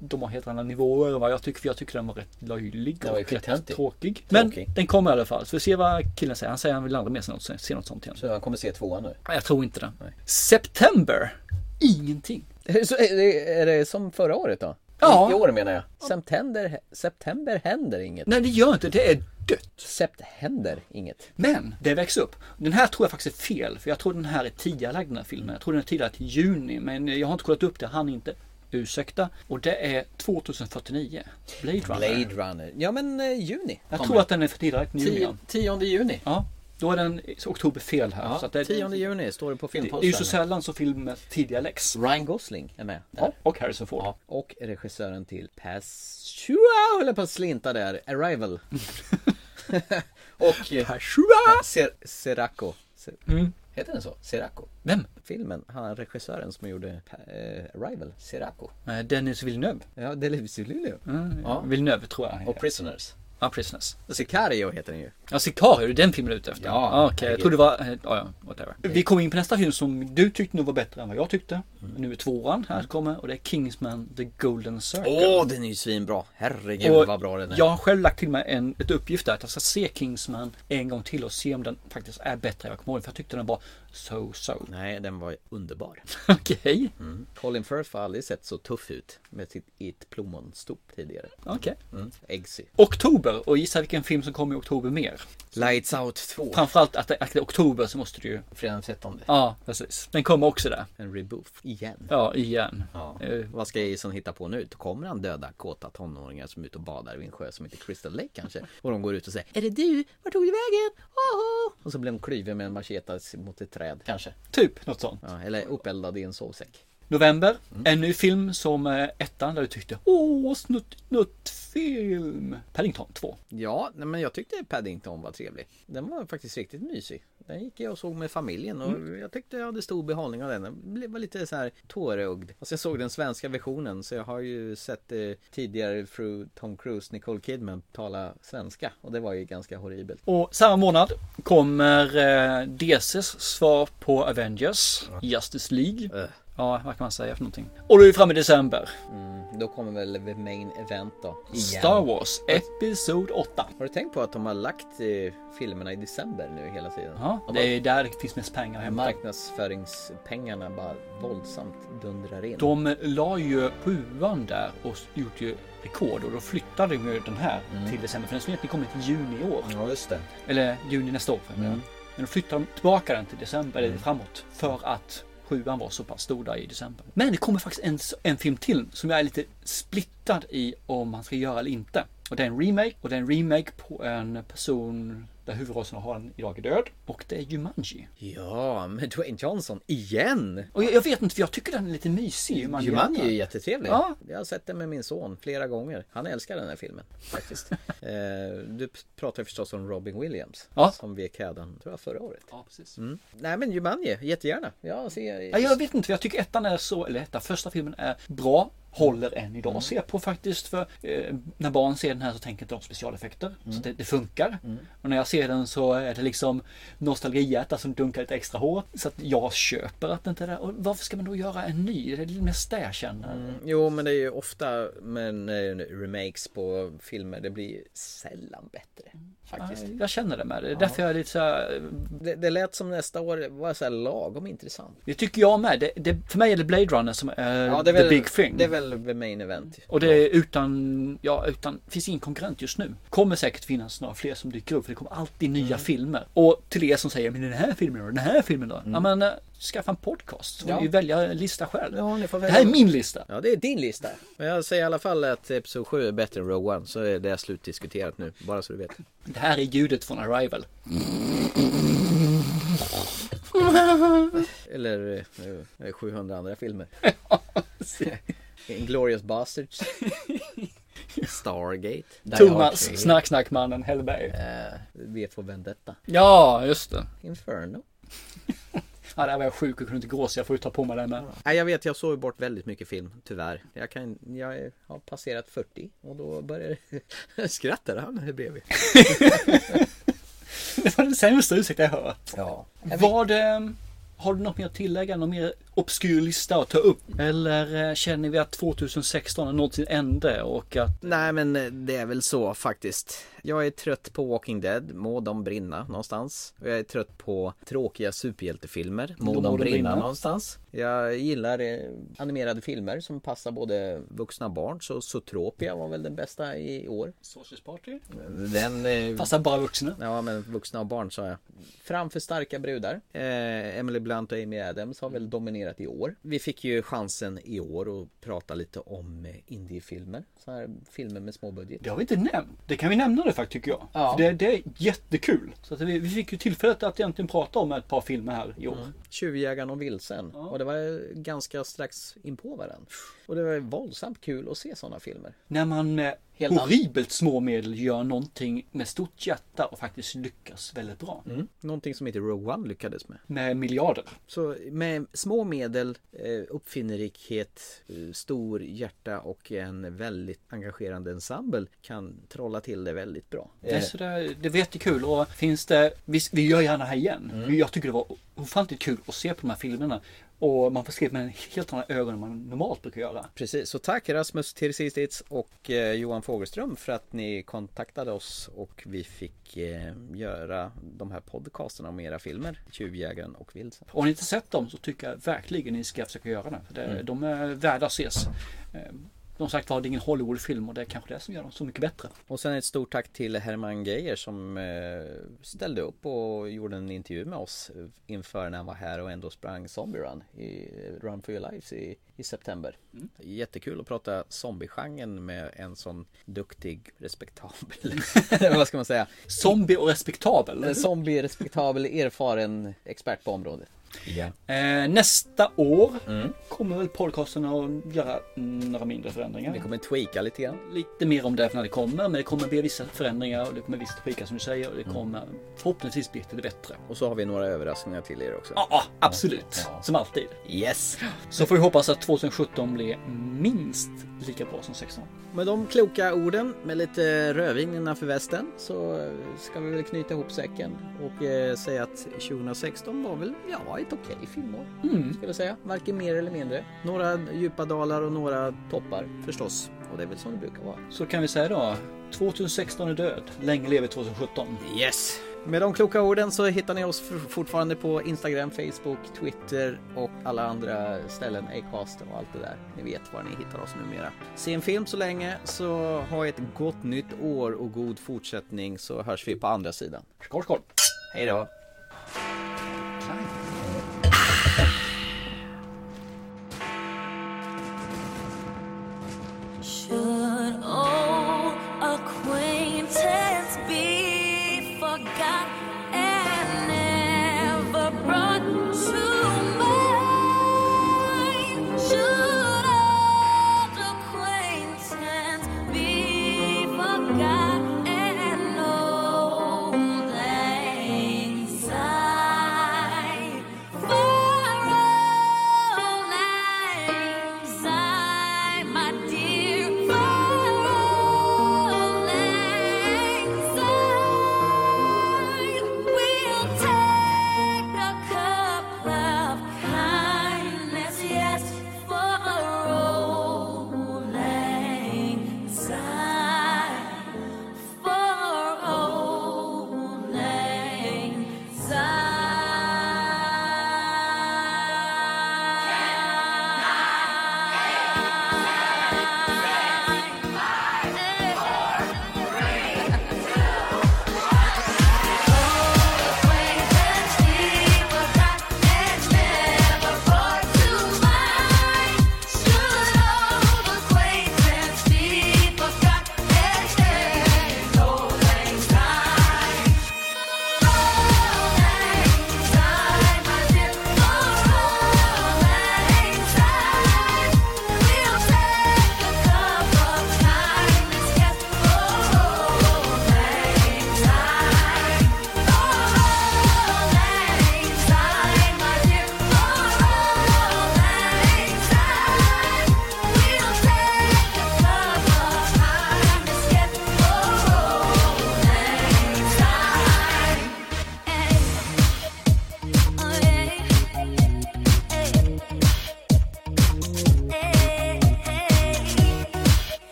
De har helt andra nivåer än vad jag tycker, för jag tycker den var rätt löjlig Den var ju och rätt skittöntig. tråkig. Men Tråkig. den kommer i alla fall. Så vi ser vad killen säger. Han säger att han vill aldrig mer se något, se något sånt igen. Så han kommer se tvåan nu. Nej, Jag tror inte det. September. Ingenting. Så är, det, är det som förra året då? Ja. I år menar jag. September, september händer inget. Nej, det gör inte. Det är dött. Sept händer inget. Men det väcks upp. Den här tror jag faktiskt är fel. För jag tror den här är tidigarelagd den här filmen. Jag tror den är tidigare till juni. Men jag har inte kollat upp det. Han inte. Ursäkta. Och det är 2049. Blade Runner. Blade Runner. Ja men eh, juni. Jag kommer tror den. att den är för tidigarelagd nu Tio- igen. 10 juni. Ja. Då är den i oktober fel här. Ja, så att det, 10 juni står det på det filmposten. är ju så sällan som filmer tidigareläggs. Ryan Gosling är med. Ja, och Harrison Ford. Och regissören till Pass... Tjoa! Håller på att slinta där. Arrival. och... eh, Ser, Seraco. Ser, Mm. Heter den så? Seraco? Vem? Filmen. Han regissören som gjorde Pa- eh, Arrival. Seraco. Eh, Dennis Villeneuve. Ja, Delvis Luleå. Mm, Ja. Villeneuve tror jag. han Och heter. Prisoners. Ja, Prisoners. Sicario heter den ju. Ja, Sicario, det är den filmen du är ute efter? Ja, Ah, Okej, jag herregud. trodde det var... eh, Ja, ja, whatever. Vi kom in på nästa film som du tyckte nog var bättre än vad jag tyckte. Nu är tvåan här kommer och det är Kingsman The Golden Circle. Åh, den är ju svinbra! Herregud Och vad bra den är. Jag har själv lagt till mig en ett uppgift där att jag ska se Kingsman en gång till och se om den faktiskt är bättre än jag kommer ihåg. För jag tyckte den var so so. Nej, den var underbar. Okej. Mm. Colin Firth har aldrig sett så tuff ut med sitt i ett plommonstop tidigare. Okej. Mm. Eggsy. Oktober och gissa vilken film som kommer i oktober mer. Lights Out 2. Framförallt att det, att det är oktober så måste du ju... Fredag 13. Ja, precis. Den kommer också där. En reboof. Igen. Ja, igen. Eh, Vad ska Jason hitta på nu? Då kommer han döda kåta tonåringar som är ute och badar vid en sjö som heter Crystal Lake kanske. Och de går ut och säger Är det du? Vart tog du vägen? Oho! Och så blir de kluven med en macheta mot ett träd. Kanske. Typ något sånt. Ja, eller uppeldad i en sovsäck. November. En ny film som eh, ettan där du tyckte Åh, snutt, snutt film. Paddington 2. Ja, nej, men jag tyckte Paddington var trevlig. Den var faktiskt riktigt mysig. Den gick jag och såg med familjen och jag tyckte jag hade stor behållning av den. Den blev- var lite så här tårögd. Alltså jag såg den svenska versionen så jag har ju sett eh, tidigare fru Tom Cruise, Nicole Kidman tala svenska och det var ju ganska horribelt. Och samma månad kommer eh, DCs svar på Avengers, Justice League. Ja, vad kan man säga för någonting? Och då är vi framme i december. Mm, då kommer väl the main event då. Star Wars, Episod 8. Har du tänkt på att de har lagt eh, filmerna i december nu hela tiden? Ja, det är där det finns mest pengar att hämta. Marknadsföringspengarna bara våldsamt dundrar in. De la ju sjuan där och gjorde ju rekord och då flyttade de ju den här till december. För den skulle egentligen kommit i juni i år. Mm. Ja, just det. Eller juni nästa år. Mm. Men då flyttade de tillbaka den till december Mm. eller framåt. För att sjuan var så pass stor där i december. Men det kommer faktiskt en, en film till som jag är lite splittad i om man ska göra eller inte. Och det är en remake och det är en remake på en person där huvudrollen som har den idag är död. Och det är Jumanji. Ja, men Dwayne Johnson igen! Och jag, jag vet inte, för jag tycker den är lite mysig. Jumanji, Jumanji är ju jättetrevlig. Ja. Jag har sett den med min son flera gånger. Han älskar den här filmen faktiskt. eh, du p- pratar ju förstås om Robin Williams. Ja. Som vek hädan, tror jag, förra året. Ja, precis. Mm. Nej men Jumanji, jättegärna. Jag Ja, ser... jag vet inte, för jag tycker ettan är så, eller ettan, första filmen är bra, håller än idag Mm. att se på faktiskt. För eh, när barn ser den här så tänker inte de specialeffekter, Mm. så det, det funkar. Och när jag ser den så är det liksom nostalgihjärtat som dunkar lite extra hårt. Så att jag köper att det inte är där. Och varför ska man då göra en ny? Det är det mest det jag känner. Jo men det är ju ofta men, eh, remakes på filmer, det blir sällan bättre. Mm. Faktiskt. Ja, Jag känner det med det. Det är därför jag är lite så här, Det, det lät som nästa år var så här lagom intressant. Det tycker jag med. Det, det, för mig är det Blade Runner som är, det är väl, the big thing. Det är väl the main event. Och det är utan, ja utan, finns ingen konkurrent just nu. Kommer säkert finnas några fler som dyker upp för det kommer alltid nya Mm. filmer. Och till er som säger, men den här filmen då, den här filmen då? Ja men äh, skaffa en podcast. Så får Mm. Ja. ni ju välja en lista själv. får det välja. här är min lista. Ja, det är din lista. Men jag säger i alla fall att Episod 7 är bättre än Rogue One, så är det slutdiskuterat nu, bara så du vet. Det här är ljudet från Arrival. Eller eh, eh, 700 andra filmer. Inglourious Basterds. Stargate. Die Hard Thomas 3, Snacksnackmannen Hellberg. eh, V för Vendetta. Ja, just det. Inferno. Ja, där var jag sjuk och kunde inte gå så jag får ju ta på mig det här med. Nej, jag vet, jag såg ju bort väldigt mycket film, tyvärr. Jag, kan, jag är- har passerat 40 och då börjar Skrattar han här bredvid? Det var den sämsta ursäkt jag hört. Ja. Vad, eh, har du något mer att tillägga? Någon mer obskyr lista att ta upp? Eller eh, känner vi att 2016 är någonsin ände och att Nej men eh, det är väl så faktiskt. Jag är trött på Walking Dead, må de brinna någonstans. Och Jag är trött på tråkiga superhjältefilmer, må de, brinna, någonstans. Jag gillar eh, animerade filmer som passar både vuxna och barn. Så Zootropia var väl den bästa i år. Sausage Party? Den... Eh... Passar bara vuxna. Ja men vuxna och barn sa jag. Framför starka brudar. Eh, Emily Blunt och Amy Adams har väl dominerat i år. Vi fick ju chansen i år att prata lite om eh, indiefilmer. Så här filmer med småbudget. Det har vi inte nämnt. Det kan vi nämna det faktiskt tycker jag. Ja. För det, det är jättekul. Så att vi, vi fick ju tillfället att egentligen prata om ett par filmer här i år. Tjuvjägaren och vilsen. Och det var ganska strax inpå varandra. Och det var våldsamt kul att se sådana filmer. När man eh, Helt horribelt små medel gör någonting med stort hjärta och faktiskt lyckas väldigt bra. Mm. Någonting som inte Rogue One lyckades med. Med miljarder. Så med små medel, eh, uppfinnerikhet, eh, stor hjärta och en väldigt engagerande ensemble kan trolla till det väldigt bra. Det, är sådär, det var jättekul och finns det, vi, vi gör gärna det här igen. Jag tycker det var ofantligt kul att se på de här filmerna. Och man får se med en helt annan ögon än man normalt brukar göra. Precis, så tack Rasmus Tirsistits och eh, Johan Fogelström för att ni kontaktade oss och vi fick eh, göra de här podcasterna om era filmer Tjuvjägaren och Vilsen. Om ni inte sett dem så tycker jag verkligen ni ska försöka göra det. För det Mm. De är värda att ses. Eh, Som sagt var, det är ingen Hollywoodfilm och det är kanske det som gör dem så mycket bättre. Och sen ett stort tack till Herman Geijer som eh, ställde upp och gjorde en intervju med oss inför när han var här och ändå sprang Zombie Run i Run for your lives i, i september. Jättekul att prata zombiegenren med en sån duktig, respektabel, vad ska man säga? Zombie och respektabel? En zombie, respektabel, erfaren expert på området. Ja. Eh, nästa år kommer väl podcasten att göra några mindre förändringar. Vi kommer tweaka lite grann. Lite mer om det när det kommer. Men det kommer bli vissa förändringar och det kommer vissa tweakar som du säger. Och det kommer förhoppningsvis bli lite bättre. Och så har vi några överraskningar till er också. Ja, ja, absolut. Som alltid. Yes! Så får vi hoppas att 2017 blir minst lika bra som 16. Med de kloka orden med lite rödvin innanför västen så eh, ska vi väl knyta ihop säcken och eh, säga att 2016 var väl ja, ett okej filmår. Mm. Ska vi säga. Varken mer eller mindre. Några djupa dalar och några toppar förstås. Och det är väl som det brukar vara. Så kan vi säga då. 2016 är död. Länge lever 2017. Yes! Med de kloka orden så hittar ni oss f- fortfarande på Instagram, Facebook, Twitter och alla andra ställen, Acast och allt det där. Ni vet var ni hittar oss numera. Se en film så länge så ha ett gott nytt år och god fortsättning så hörs vi på andra sidan. Skål, skål! Hej då! Should old acquaintance be forgot and never brought to mind? Should old acquaintance be forgot and old anxiety? For old anxiety, my dear, for old anxiety, we'll take a cup of kindness, yes, for old anxiety, for old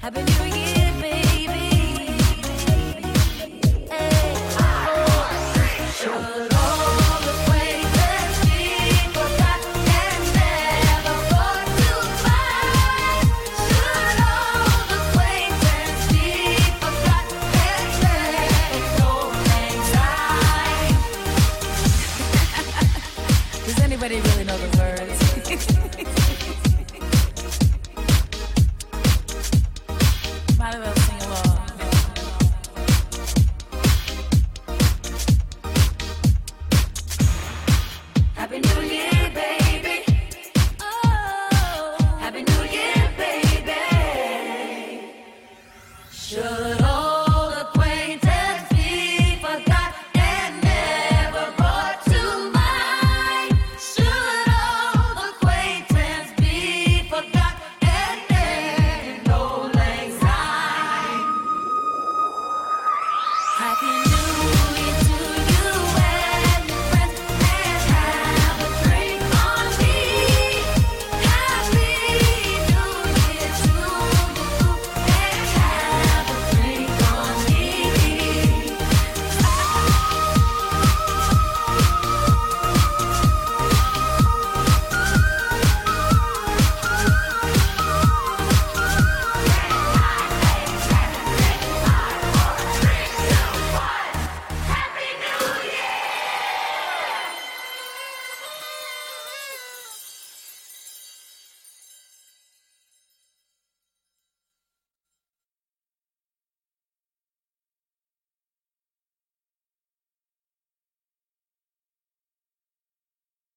Happy New Year, baby. Does anybody really know the words? Oh.